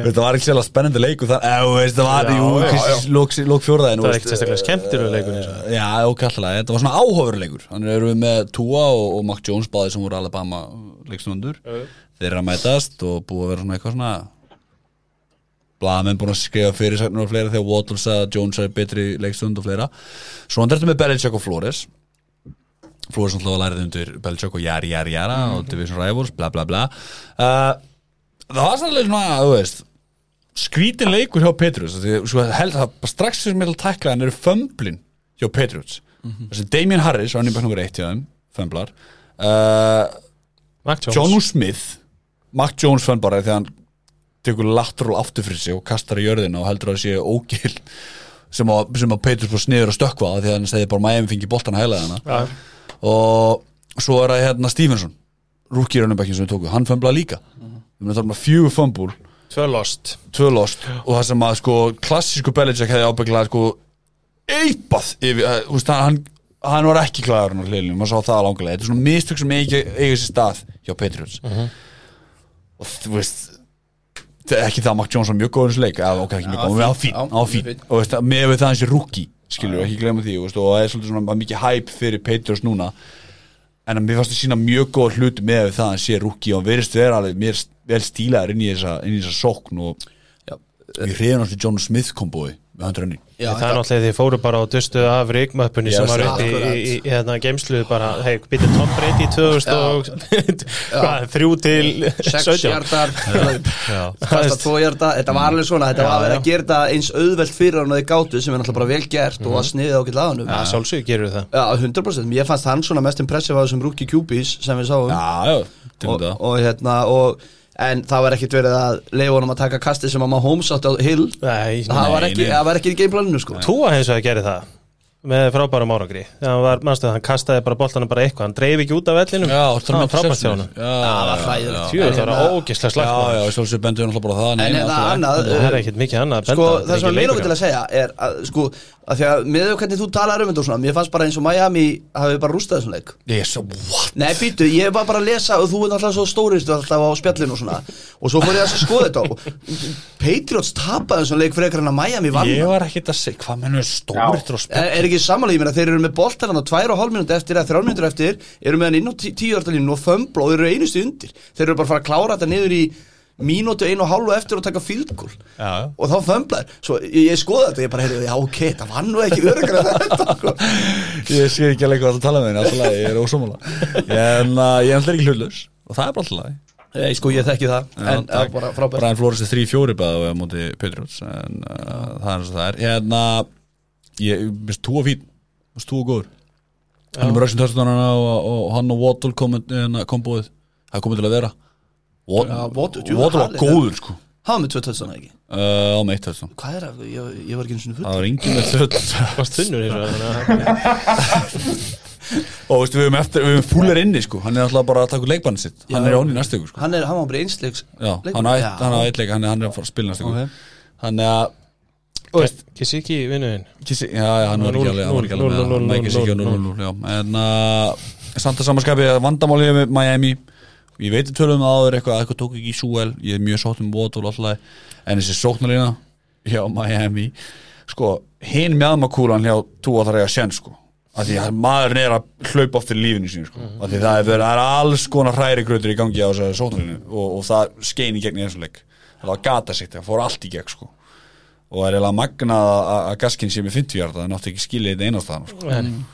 Speaker 1: Þetta var ekki sérlega spennandi leiku þar eh, þú veist, Það var,
Speaker 4: Já,
Speaker 1: jú,
Speaker 4: já,
Speaker 1: kannski lók, lók fjórðaðin
Speaker 4: Það var ekkert sérstaklega skemmtilega
Speaker 2: eh,
Speaker 4: leikunni sko.
Speaker 1: Já, ok, alltaf, þetta var svona áhófurleikur Þannig erum við með Tua og, og Mac Jones báði sem voru Alabama leikstundur Þeirra mætast og búið að vera svona eitthvað svona Blaðamenn búin að skrifa fyrirsagnur og fleira þegar Waddle sagði að Jones er betri leikstund og fleira Svo hann dættu með Belichick og Flores Flores alltaf lærið undir Belichick og jari, jari, jara og Division Rivals, bla, bla, bla uh, Það var sannlega svona, þú veist skrítin leikur hjá Patriots af því, að, sko, held, að bara strax sem ég tækla hann eru fömblin hjá Patriots mm -hmm. þessi Damien Harris, hann er bara nummer eitt hjá þeim fömblar uh,
Speaker 4: Mac
Speaker 1: John
Speaker 4: Jones
Speaker 1: U. Smith Mac Jones fömblar þegar hann tekur lateral aftur fyrir sig og kastar í jörðina og heldur að það sé ógild sem að, sem að Patriots bara sniður að stökkva af því að hann segði bara Miami fengi boltan hælaði hana
Speaker 4: Já.
Speaker 1: og svo er það hérna Stevenson rúkir hann um bekkin sem við tóku, hann fömblar líka við erum að tala um að fjögur fömbul
Speaker 4: Tvö lost
Speaker 1: tvö lost og það sem að sko klassísku Belichick hefði ábygglega sko eipað yfir, eh, þú veist það hann, hann var ekki klæður hann á hlilinu, maður sá það langilega þetta er svona mistök sem eiga, eiga sér stað hjá Patriots og þú veist það er ekki það að Mark Jones var mjög góður í þessu leik eða ok, ekki mjög
Speaker 2: Já,
Speaker 1: góður, hann var fín,
Speaker 2: fínn, já,
Speaker 1: hann var fín
Speaker 2: mjög fínn.
Speaker 1: og veist, með við það hans er rúki skilur, ekki glemma því þú veist, og það er svolítið svona mikið hæp fyrir Patriots núna en að mér fannst að sína mjög góð hlut með við það hans er rúki og hann verðist vera alveg mér vel stílaður inn í þessa, inn í þessa sókn og
Speaker 2: Já,
Speaker 1: við reyðum hans í John Smith kombói með hann drönni
Speaker 2: já
Speaker 4: það er náttúrulega því fóru bara og dustuðu af rigmöppunni
Speaker 1: Já,
Speaker 4: sem var upp í,
Speaker 2: akkurat.
Speaker 4: í, í, í hérna geimsluðu bara, hei, býttu Tom Brady 2000 og hvað, þrjú til
Speaker 2: 6
Speaker 4: 17
Speaker 2: hjartar Kasta
Speaker 4: veist.
Speaker 2: 2 hjarta Þetta var alveg svona Þetta var að vera að gera þetta eins auðvelt fyrir hann og þið gátu sem er náttúrulega bara vel gert
Speaker 4: Mhm.
Speaker 2: og að sniðið ákveld að honum
Speaker 4: að sjálfsögur gerur það
Speaker 2: Já, 100% Mér fannst hann svona mest impressive á þessum rookie QBs sem við sáum
Speaker 1: já, til
Speaker 2: og,
Speaker 1: um þetta
Speaker 2: og hérna og, En það var ekkit verið að leifa honum að taka kasti sem að maður Holmes átti á Hill
Speaker 4: Nei,
Speaker 2: Það var ekki,
Speaker 1: nei.
Speaker 2: það var ekki í gameplaninu sko
Speaker 4: Túa hins vegar gerir það með frábærum árangri þegar hann var, mannstu, hann kastaði bara boltanum bara eitthvað hann dreif ekki út af vellinum hann var frábært hjá hann
Speaker 2: Það
Speaker 1: já,
Speaker 2: var hræðilegt
Speaker 4: Jú, það var
Speaker 2: En, hérna-
Speaker 4: ógislega
Speaker 1: já,
Speaker 4: slagt
Speaker 1: já, sjálfsög bendur náttúrulega bara á það
Speaker 2: En hérna annað
Speaker 4: það er ekkit mikið annað að
Speaker 2: Sko,
Speaker 4: benda,
Speaker 2: það
Speaker 4: er
Speaker 2: sem
Speaker 4: ekki
Speaker 2: að mér
Speaker 4: leikur
Speaker 2: okkur til að segja er að, sko, að því að með þau hvernig þú talar um þetta og svona, mér fannst bara eins og Miami hafi bara rústað þessum leik.
Speaker 1: ég er svo, what?
Speaker 2: Nei, býtu, ég var bara að lesa og þú er alltaf svo stórist og alltaf á spjallinu og svona og svo fór ég að skoða þetta og Patriots tapaði þessum leik frekar en að Miami vann.
Speaker 1: ég var ekkert að segja, hvað mennum stóritur og
Speaker 2: Eh, Er, er ekki samanlega, ég meina þeir eru með boltan hann á tvær og hálf minúti eftir eða þrjálf minútur eftir eru með hann inn á tí- tíu hjartalínu og fömbla og þeir eru einustu undir þeir eru bara að fara að klára þetta niður í mínútu einu og hálfu eftir og taka fílgul
Speaker 1: Já, já.
Speaker 2: og þá fömblar svo ég, ég skoða þetta, ég bara heyrði, já ok, það vann nú ekki örgra þetta sko.
Speaker 1: ég sé ekki alveg hvað það tala um með henni alltaf lagi, ég er ósámála en uh, ég er alltaf ekki hlutlaus og það er bara alltaf lagi
Speaker 2: Nei, sko, ég þekki það,
Speaker 1: Já,
Speaker 2: en það
Speaker 1: takk.
Speaker 2: var bara frábært
Speaker 1: Brian Flores er 3-4 bæða á móti Patriots en uh, það er eins og það er hérna ég veist tú að fín veist þú að góður hann er með rössin törstunar og, og, og hann og Waddle kom, hérna, kom búið það er komið til að vera Waddle,
Speaker 2: Já, Waddle, djú,
Speaker 1: Waddle var
Speaker 2: Harley,
Speaker 1: góður sko
Speaker 2: Há með tvö töðsana ekki
Speaker 1: uh, á með eitt törstun
Speaker 2: Hvað er það, ég, ég var ekki eins og full
Speaker 1: það var engin með törstun
Speaker 4: varst þunnur hins vegar þannig að-
Speaker 1: og veistu við höfum eftir við höfum fúlar inni sko hann er alltaf bara að taka út leikbann sitt hann
Speaker 2: Já.
Speaker 1: er án í næstu ykkur sko
Speaker 2: Hann er, hann var bara einsleiks
Speaker 1: já hann á eitt- hann á eitt leik hann er hann er að fara að spila næstu ykkur
Speaker 2: Ok.
Speaker 1: þannig að Þú veist,
Speaker 4: Kisiki vinnuðinn
Speaker 1: Kissi, já, já, hann var ekki alveg hann var ekki alveg með það, hann var ekki sikið á 0-0 já. en uh, samt að samanskapi að vandamálið með Miami ég veit að tölum að áður eitthvað, eitthvað tók ekki í Súel ég er mjög sótt um Waddle alltaf en þessi sóknarina hjá Miami sko, hinn mjöðmakúlan hjá Tua þar eiga sén sko að því að maðurinn er að hlaupa oft fyrir lífinu sínu sko. mm því það er, verið- það er alls konar hræri grötur í gangi á þessari sóknarlínu og, og það skein í gegn í þessum leik það var gata sitt, það fór allt í gegn sko. og það er eiginlega magnað að- að að Gaskin sé með 50 hjarta, það nátti ekki skilið þetta einast þannig sko.
Speaker 4: En-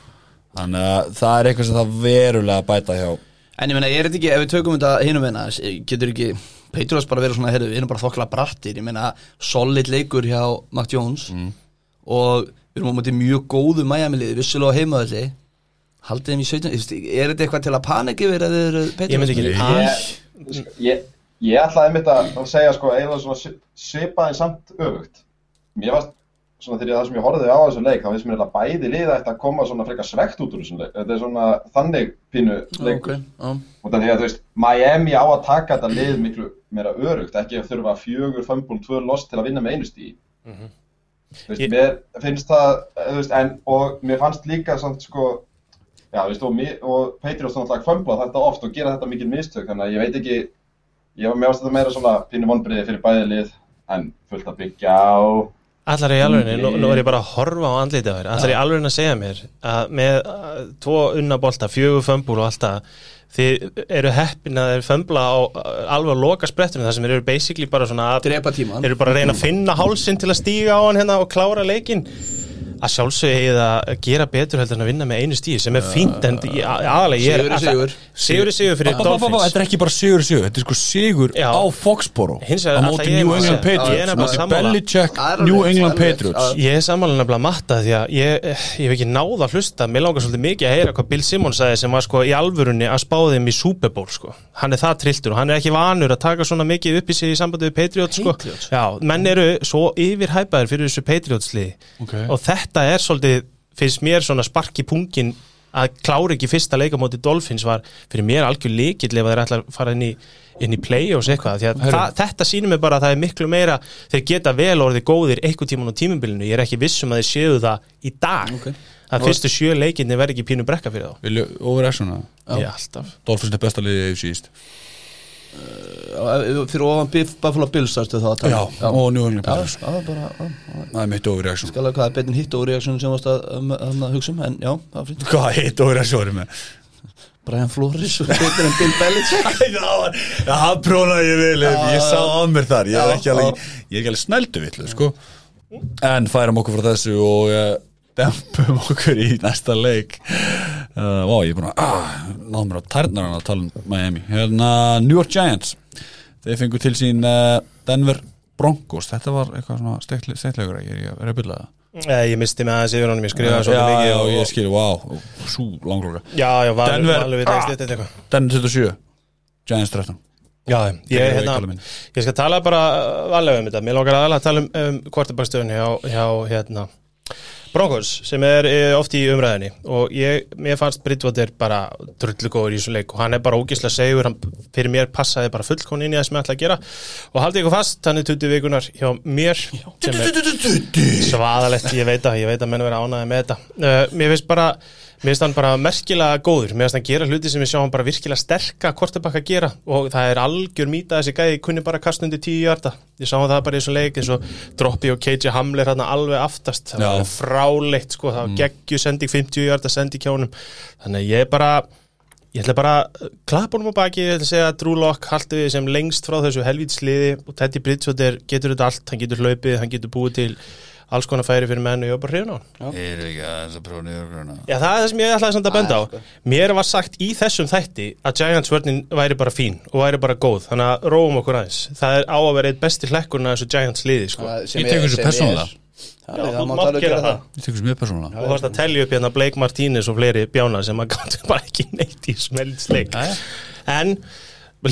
Speaker 1: þannig að það er eitthvað sem það verulega bæta hjá
Speaker 5: En ég meina, er þetta ekki, ef við tökum þetta hinum meina, getur ekki Patriots bara verið svona, heyrðu, við erum bara þokkala brattir, ég meina, solid leikur hjá Matt Jones og við erum á móti mjög góðu mæjamiliði, vissulega á heimaðalli, haldið þeim í 17, þú veist, er þetta eitthvað til að panik yfir að þið eru Patriots?
Speaker 4: Ég myndi ekki
Speaker 3: Ég,
Speaker 4: Mm.
Speaker 3: sko, ég, ég ætlaði einmitt að að segja sko eiginlega svona svi- svipað en samt öfugt. Mér varst svona þegar það sem ég horfði á þessu leik, þá finnst mér eiginlega bæði liða eftir að koma svona frekar svegt út úr þessum leik. Þetta er svona þannig pínu leik.
Speaker 5: Ok, já.
Speaker 3: Og þannig að þú veist, Miami á að taka þetta lið miklu meira örugt, ekki að þurfa fjögur, fömbul, tvö loss til að vinna með einu stíði. Þú veist,
Speaker 4: Ég-
Speaker 3: mér finnst það, þú veist, en, og mér fannst líka samt sko, já, þú veist, og, mér, og Patriots náttúrulega fömbla þetta oft og gera þetta mikil mistök, þannig að ég veit ekki, ég var með ástæða meira svona pínu vonbriði fyrir bæði lið, en fullt að byggja á,
Speaker 4: Allar í alvegni, nú, nú er ég bara að horfa á andlitið á þér Allar í alvegni að segja mér að með að, tvo unna bolta, fjögur fömbul og allt það þið eru heppin að þeir fömbla á á- alveg að loka sprettunum þar sem þeir eru basically bara svona að
Speaker 5: Drepa tímann.
Speaker 4: eru bara að reyna að finna hálsinn til að stíga á hann hérna og klára leikinn að sjálfsögja ég að gera betur heldur en að vinna með einu stíð sem er fínt en ég- a- aðalega ég
Speaker 5: Sigur er sigur.
Speaker 4: Sigur er sigur fyrir
Speaker 1: Bá, bá, bá, bá,
Speaker 4: Dolphins
Speaker 1: Þetta er ekki bara sigur sigur, þetta er sko sigur
Speaker 4: Já.
Speaker 1: á Foxborough
Speaker 4: Hins vegar
Speaker 1: á
Speaker 4: ætla
Speaker 1: móti
Speaker 4: ég
Speaker 1: New
Speaker 4: að
Speaker 1: England
Speaker 4: segja- ég er
Speaker 1: Patriots, á
Speaker 4: nefnilega
Speaker 1: móti
Speaker 4: sammála.
Speaker 1: Belichick
Speaker 5: Það er
Speaker 1: New
Speaker 5: alveg-
Speaker 1: England
Speaker 5: alveg-
Speaker 1: Patriots
Speaker 5: að-
Speaker 4: Ég er samanlega nefnilega matta því að ég, eh, ég hef ekki náð að hlusta, mér langar svolítið mikið að heyra hvað Bill Simmons sagði sem var sko í alvörunni að spáði þeim í Super Bowl sko. Hann er það trilltur og hann er ekki vanur að taka svona mikið upp í sig í sambandi við Patriots sko.
Speaker 5: Patriots?
Speaker 4: Já, menn eru svo yfirhæpaðir fyrir þessu Patriots liði
Speaker 1: Ok.
Speaker 4: og þetta er svolítið, finnst mér svona spark í pungin að klára ekki fyrsta leikamóti Dolphins var fyrir mér algjör leikill ef þeir ætlar að fara inn í, inn í play-offs eitthvað, því að
Speaker 1: Herru.
Speaker 4: það, þetta sýnir mig bara að það er miklu meira, þeir geta vel orðið góðir einhvern tíman á tímumbilinu, ég er ekki viss um að þeir séu það í dag að fyrstu sjö leikinni verði ekki pínu brekka fyrir þá
Speaker 1: Vilju overactiona
Speaker 4: ég alltaf
Speaker 1: Dolphins er besta liðið í síðist
Speaker 5: Já, Fyrir ofan Biff- Buffalo Bills, þarstu þá að
Speaker 1: Já,
Speaker 5: tala.
Speaker 1: og New England
Speaker 5: Já,
Speaker 1: Patriots
Speaker 5: já, bara, já, já.
Speaker 1: Það er mitt overreaction
Speaker 5: Gala hvað er betin hitt og reaksjónu sem varst að, um, um, að hugsa um, en já, það var fint.
Speaker 1: Hvað heit overreaction erum við?
Speaker 5: Brian Flores og betur en Bill Belichick.
Speaker 1: Það prónaði ég vel ég- Ég sá á mér þar Ég er ekki alveg, ég er ekki alveg snældu villu sko. En færum okkur frá þessu og uh, dempum okkur í næsta leik uh, Vá, ég er búin að ah, Náðum mér á tærnar hann að tala um Miami Hérna, New York Giants Þeir fengu til sín uh, Denver Broncos Þetta var eitthvað svona stektlegur Ég er- ég er að byrla það
Speaker 4: eh, ég misti með aðeins yfir honum, ég skrifaði
Speaker 1: Já,
Speaker 4: svolítið
Speaker 1: já,
Speaker 4: mikið
Speaker 1: ég
Speaker 4: og,
Speaker 1: skil, vá, svo langlóka
Speaker 4: já, já, valur,
Speaker 1: Denver-
Speaker 4: valur við
Speaker 1: Ah!
Speaker 4: það eitthvað
Speaker 1: Denver 27, Giants 13
Speaker 4: Já, ég,
Speaker 1: Þeir eru í
Speaker 4: hérna,
Speaker 1: töluminn.
Speaker 4: ég skal tala bara uh, varlega um þetta, mér langar aðalega að tala um, um kvartabækstöðun hjá, hjá hérna, Broncos sem er eh, oft í umræðinni og ég, mér fannst Bridwater bara drullugóður í þessum leik og hann er bara ógislega segur, hann fyrir mér passaði bara fullkón inn í það sem ég ætla að gera og haldið ykkur fast, hann er 20 vikunar hjá mér sem er svaðalegt, ég veit að, ég veit að menn vera ánæði með þetta uh, mér finnst bara mér finnst hann bara merkilega góður mér finnst hann gera hluti sem við sjáum bara virkilega sterka kortabakka gera og það er algjör mýta að þessi gæði kunni bara kasta undir tíu hjarta ég sáum það bara í þessum leik eins og Droppi og KJ Hamler hann alveg aftast það
Speaker 1: Já.
Speaker 4: var fráleitt sko, það var geggju sending 50 hjarta sending kjónum þannig að ég bara Ég ætla bara að klappa honum á baki, ég ætla að segja að Drew Locke haldi við sem lengst frá þessu helvítsliði og Teddy Bridgewater getur þetta allt, hann getur hlaupið, hann getur búið til alls konar færi fyrir menn og ég var bara hrifin á hann.
Speaker 1: Er ekki aðeins að prófa niður gröna
Speaker 4: Já, það er það sem ég ætlaði samt að benda á. Mér var sagt í þessum þætti að Giants vörnin væri bara fín og væri bara góð, þannig að róum okkur aðeins. Það er á að vera eitt besti hlekkurinn að þessu Giants liði, sko.
Speaker 2: Það sem
Speaker 1: Ég tek
Speaker 2: er-
Speaker 1: þessu
Speaker 2: sem
Speaker 1: persónulega.
Speaker 2: er- Já,
Speaker 4: Já,
Speaker 2: það
Speaker 4: þú
Speaker 2: má
Speaker 4: mátt
Speaker 2: alveg
Speaker 4: gera
Speaker 2: gera
Speaker 4: það.
Speaker 2: það
Speaker 1: Ég tekur sem ég persónulega
Speaker 4: og varst að tellja upp hérna Blake Martínez og fleiri bjánar sem að gáttu bara ekki neitt í smeltsleik
Speaker 1: Jæja.
Speaker 4: en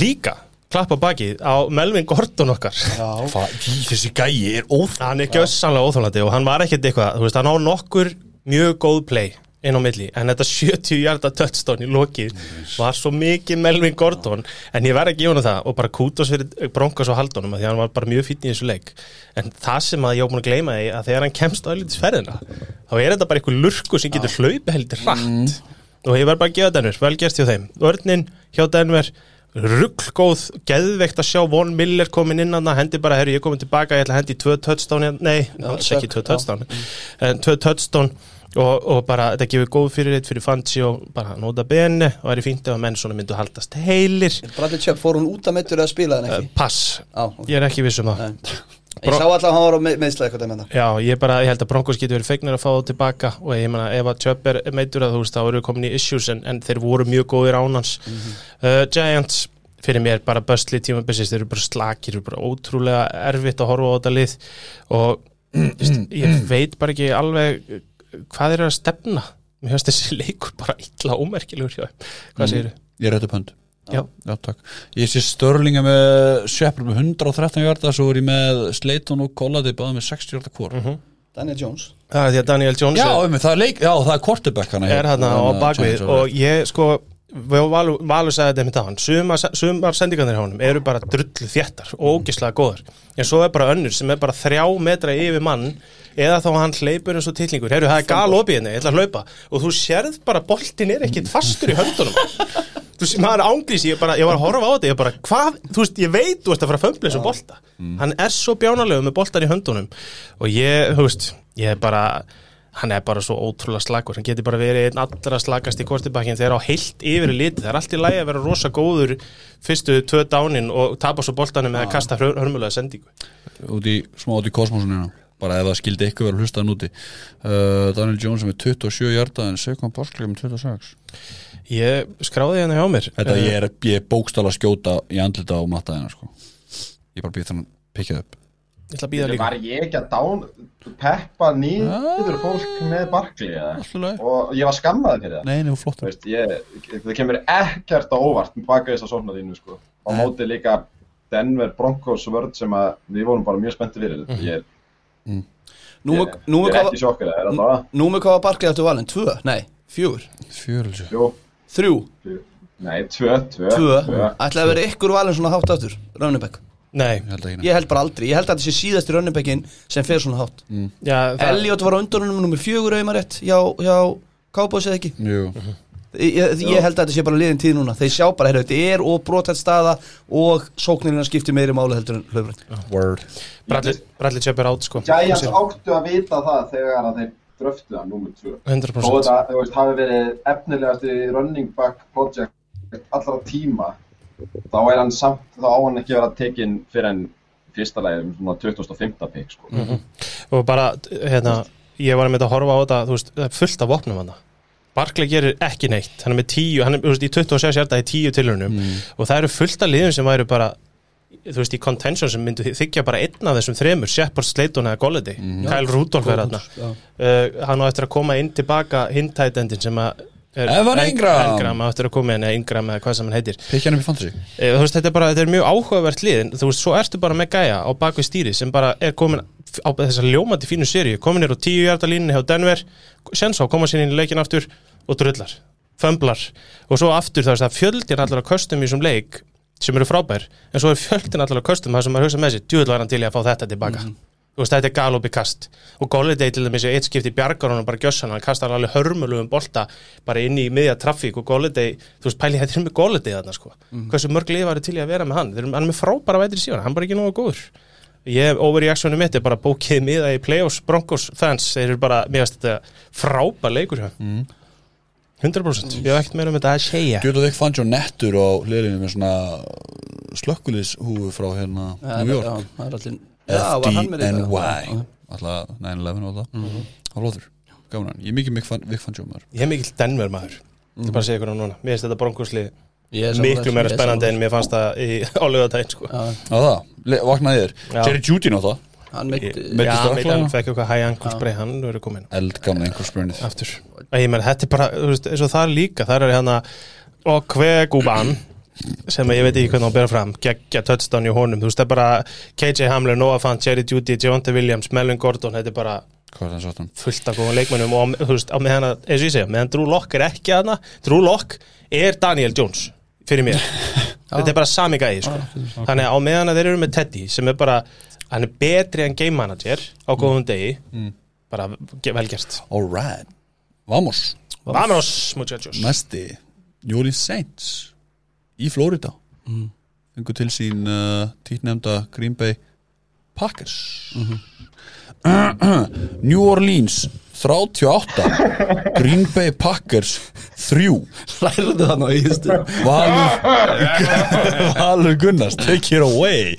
Speaker 4: líka klappa bakið á Melvin Gordon okkar
Speaker 1: Hva, í, Þessi gæi er óþ
Speaker 4: hann er gjössanlega óþólandi og hann var ekkert eitthvað þú veist, hann á nokkur mjög góð play inn á milli, en þetta 70 hjarta touchdown í lokið var svo mikið Melvin Gordon, en ég verð að gefa hann það og bara kútos fyrir Broncos og Haldunum af því að hann var bara mjög fýtni í þessu leik en það sem að ég á búin að gleyma því að þegar hann kemst á öllítisferðina, þá er þetta bara einhver lurku sem getur hlaupið heldur hratt og ég verð bara að gefa Denver, vel gert hjá þeim Örnin hjá Denver rugglgóð, geðveikt að sjá Von Miller komin inn hann, hendi bara, herru, ég komin tilbaka ég ætla að hendi tvö touchdown, hérna- nei, alls
Speaker 2: sök,
Speaker 4: ekki tvö touchdown en tvö touchdown og, og bara þetta gefur góð fyrirleitt fyrir Fancy og bara nota bene og er í fínt ef að menn svona myndu haldast heilir
Speaker 2: Bradley Chubb fór hún út að meittur eða spilaði hann
Speaker 4: uh,
Speaker 2: ekki
Speaker 4: pass,
Speaker 2: Á, ok.
Speaker 4: ég er ekki viss um það
Speaker 2: Nei. Ég sá alltaf að hann var á me- meiðsla eitthvað með það
Speaker 4: Já, ég bara, ég held að Broncos getur verið feignir að fá þá tilbaka og ég meina ef að Chubb er meitur að þú veist þá eru við komin í issues en, en þeir voru mjög góðir ánans mm Giants fyrir mér bara börsli tímabilsist þeir eru bara slakir, þeir eru bara ótrúlega erfitt að horfa á þetta lið og just, ég veit bara ekki alveg uh, hvað þeir eru að stefna mér hefast þessi leikur bara illa ómerkilegur hjá þeim. hvað segir þau?
Speaker 1: Ég er réttu pönd
Speaker 4: Já.
Speaker 1: takk Ég sé Störlinga með Shepard með 113 hjarta Svo er ég með Slayton og Colladi Báða með 60 hjarta hvor
Speaker 2: Daniel Jones
Speaker 4: Það er því að Daniel Jones
Speaker 1: Já,
Speaker 4: er-
Speaker 1: um, það er leik Já, það er quarterback hérna hana
Speaker 4: er hann á bakvið og ég sko Val- Valur, Valur sagði þetta einmitt á hann sumar, sumar sendingarnir hjá honum eru bara drullu þjættar og ógislega góðar en svo er bara önnur sem er bara þrjá metra yfir mann eða þá hann hleypur eins og tillingur, heyrðu það er gal opið henni, ég ætla að hlaupa og þú sérð bara boltin er ekkit fastur í höndunum þú veist, maður ánglís, ég, bara, ég var að horfa á þetta ég bara, hvað, þú veist, ég veit þú veist að fara að fömbla eins og bolta, hann er svo bjánalegu með boltan í höndunum og ég, þú veist, ég er bara hann er bara svo ótrúlega slagur hann getur bara verið einn allra slagast í kortibakkin þegar á heilt yfir er litið, það er allt í lægi að vera rosa góður fyrstu tvö dánin og tapa svo boltanum með að kasta hör, hörmulega sendingu
Speaker 1: Út í, smá út í kosmosunina Bara ef það skildi eitthvað vera hlustaðan úti uh, Daniel Jones er með 27 hjarta En Sekon Borsleik með 26
Speaker 4: ég skráði hérna hjá mér
Speaker 1: Þetta
Speaker 4: Eh,
Speaker 1: ég er, ég er bókstala að skjóta Í andlita á mattaðina sko Ég bara býð þannig pikkað upp
Speaker 4: ég ætla að býða líka
Speaker 3: Var ég ekki að dán peppa nýður fólk með barkli eða?
Speaker 1: Allt í lagi.
Speaker 3: Og ég var skammaði fyrir það.
Speaker 1: Nei, nefnum flott
Speaker 3: Þú Veist, ég, það kemur ekkert á óvart með baka þess að sókna þínu sko. Á móti líka Denver Broncos vörð sem að við vorum bara mjög spennti fyrir. Ég, ég,
Speaker 5: Mhm. Nú
Speaker 3: ég,
Speaker 5: með- nú með
Speaker 3: er
Speaker 5: hvað
Speaker 3: ekki sjokkir það, er það það?
Speaker 5: Nú með hvað var barkið eftir valin? Tvö? Nei, fjögur
Speaker 1: Fjörulsjö
Speaker 3: Jú,
Speaker 5: Þrjú,
Speaker 3: jú. nei, tvö, tvö,
Speaker 5: tvö Ætlaði að vera ykkur valin svona hátt aftur Rönnibæk
Speaker 4: nei,
Speaker 1: Ég held ekki nefn
Speaker 5: Ég held bara aldrei, ég held að þetta sé síðasti rönnibækin sem fer svona hátt
Speaker 4: já, það,
Speaker 5: Elliot var á undunum nummer fjögur auðvitað rétt Já, já, Cowboys eða ekki
Speaker 1: Jú,
Speaker 5: ég, ég- ég held að þetta sé bara liðin tíð núna Þeir sjá bara, heyrðu, þetta er og brotett staða Og sóknirina skiptir meiri máli heldur en hlauprætt
Speaker 1: word
Speaker 4: bralli, bralli tjöpur át sko
Speaker 3: Giants áttu að vita það þegar að þeir dröftu það númur 2 þó
Speaker 4: 100%
Speaker 3: þetta, þú veist, hafi verið efnilegast í running back project allra tíma þá er hann samt, þá á hann ekki að vera tekin fyrir en fyrsta lagi um svona 2015 pick sko.
Speaker 5: Mhm.
Speaker 4: og bara, hérna, ég var að mynda að horfa á þetta þú veist, það er fullt af vopnum hann Barkley gerir ekki neitt, hann er með tíu hann er, þú veist, í 26 hjarta í tíu tilhörnum
Speaker 1: Mm.
Speaker 4: og það eru fullt af liðum sem væru bara þú veist, í contention sem myndu þykja bara einn af þessum þremur, Shepard Slayton eða Golladay,
Speaker 1: Mhm.
Speaker 4: Kyle Rudolph er hann
Speaker 5: já.
Speaker 4: uh, hann á eftir að koma inn tilbaka hinn tætendin sem að er-
Speaker 1: Evan
Speaker 4: Eng-
Speaker 1: Ingram.
Speaker 4: Engram á eftir að koma inn, eða Ingram eða hvað sem hann heitir
Speaker 1: Pikkað hann upp í fantasy
Speaker 4: Eh, þú veist, þetta er bara, þetta er mjög áhugavert lið en þú veist, svo ertu bara með gæja á bakvið stýri sem bara er komin á þessa ljómandi fínu seríu, komin er á tíu hjartalínni hjá Denver, sens á, koma sér inn í leikin aftur og drullar, fömblar og svo aftur þá veist það fjöldin allar að köstum í þessum leik sem eru frábær en svo er fjöldin allar að köstum það sem maður hugsa með sér, djúðl var hann til í að fá þetta tilbaka Þú veist, þetta er galopi kast og Golladay til dæmis er eitt skipti bjargar honum bara gjössan, hann kastar alveg hörmulugum bolta bara inn í miðja trafík og Golladay þú veist, pæli þetta er með Golladay þarna sko
Speaker 5: Mhm.
Speaker 4: hversu mörg lið var til í að vera með hann Þeir, eru- hann er með frábæra vætri síðan, hann er bara ekki nógu góður ég, over í actionu mitt, er bara bókið miða í playoffs, Broncos fans þeir eru bara, mér veist þetta frábæra leikur hjá mm.
Speaker 5: Mhm.
Speaker 4: 100% ég hef ekkert meira um þetta að segja
Speaker 1: Djúðu þig fann svo nettur á hliðinu með svona slökkulíshúfu frá hérna New
Speaker 5: Já,
Speaker 1: York
Speaker 5: það er allir Já, var hann með þetta? Mhm.
Speaker 1: FDNY Alltaf 9-11 og það Það var lóður, gaman hann Ég er mikið Vic fann svo maður
Speaker 4: ég hef mikill Denver maður ég bara segja ykkur á núna, mér finnst þetta Broncosli
Speaker 5: Mhm. Ég er sammála
Speaker 4: miklu
Speaker 5: þessu,
Speaker 4: meira
Speaker 5: ég er
Speaker 4: spennandi
Speaker 5: sammála
Speaker 4: en mér fannst það í álaugardaginn sko.
Speaker 1: Já það, le- vaknaði þér
Speaker 4: Já.
Speaker 1: Jerry Judy náttu
Speaker 5: þessu.
Speaker 1: það,
Speaker 5: Hann meitt
Speaker 1: Meiddist
Speaker 4: Já,
Speaker 1: þar
Speaker 4: meitt,
Speaker 1: allavega?
Speaker 4: hann fekk eitthvað hæg angulsbrei, hann verður komin
Speaker 1: eldgamla einhver spurnið
Speaker 4: aftur. Ég menn, þetta er bara, þú veist, eins og það er líka, það er hérna Okveguban sem ég veit ekki hvernig hann bera fram, geggja touchdown í honum, þú veist, það er bara KJ Hamler, Noah Fant, Jerry Judy, Javante Williams, Melvin Gordon, þetta er bara
Speaker 1: Hvað er það sáttan?
Speaker 4: fullt af góðan leikmennum og á- þú veist, á meðan að, eins og ég segja, meðan Drew Locke er ekki aðna, Drew Locke er Daniel Jones fyrir mér þetta er bara sami gæði sko. þannig að á meðan að þeir eru með Teddy sem er bara, hann er betri en game manager á
Speaker 2: Mm.
Speaker 4: góðum degi bara ge- velgerst
Speaker 1: Alright, vamos
Speaker 4: Vamos, muchachos
Speaker 1: Næsti, Júli Saints Í Flórida Fengu til sín uh, títnefnda Green Bay Packers New Orleans 38 Green Bay Packers 3
Speaker 2: Lærðu þannig á eigistu
Speaker 1: Valur, Valur Gunnars Take it away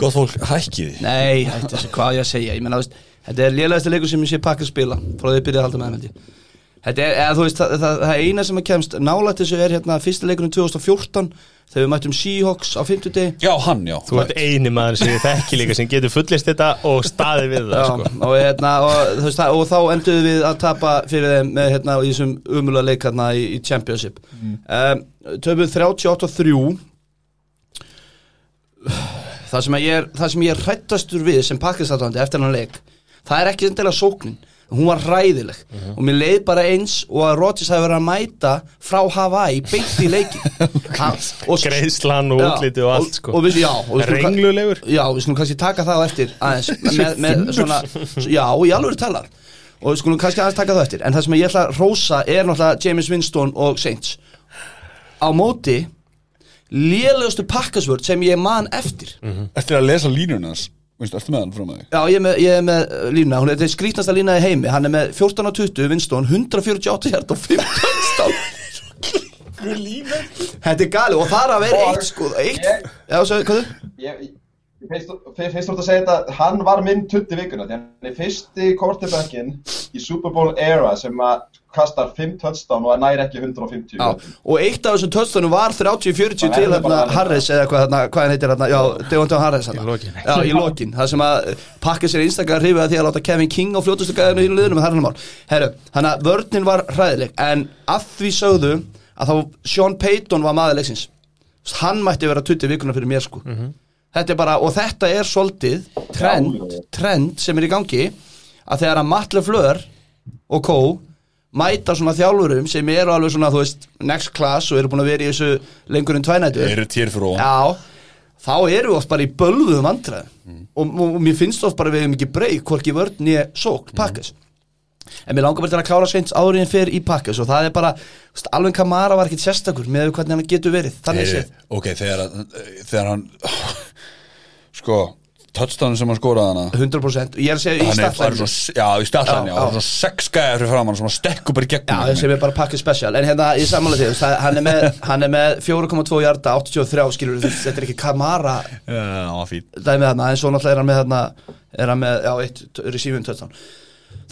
Speaker 1: Góð fólk, hækkið þið.
Speaker 2: Nei, þetta er hvað á ég að segja Ég meina, þú veist, þetta er lélægasti leikur sem ég sé pakkar spila Frá því að byrja að halda með held ég Þetta er, eða, þú veist, það, það, það eina sem að kemst nálætt þessu er hérna fyrsta leikurinn 2014 Þegar við mættum Seahawks á 50 degi
Speaker 1: Já, hann, já
Speaker 4: Þú ert eini maður sem ég þekki líka sem getur fullist þetta og staðið við það
Speaker 2: Já,
Speaker 4: sko.
Speaker 2: og, hérna, og, þú veist, það- og þá enduðum við að tapa fyrir þeim með hérna, í þessum umjölu leik hérna, í, í Championship mm. um, Töfum 38-3 Það sem að ég er, það sem ég er hrættastur við sem pakkistatandi eftir hann leik Það er ekki endilega sóknin Hún var ræðileg
Speaker 4: Mhm.
Speaker 2: og mér leið bara eins og að Rodgers hafi verið að mæta frá Hawaii beint í leikin Ha- og-
Speaker 4: Greiðslan og
Speaker 2: Já,
Speaker 4: útlitið og allt sko.
Speaker 2: og, við- já, og við skulum-
Speaker 4: Renglulegur
Speaker 2: Já, við skulum kannski taka það á eftir aðeins með, með svona, Já, í alveg talar Og við skulum kannski aðeins taka það á eftir En það sem ég ætla að rósa er náttúrulega James Winston og Saints Á móti Lélegustu pakkasvörð sem ég man eftir
Speaker 1: Eftir að lesa línuna hans Veistu, ertu með hann frá mig?
Speaker 2: Já, ég er með, ég er með uh, línuna, hún er þetta skrítnasta lína í heimi Hann er með 14 á 20, Winston, 148 hjart og 15 stál Þetta er gali og þar að vera
Speaker 3: Og-
Speaker 2: eitt sko eitt,
Speaker 3: Ég-
Speaker 2: Já, svo, hvað þau?
Speaker 3: Ég, ég, fyrst fyrst þú ert að segja þetta, hann var minn tutt í vikuna, því hann er fyrsti quarterbackin í Super Bowl era sem að kastar 5 touchdown og næri ekki 150
Speaker 2: Já, og eitt af þessum törstunum var 30-40
Speaker 3: Það
Speaker 2: til
Speaker 3: er bara
Speaker 2: hérna
Speaker 3: þannig.
Speaker 2: Harris eða hvað, hérna, hvað hann heitir hérna, já, Devontae Harris hérna.
Speaker 4: Í lokin.
Speaker 2: Já, í lokin, það sem að pakka sér einstaklega hrifið að því að láta Kevin King á fljótustu gæðinu í hinu liðinu með hann mál. Herru, hann að vörninn var hræðileg, en að því sögðu að þá Sean Payton var maður leiksins. Hann mætti vera 20 vikuna fyrir mér sko. Þetta er bara, og þetta er svolítið trend,
Speaker 3: Já, já.
Speaker 2: trend sem er í gangi að þegar að Matle Flör og Kó mæta svona þjálfurum sem eru alveg svona, þú veist, next class og eru búin að vera í þessu lengur en tvænætur
Speaker 1: Eru tér fyrir ofan
Speaker 2: Já, þá eru við oft bara í bölvuðum vandræðum og, og, og mér finnst oft bara við hefum ekki breyk hvorki vörn nýja
Speaker 1: Mhm.
Speaker 2: sókn, pakkas En mér langar bara til að klára sveins áriðin fyrir í pakkas og það er bara, þú veist, alveg Kamara var ekkit sérstakur með hvernig hann getur verið, þannig
Speaker 1: Heyri,
Speaker 2: séð
Speaker 1: Eh, Ok, þegar, að- þegar hann Sko, touchdown sem hann skoraði hana
Speaker 2: 100% Ég er að segja í
Speaker 1: Hann er, hann er
Speaker 2: statlæðinu
Speaker 1: svo, já, í statlæðin,
Speaker 2: Já,
Speaker 1: já, já.
Speaker 2: já.
Speaker 1: Svo sex gæðar fyrir framann sem að stekku bara í
Speaker 2: Já,
Speaker 1: gegnum
Speaker 2: það sem er bara pakkið special En hérna, ég samanlega því, þú veist, það- hann er með, hann er með 4,2 hjarta, 83 skilur Þetta er ekki Kamara
Speaker 1: Já, fín
Speaker 2: dæmið þarna En svo náttúrulega er hann með þarna, er hann með, já, eitt, receiving touchdown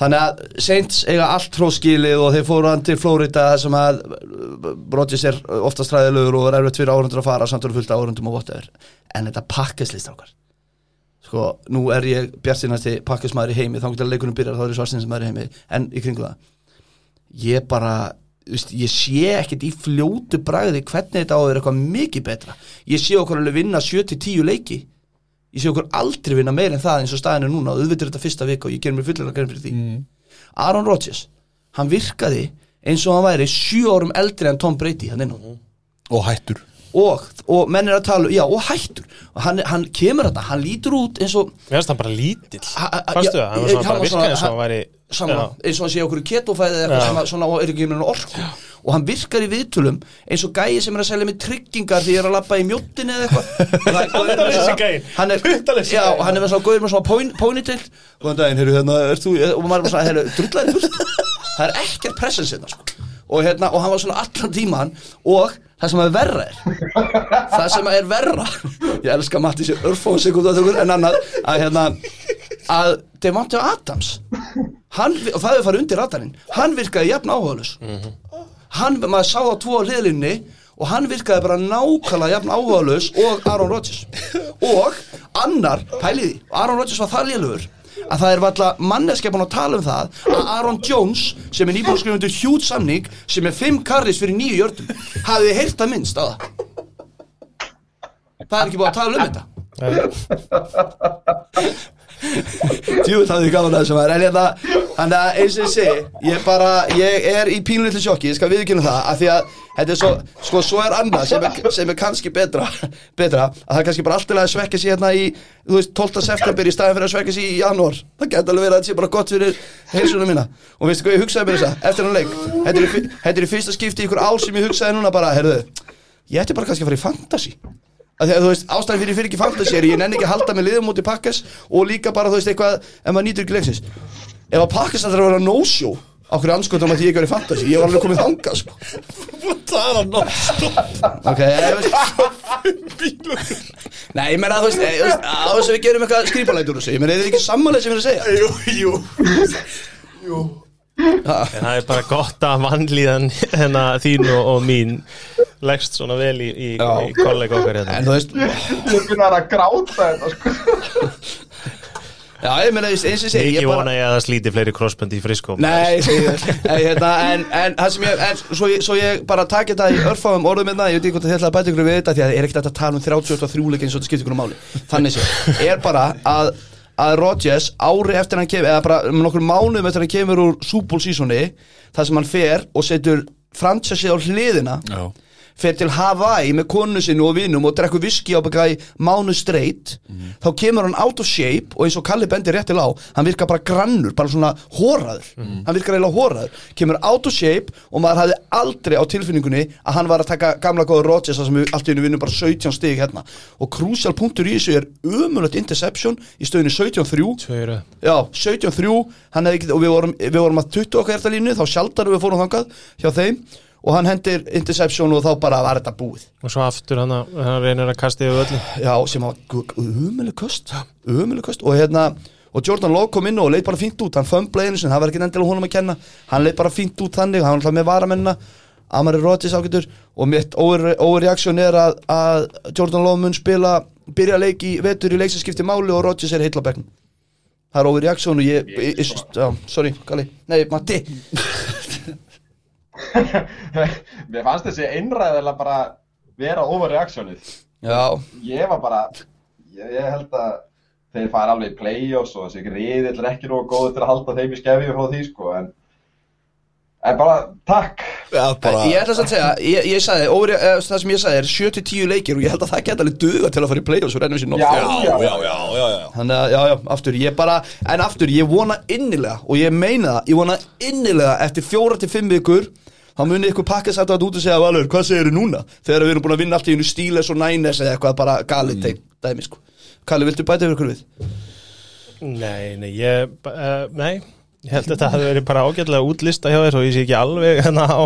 Speaker 2: Þannig að Saints eiga allt hróskilið og þeir fóru hann til Florida þar sem að eh, Rodgers er oftast ræðilegur og er erfitt fyrir áhundur að fara samt og fullt áhundum og whatever En þetta pakkislistar okkar Sko, nú er ég bjartinasti pakkismæður í heimi þá getur að leikunum byrjar þá er ég svarsinsmæður í heimi en í kringu það ég bara þú veist, ég sé ekkert í fljótu bragði hvernig þetta á að vera eitthvað mikið betra ég sé okkur alveg vinna 7-10 leiki ég sé okkur aldrei vinna meir en það eins og staðinu núna og auðvitað er þetta fyrsta vika og ég ger mér fullir að grein fyrir því
Speaker 4: Mm.
Speaker 2: Aaron Rodgers, hann virkaði eins og hann væri 7 árum eldri en Tom Brady hann inn á
Speaker 4: Mhm.
Speaker 1: Og hættur
Speaker 2: og, og menn er að tala, já og hættur og hann, hann kemur þetta, hann lítur út eins og
Speaker 4: Mér finnst hann bara lítill
Speaker 2: Ha- ha- ha-
Speaker 4: Fannstu
Speaker 2: já,
Speaker 4: það? Hann var
Speaker 2: ég-
Speaker 4: svona
Speaker 2: hann
Speaker 4: bara
Speaker 2: var svona-
Speaker 4: virkað eins og hann
Speaker 2: hann-
Speaker 4: væri
Speaker 2: Samla,
Speaker 4: Já.
Speaker 2: eins og hann sé okkur ketofæði eða eitthvað
Speaker 4: Já.
Speaker 2: sem að svona og er ekki með orku og hann virkar í viðtölum eins og gæi sem er að selja með tryggingar því ég er að labba í mjóttinni eða eitthvað Og það er gaur með
Speaker 4: Þessi
Speaker 2: svona-
Speaker 4: gæi.
Speaker 2: hann er,
Speaker 4: Hryllilegur
Speaker 2: já,
Speaker 4: gæi.
Speaker 2: og hann er með svona gauður með svona pón- ponytail góðan daginn, heyrðu hérna, er þú og maður er bara svona, heyrðu, drullaði þú það er ekkert presens hérna sko. og hérna, og hann var svona allan tíman og það sem er verra er það sem er verra ég elska Matti sér örfóðum sekundu að þau en annað, að hérna að Devante Adams hann, og það er farið undir radarinn hann virkaði jafn áhugaðlus hann, maður sá það tvo á liðlinni og hann virkaði bara nákvæmlega jafn áhugaðlaus og Aaron Rodgers og annar, pæliði Aaron Rodgers var það liðlöfur að það er valla manneskeppan að tala um það að Aaron Jones sem er nýbúrskrifundur hjút samning sem er fimm karris fyrir nýju jördum hafiði heyrt það minnst á það það er ekki búið að tala um þetta Djúvill hafði ég gaman að þessu maður En hérna, þannig að eins og ég segi Ég bara, ég er í pínlítið sjokki Ég skal viðkynna það, af því að Þetta er svo, sko, svo er annað sem er, sem er kannski betra Betra, að það er kannski bara alltilega að svekja sér hérna í Þú veist, 12. september í staðin fyrir að svekja sér í janúar Það geta alveg verið að þetta sé bara gott fyrir heilsuna mína Og veistu hvað ég hugsaði mér þess að Eftir hann leik, þetta er, í fyr- þetta er í fyrsta skipti í ykkur ár sem ég hugsaði núna bara, herðu Ég ætti bara kannski að fara í fantasy að því að þú veist, ástæðan fyrir ég fyrir ekki fantasy er ég nenni ekki að halda með liðum út í pakkas og líka bara, þú veist, eitthvað ef maður nýtur ekki leiksins Ef að pakkast að það er að vera no-show Á hverju anskotum að ég ekki verið fantasy Ég var alveg komið þangað sko
Speaker 1: Það er að náttúrulega
Speaker 2: Ok, ég veist Nei, ég meina, þú veist, ég, þú veist Á þess að við gerum eitthvað skrýpalæt úr þessu Ég meina, er þið ekki sammálega sem ég er að segja?
Speaker 1: Jú, jú
Speaker 4: En það er bara gott að vannlíðan hennar þín og, og mín leggst svona vel í, í, í kollega okkar hérna.
Speaker 2: En þú veist,
Speaker 3: Ég finna hann að gráta þetta sko
Speaker 2: já, ég meina, þú veist, eins og ég segi
Speaker 4: Ekki
Speaker 2: ég bara-
Speaker 4: vona ég að það slíti fleiri crossbönd í friskóm.
Speaker 2: Nei, segi ég en, hérna, en, en það sem ég, en svo ég, svo ég bara taki þetta í örfáum orðum minna, ég veit ekki hvort þið ætla að bæta ykkur við þetta því að það er ekkert hægt að tala um 33 leik eins og þetta skiptir ykkur um máli þannig sé, er bara að að Rodgers ári eftir hann kemur eða bara um nokkur mánuðum eftir hann kemur úr Super Bowl sísoni, þar sem hann fer og setur fransesið á hliðina
Speaker 1: Já,
Speaker 2: fer til Hawaii með konu sinni og vinum og drekku viski á baka í mánu straight þá kemur hann out of shape og eins og Kalli bendir réttil á hann virkar bara grannur, bara svona hóraður hann virkar eiginlega hóraður, kemur out of shape og maður hafði aldrei á tilfinningunni að hann var að taka gamla góður Rodgers þar sem við allt í hennu vinnum bara 17 stig hérna og crucial punktur í þessu er umulögt interception í stöðinu 17-3
Speaker 4: Tveir röð.
Speaker 2: Já, 17-3 hann hefði ekki, og við vorum, við vorum að 20 okkar þetta línu, þá sjaldar við fórum þangað hjá þeim og hann hendir interception og þá bara var þetta búið
Speaker 4: Og svo aftur hann, að- hann reynir að kasta yfir öllum.
Speaker 2: Já, sem var umulig kost umulig kost og hérna og Jordan Love kom inn og leit bara fínt út hann fömblaði einu sinni, það var ekki endilega honum að kenna hann leit bara fínt út þannig, hann var alltaf með varamennina Amari Rodgers ágætur og mitt óreaksjón er að, að Jordan Love mun spila byrja leik í vetur í leik sem skiptir máli og Rodgers er heitla bekkn það er óreaksjón og ég, ég, ég, já, sorry, Kalli, nei, Matti
Speaker 3: Mér fannst þessi einræðilega bara vera overreaksjónið
Speaker 2: já,
Speaker 3: Ég var bara, ég, ég held að þeir fara alveg í play-offs og þessi riðill er ekki nógu góður til að halda þeim í skefju frá því sko en, en bara takk
Speaker 1: bara
Speaker 2: Ég ætla samt að segja, ég, ég sagði, óri, eh, það sem ég sagði er 7-10 leikir og ég held að það geta alveg duga til að fara í play-offs og rennum sér nótt
Speaker 3: Já.
Speaker 1: Já, já, já, já, já
Speaker 2: Þannig að, já, já, aftur, ég bara, en aftur, ég vona innilega og ég meina það, ég vona innilega eftir fjóra til fimm vikur þá muni ykkur pakka sætt að út og segja Valur, hvað segir þið núna? Þegar við erum búin að vinna allt í einu stíles og nænes eða eitthvað bara galið mm. dæmi, sko Kalli, viltu bæta yfir ykkur við?
Speaker 4: Nei, nei, ég, uh, nei, ég held að þetta hafi verið bara ágætlega útlista hjá þér og ég sé ekki alveg hérna á,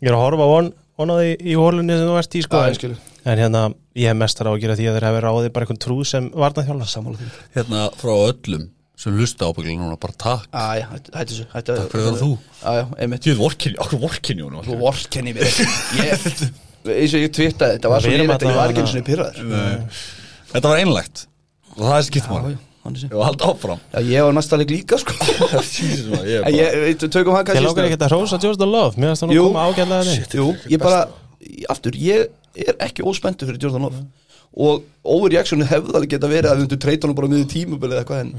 Speaker 4: ég er að horfa von, von á því í hólunni sem þú ert í sko,
Speaker 2: Já, ég skil.
Speaker 4: en, en hérna ég hef mestar ágjöra því að þeir hafi ráðið bara einhvern trú sem varnað hjála samála því.
Speaker 1: Hérna frá öllum sem lusta ábygglega núna bara takk
Speaker 2: Æja, hættu hættu þessu, hættu
Speaker 1: Takk fyrir að vera þú.
Speaker 2: Æja, einmitt
Speaker 1: Þið vorkinni, okkur vorkinni hún
Speaker 2: Þú vorkenni mér Ég, eins og ég tvittaði, þetta var svo
Speaker 4: Við erum
Speaker 2: lýrætt að ég var
Speaker 4: allavega-
Speaker 2: ekki eins og pyrraður
Speaker 1: Þetta var einlægt og það er skiptmáli
Speaker 2: Já, já, þannig sé.
Speaker 1: Ég var haldið áfram
Speaker 2: Já, ég var næsta leik líka sko
Speaker 1: Jesus, maður, ég er
Speaker 2: En
Speaker 1: bara-
Speaker 2: ég, veit, tökum hann
Speaker 4: Ég
Speaker 2: kannski
Speaker 4: lókar ekki að um. hrósa Justin Love, mér finnst það nú
Speaker 2: Jú.
Speaker 4: koma ágætlega þinn.
Speaker 2: Jú, ég bara, aftur, ég er ekki óspenntu fyrir Jordan Love Og overreactionu hefði alveg geta verið að við undir treytunum bara miður tímubili eða eitthvað En,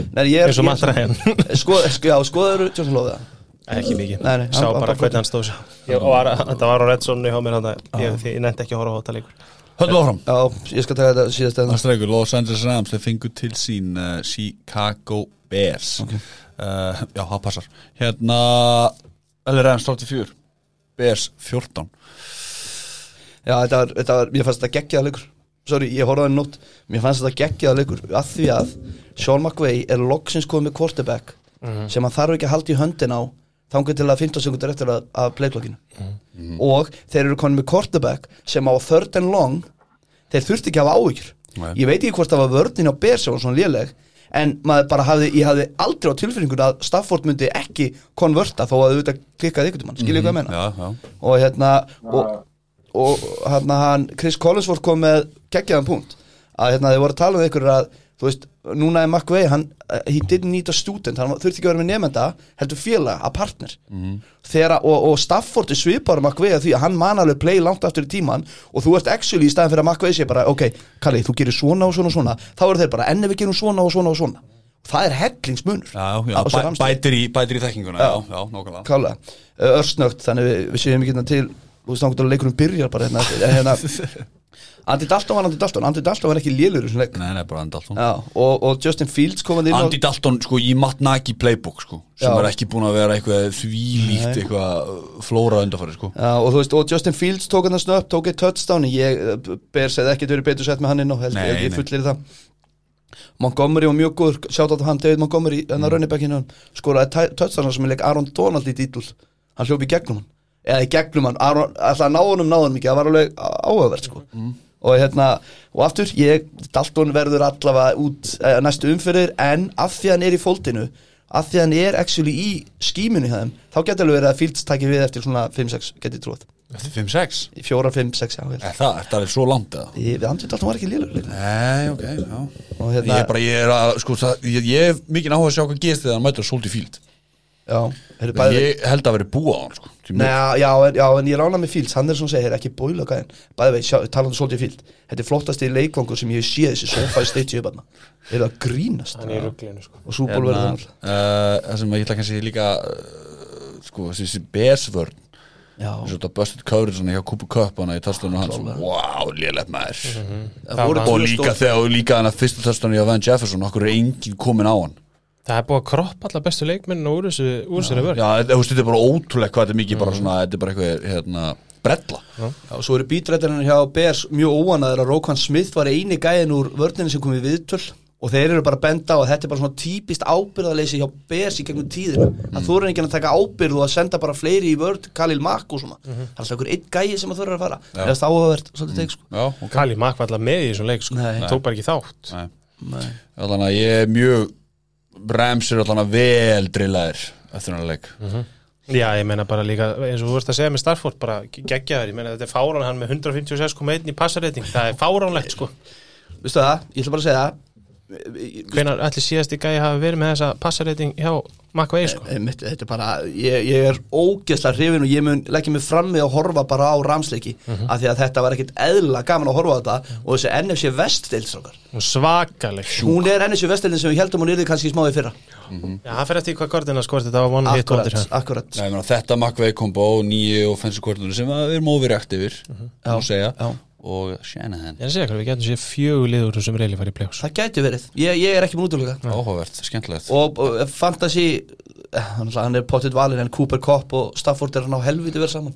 Speaker 2: en nei, ég er
Speaker 4: Eins og
Speaker 2: ég-
Speaker 4: Matt Ryan.
Speaker 2: Sko, sko, já, skoðaður Jordan Love það
Speaker 4: Ekki mikið,
Speaker 2: Nei, nei,
Speaker 4: sá
Speaker 2: hann-
Speaker 4: bara
Speaker 2: hann-
Speaker 4: hvernig hann stóð sér. Ég var, þetta var á Redsonni hjá mér hann að ég, ég, ég nefndi ekki að horfa á þetta leikur.
Speaker 1: Höldum áfram
Speaker 2: Já, ég skal taka þetta hérna. síðast eða
Speaker 1: Það streikur Los Angeles Rams þeir fengu til sín uh, Chicago Bears uh, Já, það passar Hérna Eller Rams 34 Bears 14
Speaker 2: Já, þetta var, þetta var, mér fannst þetta geggjaða leikur Sorry, ég horfði á henni nótt Mér fannst þetta geggjaða leikur Að því að Sean McVay er loksins komið með quarterback Sem hann þarf ekki að halda í höndin á Þangar til að 15 sekundar eftir að, að pleiklokkinu
Speaker 1: Mhm.
Speaker 2: Og þeir eru konið með quarterback Sem á third and long Þeir þurfti ekki að hafa áhyggjur
Speaker 1: Nei.
Speaker 2: Ég veit ekki hvort það var vörðin á Bears sem var svona léleg En maður bara hafði, ég hafði aldrei á tilfinningun að Stafford myndi ekki konverta þó að auðvitað klikkaði ykkur til mann, skilja ykkur að menna
Speaker 1: Mhm. Já, já
Speaker 2: og hérna og, og hérna hann Chris Collinsworth kom með geggjaðan punkt að hérna þið voru að tala um ykkur að þú veist, núna er McVay hann, uh, he didn't need a student, hann þurfti ekki að vera með nefnda heldur félaga, að partner
Speaker 1: Mhm.
Speaker 2: Þegar, að- og, og Stafford er svipar McVay að því að hann man alveg play langt aftur í tíman og þú ert actually í staðin fyrir að McVay sé bara ok, Kalli, þú gerir svona og svona og svona þá eru þeir bara, enn ef við gerum svona og svona og svona það er hellingsmunur
Speaker 1: Já, já,
Speaker 2: Á þessu
Speaker 1: bæ,
Speaker 2: Rams-
Speaker 1: bætir, í, bætir í þekkinguna, já, já, nákvæmlega
Speaker 2: Kála, örsnögt þannig við, við séum ekki hérna til þú veist þannig að leikurum byrjar bara hérna, eh, hérna. Andy Dalton var Andy Dalton Andy Dalton var ekki lélur í svona leik
Speaker 1: Nei, nei, bara Andy Dalton
Speaker 2: Já, og, og Justin Fields kom hann inn
Speaker 1: Andy Dalton, sko, í Matt Nagy playbook, sko sem
Speaker 2: Já.
Speaker 1: er ekki búin að vera eitthvað þvílíkt eitthvað uh, flóra undarfæri, sko
Speaker 2: Já, og þú veist, og Justin Fields tók hann að eh, snöpp, tók eitt touchdown ég ber segði ekki að vera betur sett með hann inn og held
Speaker 1: Nei,
Speaker 2: ég, ég
Speaker 1: nei.
Speaker 2: fullir það
Speaker 6: Montgomery var mjög góður, sjátt á hann David Montgomery, þannig að rönnibekkinu hann skoraði tötsanar sem er leik Aron Donald í dítul hann hljóp í gegnum hann eða í gegnum hann, Aron, alltaf að ná honum náðum mikið, það var alveg á- áhugavert sko og hérna, og aftur ég, Dalton verður allavega út eh, næstu umfyrir, en af því hann er í fóldinu, af því hann er actually í skíminu hjá þeim, þá geti alveg verið að Fields taki við eftir svona 5-6, geti trúið
Speaker 1: 5-6
Speaker 6: Í 4-5-6, já, ég held.
Speaker 1: Er það, er það alveg svo langt eða?
Speaker 6: Ég- við andrið Dalton var ekki lélur
Speaker 1: Nei, ok, já
Speaker 6: og
Speaker 1: Ég
Speaker 6: hérna,
Speaker 1: er bara, ég er að, sko, það, ég, ég hef mikið áhuga að sjá hvað gerist þegar hann mætur Solti Field
Speaker 6: já, eru bæði
Speaker 1: Ég held að vera búa á hann, sko því miður.
Speaker 6: Nei, já, en- já, en ég rána með Fields, hann er svona að segja, er ekki bóila gæðin Bæði veit, sjá- talandi um svolítið Field Þetta er flottasti leikvangur sem ég hef séð þessi sofa í steytju upp hann Er það grínast
Speaker 4: hann er í rugglinu sko.
Speaker 6: Og súból verður
Speaker 1: Hérna,
Speaker 6: hann
Speaker 1: uh, Það sem ég ætla kannski líka uh, Sko, þessi besvörn
Speaker 6: Já,
Speaker 1: Svo þetta busted coverage hann hjá Kupu Cup hana í tastunum hans Wow, lélegt maður
Speaker 4: Mhm. Það
Speaker 6: voru
Speaker 4: var-
Speaker 1: Og
Speaker 6: tvö
Speaker 1: líka
Speaker 6: stór-
Speaker 1: þegar, og líka hann að fyrstu tastunum hjá Van Jefferson Okkur er enginn komin á hann
Speaker 4: það er búið að kroppa alla bestu leikmennin úr þessu úr þessari vörn
Speaker 1: Já, þetta þú veist, þetta er bara ótrúlega hvað þetta er mikið bara
Speaker 6: Mhm.
Speaker 1: svona Þetta er bara eitthvað, hérna, brella
Speaker 6: já,
Speaker 2: og svo eru bítrættirinn hjá Bears mjög óanaður að Rókan Smith var eini gæðin úr vörninu sem kom í viðtöl og þeir eru bara að benda á að þetta er bara svona típist ábyrðarleysi hjá Bears í gegnum tíðina að þú eru ekki að taka ábyrð og að senda bara fleiri í vörn Kalil Mack og svona það er alltaf einhver einn gæði sem að þú eru að fara eða það áhugavert, svolítið teik sko
Speaker 1: Já, ok
Speaker 4: Kali Mack var alltaf með í þessum leik sko.
Speaker 2: Nei.
Speaker 4: hann tók bara ekki
Speaker 1: Nei.
Speaker 4: þátt
Speaker 2: sko.
Speaker 1: Þannig að ég er mjög Rams er allan að vel drillaðir eftir hann leik
Speaker 2: Mm.
Speaker 4: Já, ég meina bara líka, eins og þú vorst að segja með Starford, bara geggjaður, ég meina þetta er fárán, hann með 156,1 í passarreiting, það er fáránlegt sko.
Speaker 2: Vistu það, ég ætla bara að segja
Speaker 4: Hvenar allir síðast í gæði hafa verið með þessa passarreiting hjá McVay sko?
Speaker 2: Einmitt, Eh, þetta er bara, ég, ég er ógeðslega hrifin og ég mun leggja mig fram með að horfa bara á ramsleiki af því að þetta var ekkit eðla gaman að horfa á þetta og þessi NFC Vestdeildstrákar
Speaker 4: Hún er svakaleg.
Speaker 2: hún er NFC Vestdeildin sem við heldum hún yrði kannski smá í fyrra
Speaker 4: Já, það fer eftir því hvað Gordina skorti, það var one hit
Speaker 2: Mm. Akkurat,
Speaker 4: wonder hann.
Speaker 2: akkurat
Speaker 1: Nei, ég meina, Þetta McVay kombo og nýju offensive koordinur sem að við erum overreakt yfir má segja
Speaker 2: Mhm. já.
Speaker 1: og Shanahan
Speaker 4: Ég er að segja hvað, við getum séð fjögur liður sem reyli farið í play-offs.
Speaker 2: Það gæti verið, ég, ég er ekki múin útluga
Speaker 1: áhugavert, skemmtilegt
Speaker 2: og uh, fantasy eh, hann hann er pottitt valinn en Cooper Kopp og Stafford er hann á helviti verið saman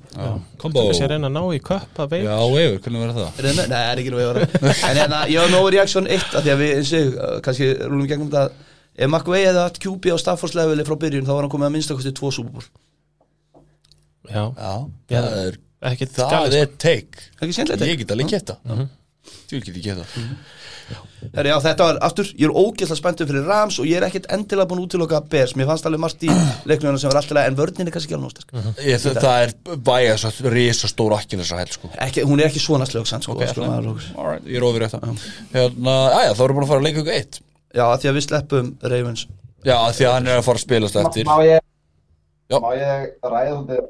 Speaker 1: kombo
Speaker 4: Þessi að
Speaker 1: já,
Speaker 4: reyna að ná í köppa veik.
Speaker 1: yfir, hvernig verður það?
Speaker 2: Er þið með? Nei, það er ekki nú að vera En hérna, ég var nógu reaksjón 1 að Því að við, eins og, ég, uh, kannski rúlum í gegnum þetta Ef McVay hefði hatt QB á staffórslegaveli frá byrjun Þá var hann komið að minnstakosti tvo súbúr
Speaker 4: Já,
Speaker 1: Já,
Speaker 4: Já.
Speaker 1: það er,
Speaker 4: ekki
Speaker 1: það
Speaker 4: galið.
Speaker 1: er take
Speaker 2: Ekki sennlega
Speaker 1: Ég get alveg geta
Speaker 2: Mhm.
Speaker 1: Þú get ekki geta
Speaker 2: eh? Herri, já, þetta var aftur Ég er ógeðslega spenntur fyrir Rams Og ég er ekkert endilega búin út til okkar Bears Mér fannst alveg margt í leiknum sem var alltaf En vörnin er kannski ekki alveg nóg sterk
Speaker 1: Ég- það- Það er bæja svo risastór akkinn þessar hæl sko
Speaker 2: ekki, Hún er ekki svona slög sann sko,
Speaker 1: Ok,
Speaker 2: sko,
Speaker 1: allt í lagi.
Speaker 2: maður-
Speaker 1: Alright, Ég er overreakt Hérna, aðja, þá erum við búin að fara að leika ykkur eitt
Speaker 2: Já, af því að við sleppum Ravens
Speaker 1: Já, af því að hann er að fara að spilast eftir
Speaker 3: Má ég,
Speaker 1: Já.
Speaker 3: má ég ræða svolítið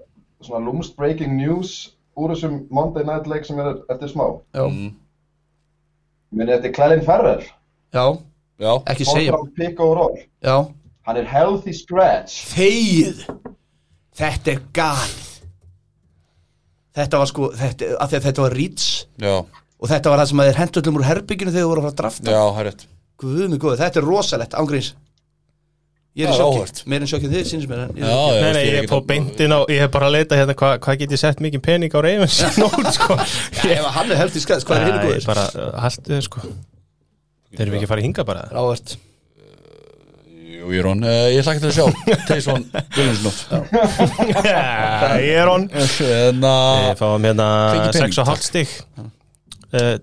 Speaker 3: svona lúmst breaking news úr þessum Monday Night leik sem er eftir smá?
Speaker 2: Já,
Speaker 1: Mm.
Speaker 3: Minni eftir Clelin Ferrer,
Speaker 2: já
Speaker 1: Já,
Speaker 2: ekki segja
Speaker 3: Holgram, Pick og Roll.
Speaker 2: Já,
Speaker 3: Hann er healthy scratch.
Speaker 2: þegið Þetta er galið Þetta var sko þetta, af því að þetta var rýts
Speaker 1: já,
Speaker 2: og þetta var það sem að þeir hendur öllum úr herbygginu þegar þeir voru að fara að drafta
Speaker 1: já, hægt
Speaker 2: Guð mig góð, þetta er rosalegt, ángríns Ég er
Speaker 1: Það
Speaker 2: í
Speaker 1: er
Speaker 2: sjokkið,
Speaker 1: áhugavert.
Speaker 2: meir en sjokkið þið sínst mér en ég
Speaker 1: Já,
Speaker 2: er-
Speaker 1: já,
Speaker 4: Nei,
Speaker 1: veist,
Speaker 4: nei, ég er
Speaker 1: ekki
Speaker 4: på
Speaker 1: að-
Speaker 4: beintin og ég er bara að leita hérna hvað hva get ég sett mikið pening á reyfins nót, sko. Ég-
Speaker 2: Ef að hann er helft í skæðs, hvað er hinn
Speaker 4: Nei,
Speaker 2: góður?
Speaker 4: bara uh, haltu þið sko Þeir eru ekki að fara að hinga bara
Speaker 2: Ráðvert
Speaker 1: Jú, ég er hon, uh, ég hlakka til að sjá Teisson Williamsnótt
Speaker 4: Já, Ég er hon
Speaker 1: En að,
Speaker 4: Ég fáum hérna
Speaker 1: Fengi pening,
Speaker 4: 6,5 stig uh,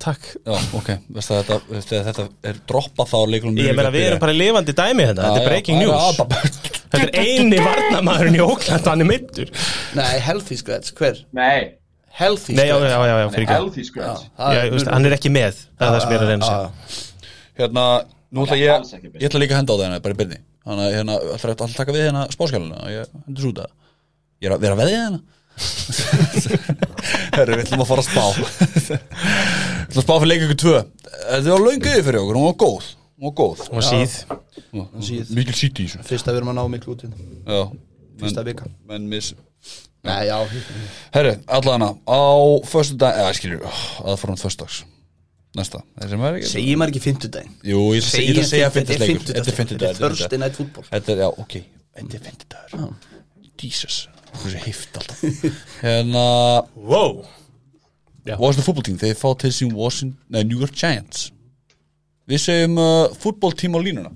Speaker 4: Takk
Speaker 1: já, ok, veist að þetta, veist að þetta er droppað þá leiklum
Speaker 4: Ég meina við erum bara lifandi dæmi hérna. þetta Þetta er breaking news Þetta er eini varnamaðurinn í Ókland Hann er mittur
Speaker 2: Nei, healthy scratch, hver?
Speaker 3: Nei.
Speaker 2: Healthy
Speaker 4: Nei, já,
Speaker 2: scratch
Speaker 4: já, já, já,
Speaker 3: Hann
Speaker 4: fyrir
Speaker 3: er
Speaker 4: ekki
Speaker 3: healthy scratch.
Speaker 4: Já, þú veist, Hann er ekki með Það er það sem ég er að reyna að segja
Speaker 1: Hérna, nú ætla
Speaker 3: Nei,
Speaker 1: ég,
Speaker 3: alls ekki,
Speaker 1: ég ætla líka að henda á það hérna, bara í byrni Þannig að hérna, ætla að taka við hérna spáskjáluna og ég hendur svo út að Ég er að vera að veðja hérna Herru, við ætlum að fara að spá Við ætlum að spá fyrir leikingu 2 Þetta var lönguði fyrir okkur, hún var góð Hún var góð
Speaker 4: Og síð
Speaker 2: síð.
Speaker 1: Mikil síti í þessu
Speaker 2: Fyrst að við erum að ná miklu út í þetta.
Speaker 1: Já,
Speaker 2: Fyrsta vika
Speaker 1: menn miss
Speaker 2: Nei, já,
Speaker 1: Herru, allana á föstu dag, eða skilur aðframt föstudags næsta, þessi maður ekki
Speaker 2: segjum maður ekki fimmtudaginn
Speaker 1: Jú, ég ætla ég ætla að segja
Speaker 2: Þetta er
Speaker 1: fymtudagsleikur Þetta er
Speaker 2: fimmtudagsleikur,
Speaker 1: fymtudagur
Speaker 2: þetta er Thursday night football
Speaker 1: Þetta er, já, ok Þetta er fymtudagur Jesus, þessi heift alltaf Hérna,
Speaker 4: Wow
Speaker 1: Washington football team, þeir fá til sín Washington, nei, New York Giants Við segjum uh, fútboltíma á línuna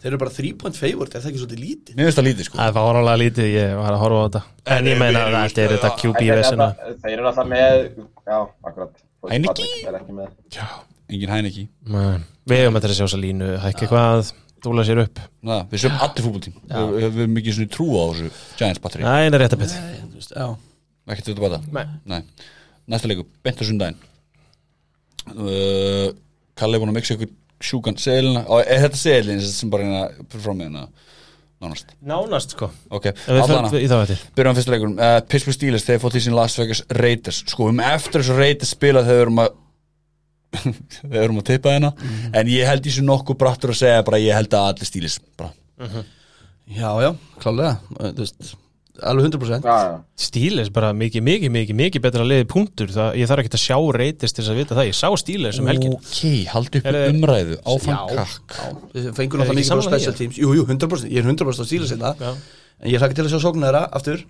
Speaker 5: Þeir eru bara 3 point favorite, er það ekki svolítið lítið?
Speaker 1: Mér finnst það lítið sko
Speaker 4: Það er fárálega lítið, ég var að horfa á þetta En ég meina að þetta er þetta QB
Speaker 3: Þeir eru
Speaker 4: vesina
Speaker 3: alltaf- þeir eru alltaf með, já, akkurat
Speaker 1: Heineken?
Speaker 3: Patrick er ekki með.
Speaker 1: Engin hæn ekki
Speaker 4: Við hefum þetta að sjá þess að línu, hækka eitthvað Dúla sér upp
Speaker 1: Na, Við segjum allir fútboltíma Við við höfum mikið svona trú á þessu Giants batteri
Speaker 4: Næ, það er rétt að beti
Speaker 5: Nei, þú veist, já
Speaker 1: Ekkert við þetta
Speaker 4: Nei.
Speaker 1: bæta Nei Næsta leikur, beint á sundaginn uh, Kalle er búin að mixa ykkur sjúkan seðilina Á, Er þetta seðilin sem bara hérna Frá mig hérna Nánast
Speaker 4: Nánast sko
Speaker 1: Ok,
Speaker 4: En Við
Speaker 1: allan
Speaker 4: fyrir í þá eftir
Speaker 1: Byrjum á fyrsta leikunum uh, Pittsburgh Steelers þegar fótt í sín Las Vegas Raiders Sko, um eftir þessu Raiders spila þegar við erum að þegar við erum að tippa hérna
Speaker 5: Mhm.
Speaker 1: En ég held í þessu nokkuð brattur að segja bara ég held að allir Steelers bara.
Speaker 5: Já, já, klálega, eh, þú veist, alveg 100%
Speaker 3: Já, já.
Speaker 4: Stíles bara mikið, mikið, mikið, mikið betra liði punktur það, Ég þarf ekki að sjá reytist til þess að vita það Ég sá Stíles um helgin
Speaker 1: Ok, haldi upp
Speaker 4: Eru-
Speaker 1: umræðu
Speaker 5: Já,
Speaker 1: Áfram kakk
Speaker 5: já, við fengum
Speaker 4: Er
Speaker 5: náttúrulega mikið
Speaker 4: ekki
Speaker 5: bara
Speaker 4: sammála því,
Speaker 5: special
Speaker 4: eða?
Speaker 5: teams Jú, jú, 100%, ég er 100% á stíla sinna
Speaker 4: Já.
Speaker 5: En ég hlaka til að sjá sóknina þeirra aftur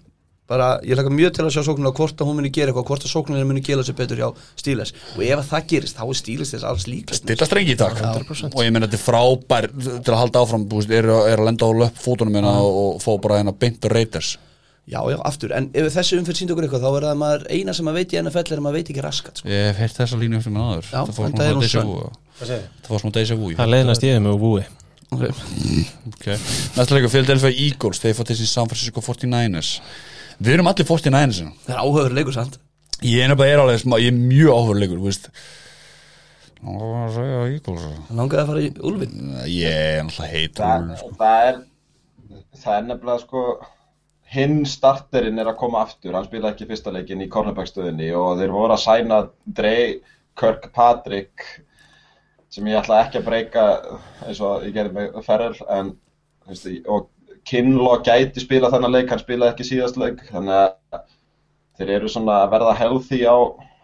Speaker 5: Bara, ég hlaka mjög til að sjá sóknina og hvort að hún muni gera eitthvað Hvort að sóknina muni gera sér betur hjá stíles Og ef að það gerist, þá er stíles þess alls líklegt
Speaker 1: Stilla strengi í dag Og ég meina þetta er frábær til að halda áfram búst, er, er að lenda á löpp fótunum hérna og, og fá bara hérna beint á Raiders
Speaker 5: Já, já, aftur, en ef þessi umferð síndi okkur eitthvað Þá er það maður eina sem maður veit í NFL er að maður veit ekki raskat sko.
Speaker 1: Ég hef heyrt þessa línu eftir minn aður
Speaker 5: Já,
Speaker 1: Það fór
Speaker 5: enda
Speaker 1: svona
Speaker 5: er hún
Speaker 1: deja
Speaker 5: sönn.
Speaker 1: vu Það fór svona deja vu í
Speaker 4: Það leiðnast ég með búi
Speaker 1: Okay. Næsta leikur, Philadelphia Eagles þeir fótt þessi San Francisco 49ers Við erum allir 49ers hérna.
Speaker 5: Það er áhöfður leikur, sant?
Speaker 1: Ég er nefnilega er alveg smá, ég er mjög áhugur leikur þú veist. Ná, hvað var að segja að Eagles eh?
Speaker 5: Hann langaði að fara í Úlfin
Speaker 1: Ég er náttúrulega heitur
Speaker 3: Það,
Speaker 1: úlfur, sko.
Speaker 3: það er það er nefnilega sko hinn starterinn er að koma aftur hann spilaði ekki fyrsta leikinn í cornerback stöðinni og þeir voru að sæna Drey Kirkpatrick sem ég ætla ekki að breyka eins og ég gerði með ferrel en þú veist, og Kinlo gæti spila þannig leik, hann spilaði ekki síðast leik þannig að þeir eru svona að verða healthy á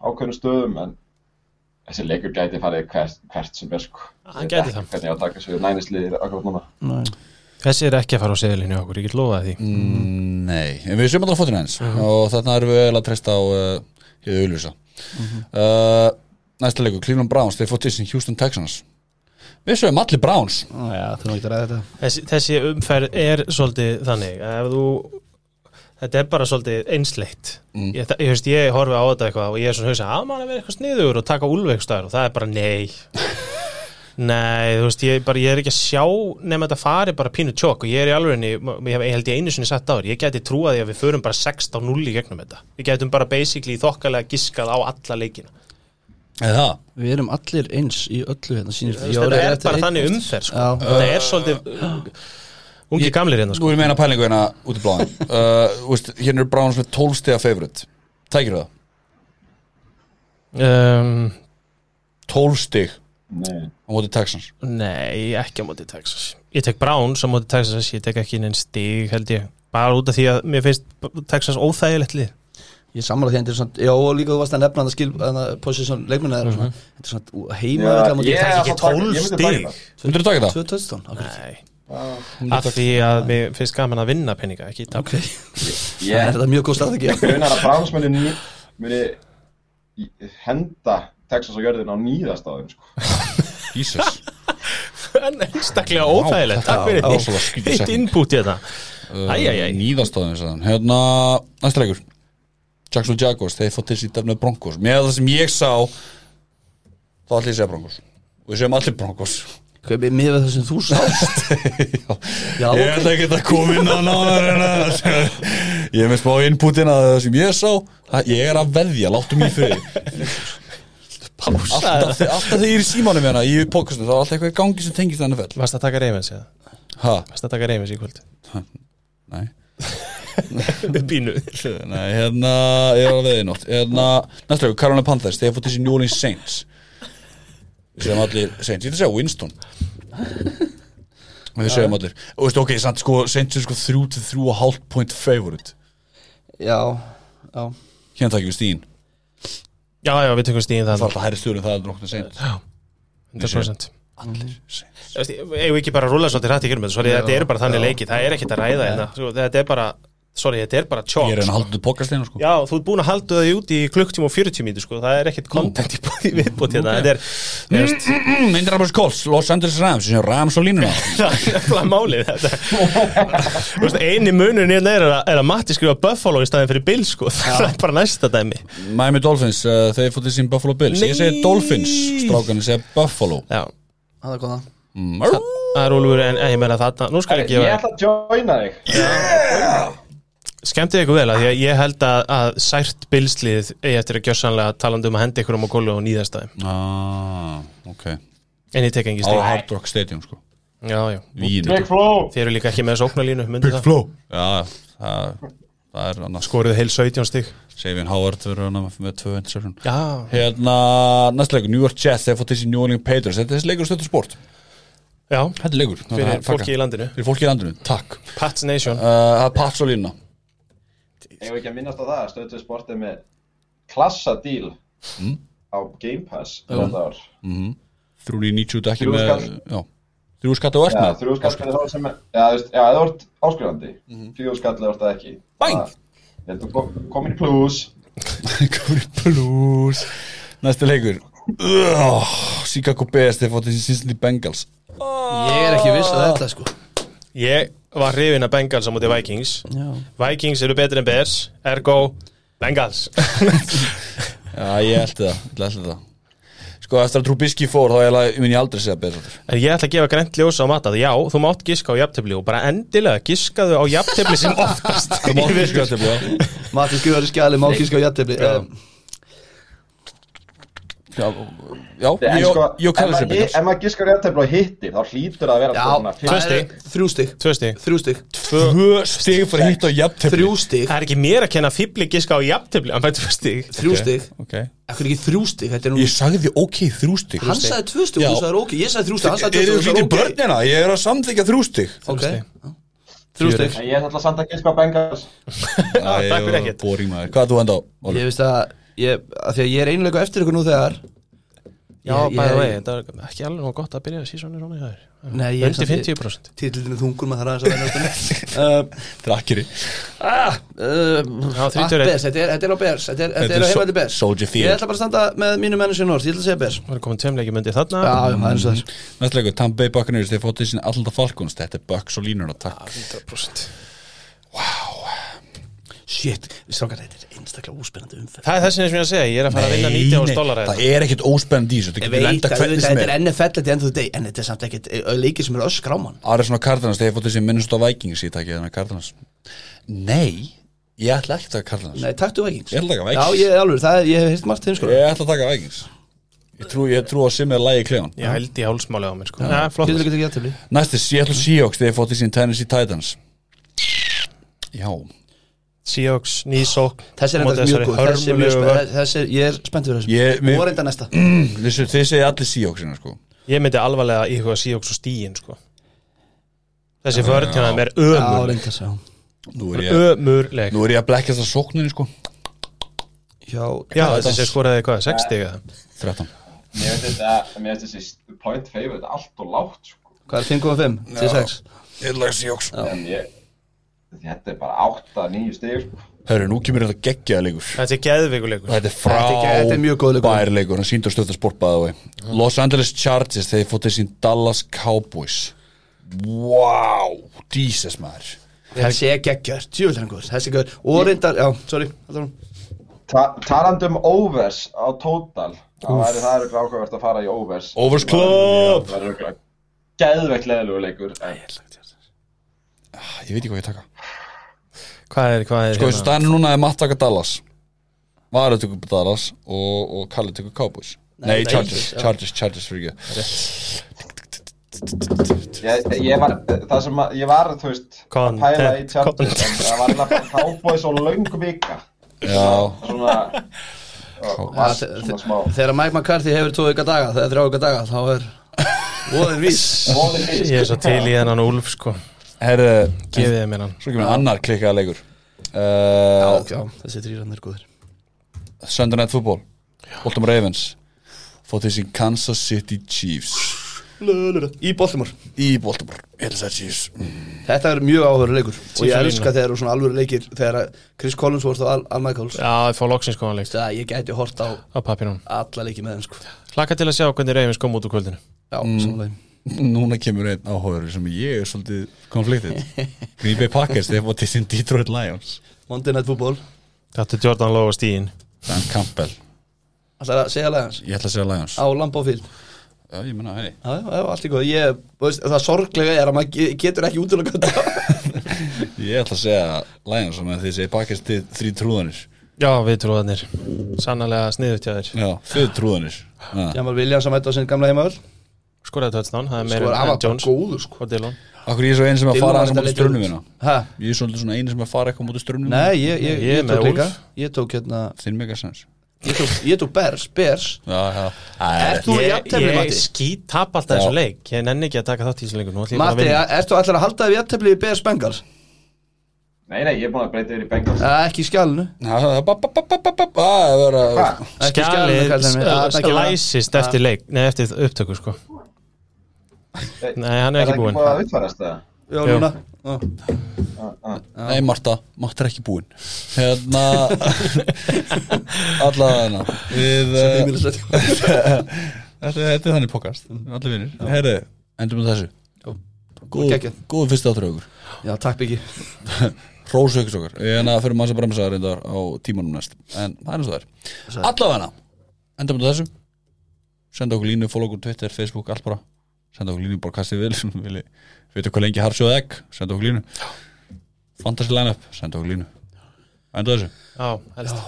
Speaker 3: ákveðnum stöðum en þessi leikur gæti farið hvert, hvert sem er sko
Speaker 4: Hann
Speaker 3: Ég veit
Speaker 4: gæti
Speaker 3: ekki
Speaker 4: það.
Speaker 3: hvernig ég á að taka þessu nænisliðið akkurat núna
Speaker 4: Þessi er ekki að fara á seðilinu okkur, ég get lofað því
Speaker 1: Mm, Nei, en við séum alltaf fótinn hans og þarna erum við eiginlega að treysta á uh, hefðu auðlýsa uh, Næsta leikur, Cleveland Browns þeir fótt þessi Houston Texans Við séum allir Browns
Speaker 5: Já, þú erum ekki að ræða þetta
Speaker 4: þessi, þessi umferð er svolítið þannig að ef þú þetta er bara svolítið einsleitt ég, það- ég, veist, ég horfi á þetta eitthvað og ég er svona að hugsa að maður er eitthvað sniður og taka úlveikstæður og það er bara nei nei, þú veist, ég, bara, ég er ekki að sjá nema þetta fari bara pínu tjók og ég er í alvegni, ég, hef- ég held ég einu sinni satt ári ég gæti trúað því að við förum bara 16-0 í gegnum þetta við gætum bara basically þokkalega giskað á alla leikina
Speaker 1: Eða það?
Speaker 5: Við erum allir eins í öllu hérna sýnir
Speaker 4: Þú veist, þetta er bara þannig umferð sko.
Speaker 5: Já.
Speaker 4: þetta er svolítið ungi gamlir hérna sko.
Speaker 1: Nú erum við eina pælingu hérna út í bláðin uh, þú veist, Hérna er Browns með 12 stiga favorite Tækir það?
Speaker 4: um,
Speaker 1: 12 stig
Speaker 3: Nei.
Speaker 1: á móti Texans
Speaker 4: Nei, ekki á móti Texas Ég tek Browns á móti Texas, ég tek ekki neinn stig held ég Bara út af því að mér finnst Texas óþægilegt lið
Speaker 5: Ég sammála því, en þetta er svona, já og líka þú varst að nefna hann að skil, hann að position leikmennu þeirra
Speaker 2: Mhm.
Speaker 5: svona, þetta er svona heima
Speaker 3: Já,
Speaker 5: yeah, mútið,
Speaker 3: ég-
Speaker 5: yeah.
Speaker 4: Ekki
Speaker 3: það taka- ég
Speaker 4: 12
Speaker 3: myndi
Speaker 4: stig
Speaker 3: taka það.
Speaker 1: Þú myndir að taka það?
Speaker 5: tvö töðstón, akkur
Speaker 4: Nei,
Speaker 1: Myndirðu
Speaker 4: af
Speaker 1: taka-
Speaker 4: því að mér finnst gaman að vinna peninga ekki tap
Speaker 5: Ok, yeah. er
Speaker 3: Ég
Speaker 5: þetta mjög góð strategi
Speaker 3: grunar að Browns muni, ný- muni henda Texas og jörðin á nýðast á þeim sko.
Speaker 1: Jesus
Speaker 4: En einstaklega óþægilegt Takk fyrir
Speaker 1: á,
Speaker 4: því.
Speaker 1: rosalega skrítið
Speaker 4: þitt
Speaker 1: setning. Uh,
Speaker 4: input í þetta Æ, æ, æ.
Speaker 1: Nýðastáðum þess að Hérna, næsta leikur Jackson Jaguars, þeir fótt þessi dæfnið Broncos Með það sem ég sá Þá allir ég að segja Broncos Og við segjum allir Broncos
Speaker 5: Hvað er með það sem þú sást? já,
Speaker 1: Ég
Speaker 5: ok,
Speaker 1: ætla ekki að koma inn á nánar en að- Ég er með smá inputin að það sem ég sá að Ég er að veðja, láttu mér fyrir
Speaker 4: Pása
Speaker 1: Alltaf þe- alltaf þegar ég er í símanum hérna Í podcastum, þá er alltaf eitthvað í gangi sem tengist þannig fell
Speaker 4: Varst að taka Ravens eða?
Speaker 1: Ha,
Speaker 4: Varst að taka Ravens í kvöld?
Speaker 1: nei
Speaker 4: Bínu
Speaker 1: Nei, hérna, ég var að veðja í nótt Hérna, næsta leikur, Karolina Panthers Þeir fótt þessi New Orleans Saints Við segjum allir Saints, ég ætla að segja Winston Við segjum allir Og veistu, ok, samt sko, Saints er sko 3-3,5 point favorite
Speaker 5: já, já
Speaker 1: Hérna takkjum við stíðin
Speaker 4: Já, já, við tökum stíðin
Speaker 1: Það
Speaker 4: það
Speaker 1: var alltaf hærri stjórnum það er nokkna Saints Mhm.
Speaker 4: 100%
Speaker 1: Allir Saints
Speaker 4: Þú veist, eigum við ekki bara að rúla svolítið rætt í kyrmið svo þetta er bara þannig leiki, það er ekkert að ræða hérna. Sko, þetta er bara sorry, þetta er bara tjók
Speaker 1: Ég er enn að halda pokasteinu sko
Speaker 4: Já, þú ert búin að halda það út í klukktíma og 40 mínu sko, það er ekkert content í bóði viðbúti þetta, þetta er, þú veist,
Speaker 1: Myndir Ramos Kols, Mm, Los Angeles Rams sem Rams á línuna
Speaker 4: það er nefnilega málið þetta. Þú veist, eini munurinn hérna er, að- er að Matti skrifa Buffalo í staðin fyrir Bill sko, það er bara næsta dæmi.
Speaker 1: Miami Dolphins, uh, þeir fóttu sín Buffalo Bills Ég segi
Speaker 4: Nei.
Speaker 1: Dolphins, strákan, ég segi Buffalo
Speaker 4: Já,
Speaker 2: Það er góða
Speaker 1: mm. arr.
Speaker 4: það er úlfur en, en ég meina þarna, nú skal ég
Speaker 3: Ég
Speaker 4: gefa,
Speaker 3: ætla að joina þig
Speaker 4: skemmtið ykkur vel að ég, ég held að, að sært Billslið eigi eftir að gjörsanlega talandi um að henda ykkur um á gólu og nýðast aðeim,
Speaker 1: ah, Ok,
Speaker 4: en ég tek engi
Speaker 1: á
Speaker 4: stíð.
Speaker 1: Hard Rock Stadium sko
Speaker 4: Já, já,
Speaker 1: Vínu
Speaker 3: Big Flow
Speaker 4: þið eru líka ekki með sóknarlínu, myndi það,
Speaker 1: Flow Já, það, það er annars
Speaker 4: skoruðu heil 17 stík.
Speaker 1: Savin Howard verður hann með tvö interception
Speaker 4: Já,
Speaker 1: Hérna, næsta leikur, New York Jets þegar fóttu sín New Orleans Patriots Þetta er þessi leikur stöttu sport
Speaker 4: já,
Speaker 1: Þetta er leikur
Speaker 4: fyrir
Speaker 1: Takk.
Speaker 4: fólki í landinu.
Speaker 1: Fyrir fólki í landinu, takk Uh,
Speaker 4: Pats Nation.
Speaker 1: Það er Pats á línuna
Speaker 3: Ég ekki að minnast á það, stöðtu sportið með klassa díl á Game Pass þetta ár.
Speaker 1: 390 dekkir
Speaker 3: Þrjú
Speaker 1: með
Speaker 3: skall.
Speaker 1: já. Þrjú skatt og ert
Speaker 3: Já,
Speaker 1: með
Speaker 3: þrjú skall fyrir þá sem er, já, þú veist, já, það vart áskrifandi, fjögur skall það vart það ekki.
Speaker 1: Bang!
Speaker 3: Þannig að Ég held að kom- komin í plus,
Speaker 1: Góri plus Næsta leikur Ugh, Chicago Bears þeir fóttu sín Cincinnati Bengals
Speaker 2: Ég er ekki viss að þetta sko
Speaker 4: Ég var hrifin að Bengals á móti Vikings Vikings eru betri en Bears Ergo Bengals
Speaker 1: Já, ég held það, ég held það. Sko, eftir að Trubisky fór þá eiginlega- mun ég aldrei segja Bears aftur.
Speaker 4: En ég ætla að gefa grænt ljósa á matað Já, þú mátt giska á jafntefli og bara endilega giskaðu á jafntefli sem oftast
Speaker 1: Það má ekki skjóta upp, já
Speaker 2: Matti skrifar í skjali, má kíska á jættefli
Speaker 1: Já, já,
Speaker 3: en
Speaker 1: ég
Speaker 3: sko,
Speaker 1: ég og
Speaker 3: ef
Speaker 1: Kallis er
Speaker 3: maður gi-
Speaker 1: Bengals
Speaker 3: ef maður giskar réttefla og hittir, þá hlýtur það að vera
Speaker 2: Já,
Speaker 3: svona
Speaker 2: það
Speaker 3: fyrst.
Speaker 2: er
Speaker 4: stig.
Speaker 2: þrjú stig
Speaker 4: Tvö stig
Speaker 2: Þrjú stig
Speaker 1: Tvö stig fyrir hitt og jafntefni
Speaker 2: Þrjú stig
Speaker 4: Það er ekki mér að kenna fíbli giska á jafntefli Hann fæði tvö stig
Speaker 2: Þrjú stig
Speaker 1: Ok
Speaker 2: Ekkur ekki þrjú stig, þetta er nú
Speaker 1: Ég sagði ok, þrjú stig
Speaker 2: Hann sagði tvö stig
Speaker 1: Já.
Speaker 2: og þú sagði ok Ég sagði þrjú stig, hann sagði
Speaker 1: Eru
Speaker 2: tvö
Speaker 1: þú
Speaker 2: stig og
Speaker 1: hlítið
Speaker 2: þú sagði
Speaker 1: börnina? Ég er að samþykja þrjú stig
Speaker 2: ok Ok Þrjú stig
Speaker 3: En ég ætla samt að giska á Bengals.
Speaker 1: Æ, ég
Speaker 4: takk fyrir
Speaker 1: var
Speaker 4: ekkert.
Speaker 1: boring maður. Hvað þú enda á? Óli?
Speaker 2: Ég veist að ég, að því að ég er einlega eftir ykkur nú þegar
Speaker 4: Já,
Speaker 2: Ég-
Speaker 4: bæði
Speaker 2: ég-
Speaker 4: vei, þetta er ekki alveg nóg gott að byrja sísoni svona í þær
Speaker 2: Nei, ég
Speaker 4: Undir 50%
Speaker 2: Títillin er þungur maður þarf aðeins að
Speaker 1: uh, Drakkiri
Speaker 2: vera
Speaker 4: Já, 31.
Speaker 2: náttúrulega Bers, uh, þetta er þetta er á Bers Þetta er- þetta er á
Speaker 1: so-
Speaker 2: heimvæli Bers
Speaker 1: Soldier Field.
Speaker 2: Ég ætla bara að standa með mínu mennisinn orð Ég ætla að segja Mm. Bers Já,
Speaker 4: Það er komin tveimleikjum undir þarna
Speaker 2: já, það er eins og þess
Speaker 1: Næsta leikur, Tampa Bay Buccaneers Þeir fótið sín alltaf Falcons Þetta er Bucks og línuna, takk
Speaker 4: 100%.
Speaker 2: Shit, strákar, þetta er einstaklega úspennandi umferð
Speaker 4: Það er þessin sem ég er að segja, ég er að fara að vinna hérna.
Speaker 1: Nei,
Speaker 4: 90
Speaker 1: nei,
Speaker 4: dólar
Speaker 1: Það er ekkit óspennandi í þessu Þetta
Speaker 2: Ég
Speaker 1: getur
Speaker 2: veit
Speaker 1: enda
Speaker 2: að
Speaker 1: hvernig
Speaker 2: þetta
Speaker 1: sem
Speaker 2: er
Speaker 1: er
Speaker 2: NFL þetta er ennþá deg En þetta er samt ekkit leikið sem er öskra á mann
Speaker 1: Aðra svona Cardinals Þeir fótið sín minnust á Vikings Í takkið þannig Cardinals Nei, ég ætla ekki að taka Cardinals
Speaker 2: Nei, taktu
Speaker 1: Ég
Speaker 2: Vikings
Speaker 1: ætla að taka
Speaker 2: Já,
Speaker 1: Vikings.
Speaker 2: ég, alveg, það er, ég hef hirt margt þeim sko
Speaker 1: Ég ætla að taka Vikings Ég trú, ég trú að sem er lægi klefan
Speaker 4: Ég held í hálsmáli á mér sko Já, flott
Speaker 2: Getur ekki ekki aðtöfli
Speaker 1: Næsti, Seattle Seahawks Þeir fótið sín Tennessee Titans Já,
Speaker 4: Seahawks, nýsók
Speaker 2: Þessi er enda mjög góð Þessi er mjög spennt Þessi er, ég er spennt fyrir
Speaker 1: Ég-
Speaker 2: þessu
Speaker 1: mér-
Speaker 2: Og reynda næsta
Speaker 1: Þessu, þeir segja allir Seahawksina sko
Speaker 4: Ég myndi alvarlega íhuga Seahawks og stíin sko. Þessi vörð hjá þeim er ömurleg
Speaker 2: reynda sá
Speaker 1: Nú er ég,
Speaker 4: Ömurleg
Speaker 1: nú er ég að blekkjast að sókninni sko
Speaker 2: Já,
Speaker 4: Já, þessi sem skoraði hvað, 60 eða
Speaker 1: 13
Speaker 3: Mér finnst þetta, mér finnst þessi point favorite allt og lágt, sko.
Speaker 2: hvað er 5.5? 6
Speaker 1: Ég ætla að Seahawks
Speaker 3: En ég, þetta er bara 8-9 stig, sko.
Speaker 1: Hörru, nú kemur þetta geggjaða leikur
Speaker 4: Þetta er geðveikuleikur
Speaker 1: Þetta er
Speaker 2: þetta er mjög góð leikur.
Speaker 1: frábær leikur Hann síndur stöðta sportbæða mm. Los Angeles Chargers, þeir fótið sín Dallas Cowboys Wow, Jesus maður
Speaker 2: Þessi er geggjör, tjúðlengur Þessi er góð Og reynda, já, sorry haldur áfram.
Speaker 3: Ta talandi um overs á total þá væri það eru ákveðvert að fara í overs
Speaker 1: Overs Club.
Speaker 3: Það eru örugglega geðveikt leðilegu leikur en
Speaker 1: Ég veit ekki hvað ég taka
Speaker 4: Hvað er, hvað er hérna?
Speaker 1: Sko, þessu stæðan núna er Matt taka Dallas Varur tökur Dallas og, og Kalli tökur Cowboys Nei, Chargers,
Speaker 2: já.
Speaker 1: Chargers, Chargers fyrir ekki
Speaker 3: ég, ég var, það sem að, ég var þú veist
Speaker 4: Content,
Speaker 3: að pæla í tjaldið
Speaker 4: content.
Speaker 3: það var eiginlega bara Cowboys og löng vika
Speaker 1: Já,
Speaker 3: svona og var
Speaker 2: Já, þe-
Speaker 3: svona
Speaker 2: þe-
Speaker 3: smá
Speaker 2: Þegar Mike McCarthy hefur tvo ykkar daga Þegar þrjá ykkar daga, þá er Óðin vís
Speaker 3: Voðin vís.
Speaker 4: Ég er svo til í hennan Úlf sko
Speaker 1: herru
Speaker 4: Gefið hérna. þið mér hann
Speaker 1: Svo kemur annar klikkaða leikur uh,
Speaker 2: Já, þessi þrýrann er góður
Speaker 1: Sunday Night Football Baltimore Ravens fótt þessi Kansas City Chiefs
Speaker 7: Í Baltimore
Speaker 1: í Baltimore Ég held að þetta séu s-
Speaker 2: Þetta er mjög áhverju leikur og ég
Speaker 4: Tífalínu.
Speaker 2: elska þegar eru svona alvöru leikir þegar að Chris Collins voru þá Al, Al Michaels
Speaker 4: Já, ég fá loksins koma leikt
Speaker 2: það ég gæti hort á
Speaker 4: á pappinum
Speaker 2: alla leiki með þeim sko
Speaker 4: Laka til að sjá hvernig reyfins kom út úr kvöldinu
Speaker 2: Já, mm.
Speaker 1: Núna kemur einn áhóður sem ég er svolítið konfliktið Green Bay Packers, þeir fótt til sín Detroit Lions
Speaker 2: Monday Night Football
Speaker 4: Þetta er Jordan Lowe og Stíin
Speaker 1: Dan Campbell,
Speaker 2: Það er að segja lagans
Speaker 1: ég ætla að segja Lions
Speaker 2: á Lambófíl
Speaker 1: Já, ég menna, hei
Speaker 2: Já, já, já, allt í góð ég, þú veist, Það sorglega er að maður ge- getur ekki útlöka þetta
Speaker 1: Ég ætla að segja Lions sem að þið segja Packers til þrý trúðanir
Speaker 4: Já, við trúðanir Sannlega sniðut hjá þér
Speaker 1: Já, þau trúðanir Já.
Speaker 2: Jamal Williams að mæta á sinn gamla heimavöld
Speaker 4: Skoraði tötstán, það er
Speaker 2: Sko,
Speaker 4: meira
Speaker 2: hann
Speaker 4: en
Speaker 2: var bara
Speaker 4: Jones
Speaker 2: góður sko
Speaker 4: og Dillon
Speaker 1: Akkur ég er svo einn sem að
Speaker 2: Dillon
Speaker 1: fara
Speaker 2: var
Speaker 1: aðeins á móti
Speaker 2: þetta leitur
Speaker 1: strönnum
Speaker 2: út.
Speaker 1: hérna
Speaker 2: Ha?
Speaker 1: Ég er svolítið svona einn sem að fara eitthvað móti strönnum
Speaker 2: Nei, ég, ég,
Speaker 4: Ég
Speaker 2: ég,
Speaker 4: er með
Speaker 2: tók
Speaker 4: Wolf.
Speaker 2: líka Ég tók hérna
Speaker 1: Þinn mega sens
Speaker 2: Ég tók, ég tók Bears, Bears
Speaker 1: Já, já
Speaker 2: Ert þú í jafntefli,
Speaker 4: Ég
Speaker 2: Matti?
Speaker 4: skýt tap alltaf þessu leik Ég nenni ekki að taka þátt í þessu leikur Nú ætlum ég bara að
Speaker 2: Matti,
Speaker 4: vinna
Speaker 2: ert þú allar að halda þig í jafntefli í Bears Bengals?
Speaker 3: Nei, nei, ég er búin að breyta yfir í Bengals
Speaker 2: Eh, Ekki í skjálnu
Speaker 1: Hvað?
Speaker 2: Ekki í skjálnu,
Speaker 4: Skjalið
Speaker 2: kallar mér Það er
Speaker 4: s-
Speaker 2: ekki að-
Speaker 4: læsist eftir leik Nei, eftir upptöku sko Nei, hann er
Speaker 3: það
Speaker 4: ekki
Speaker 3: ekki
Speaker 4: búinn
Speaker 3: búin að utfærast það? Ah,
Speaker 2: Já,
Speaker 4: Já.
Speaker 2: núna Já.
Speaker 1: Nei, Marta, Marta er ekki búin Hérna Alla þarna Við eh,
Speaker 2: Heimilislegt.
Speaker 1: Þetta þetta er þannig pokast, allir vinnir Herðu, Mm. endum við þessu Góð,
Speaker 2: Geggjað.
Speaker 1: góð fyrsti áttur aukur
Speaker 2: Já, takk byggi
Speaker 1: Rósaukis okkar, en að fyrir maður að bremsa reyndar á tímanum næst En það er eins og það er Allavega, endum við þessu Senda okkur línu, follow okkur Twitter, Facebook, allt bara Senda okkur línu, bara kastið vil sem vilji Veitu hvað lengi harsjóð egg, senda okkur línu Fantasy lineup, senda okkur línu Enda þessu
Speaker 4: Já, helst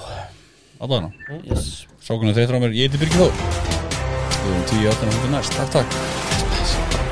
Speaker 1: Allavega yes. Sákunum þreytur á mér, ég heiti Birgir Þór Við erum tíu áttan að hundi næst, takk takk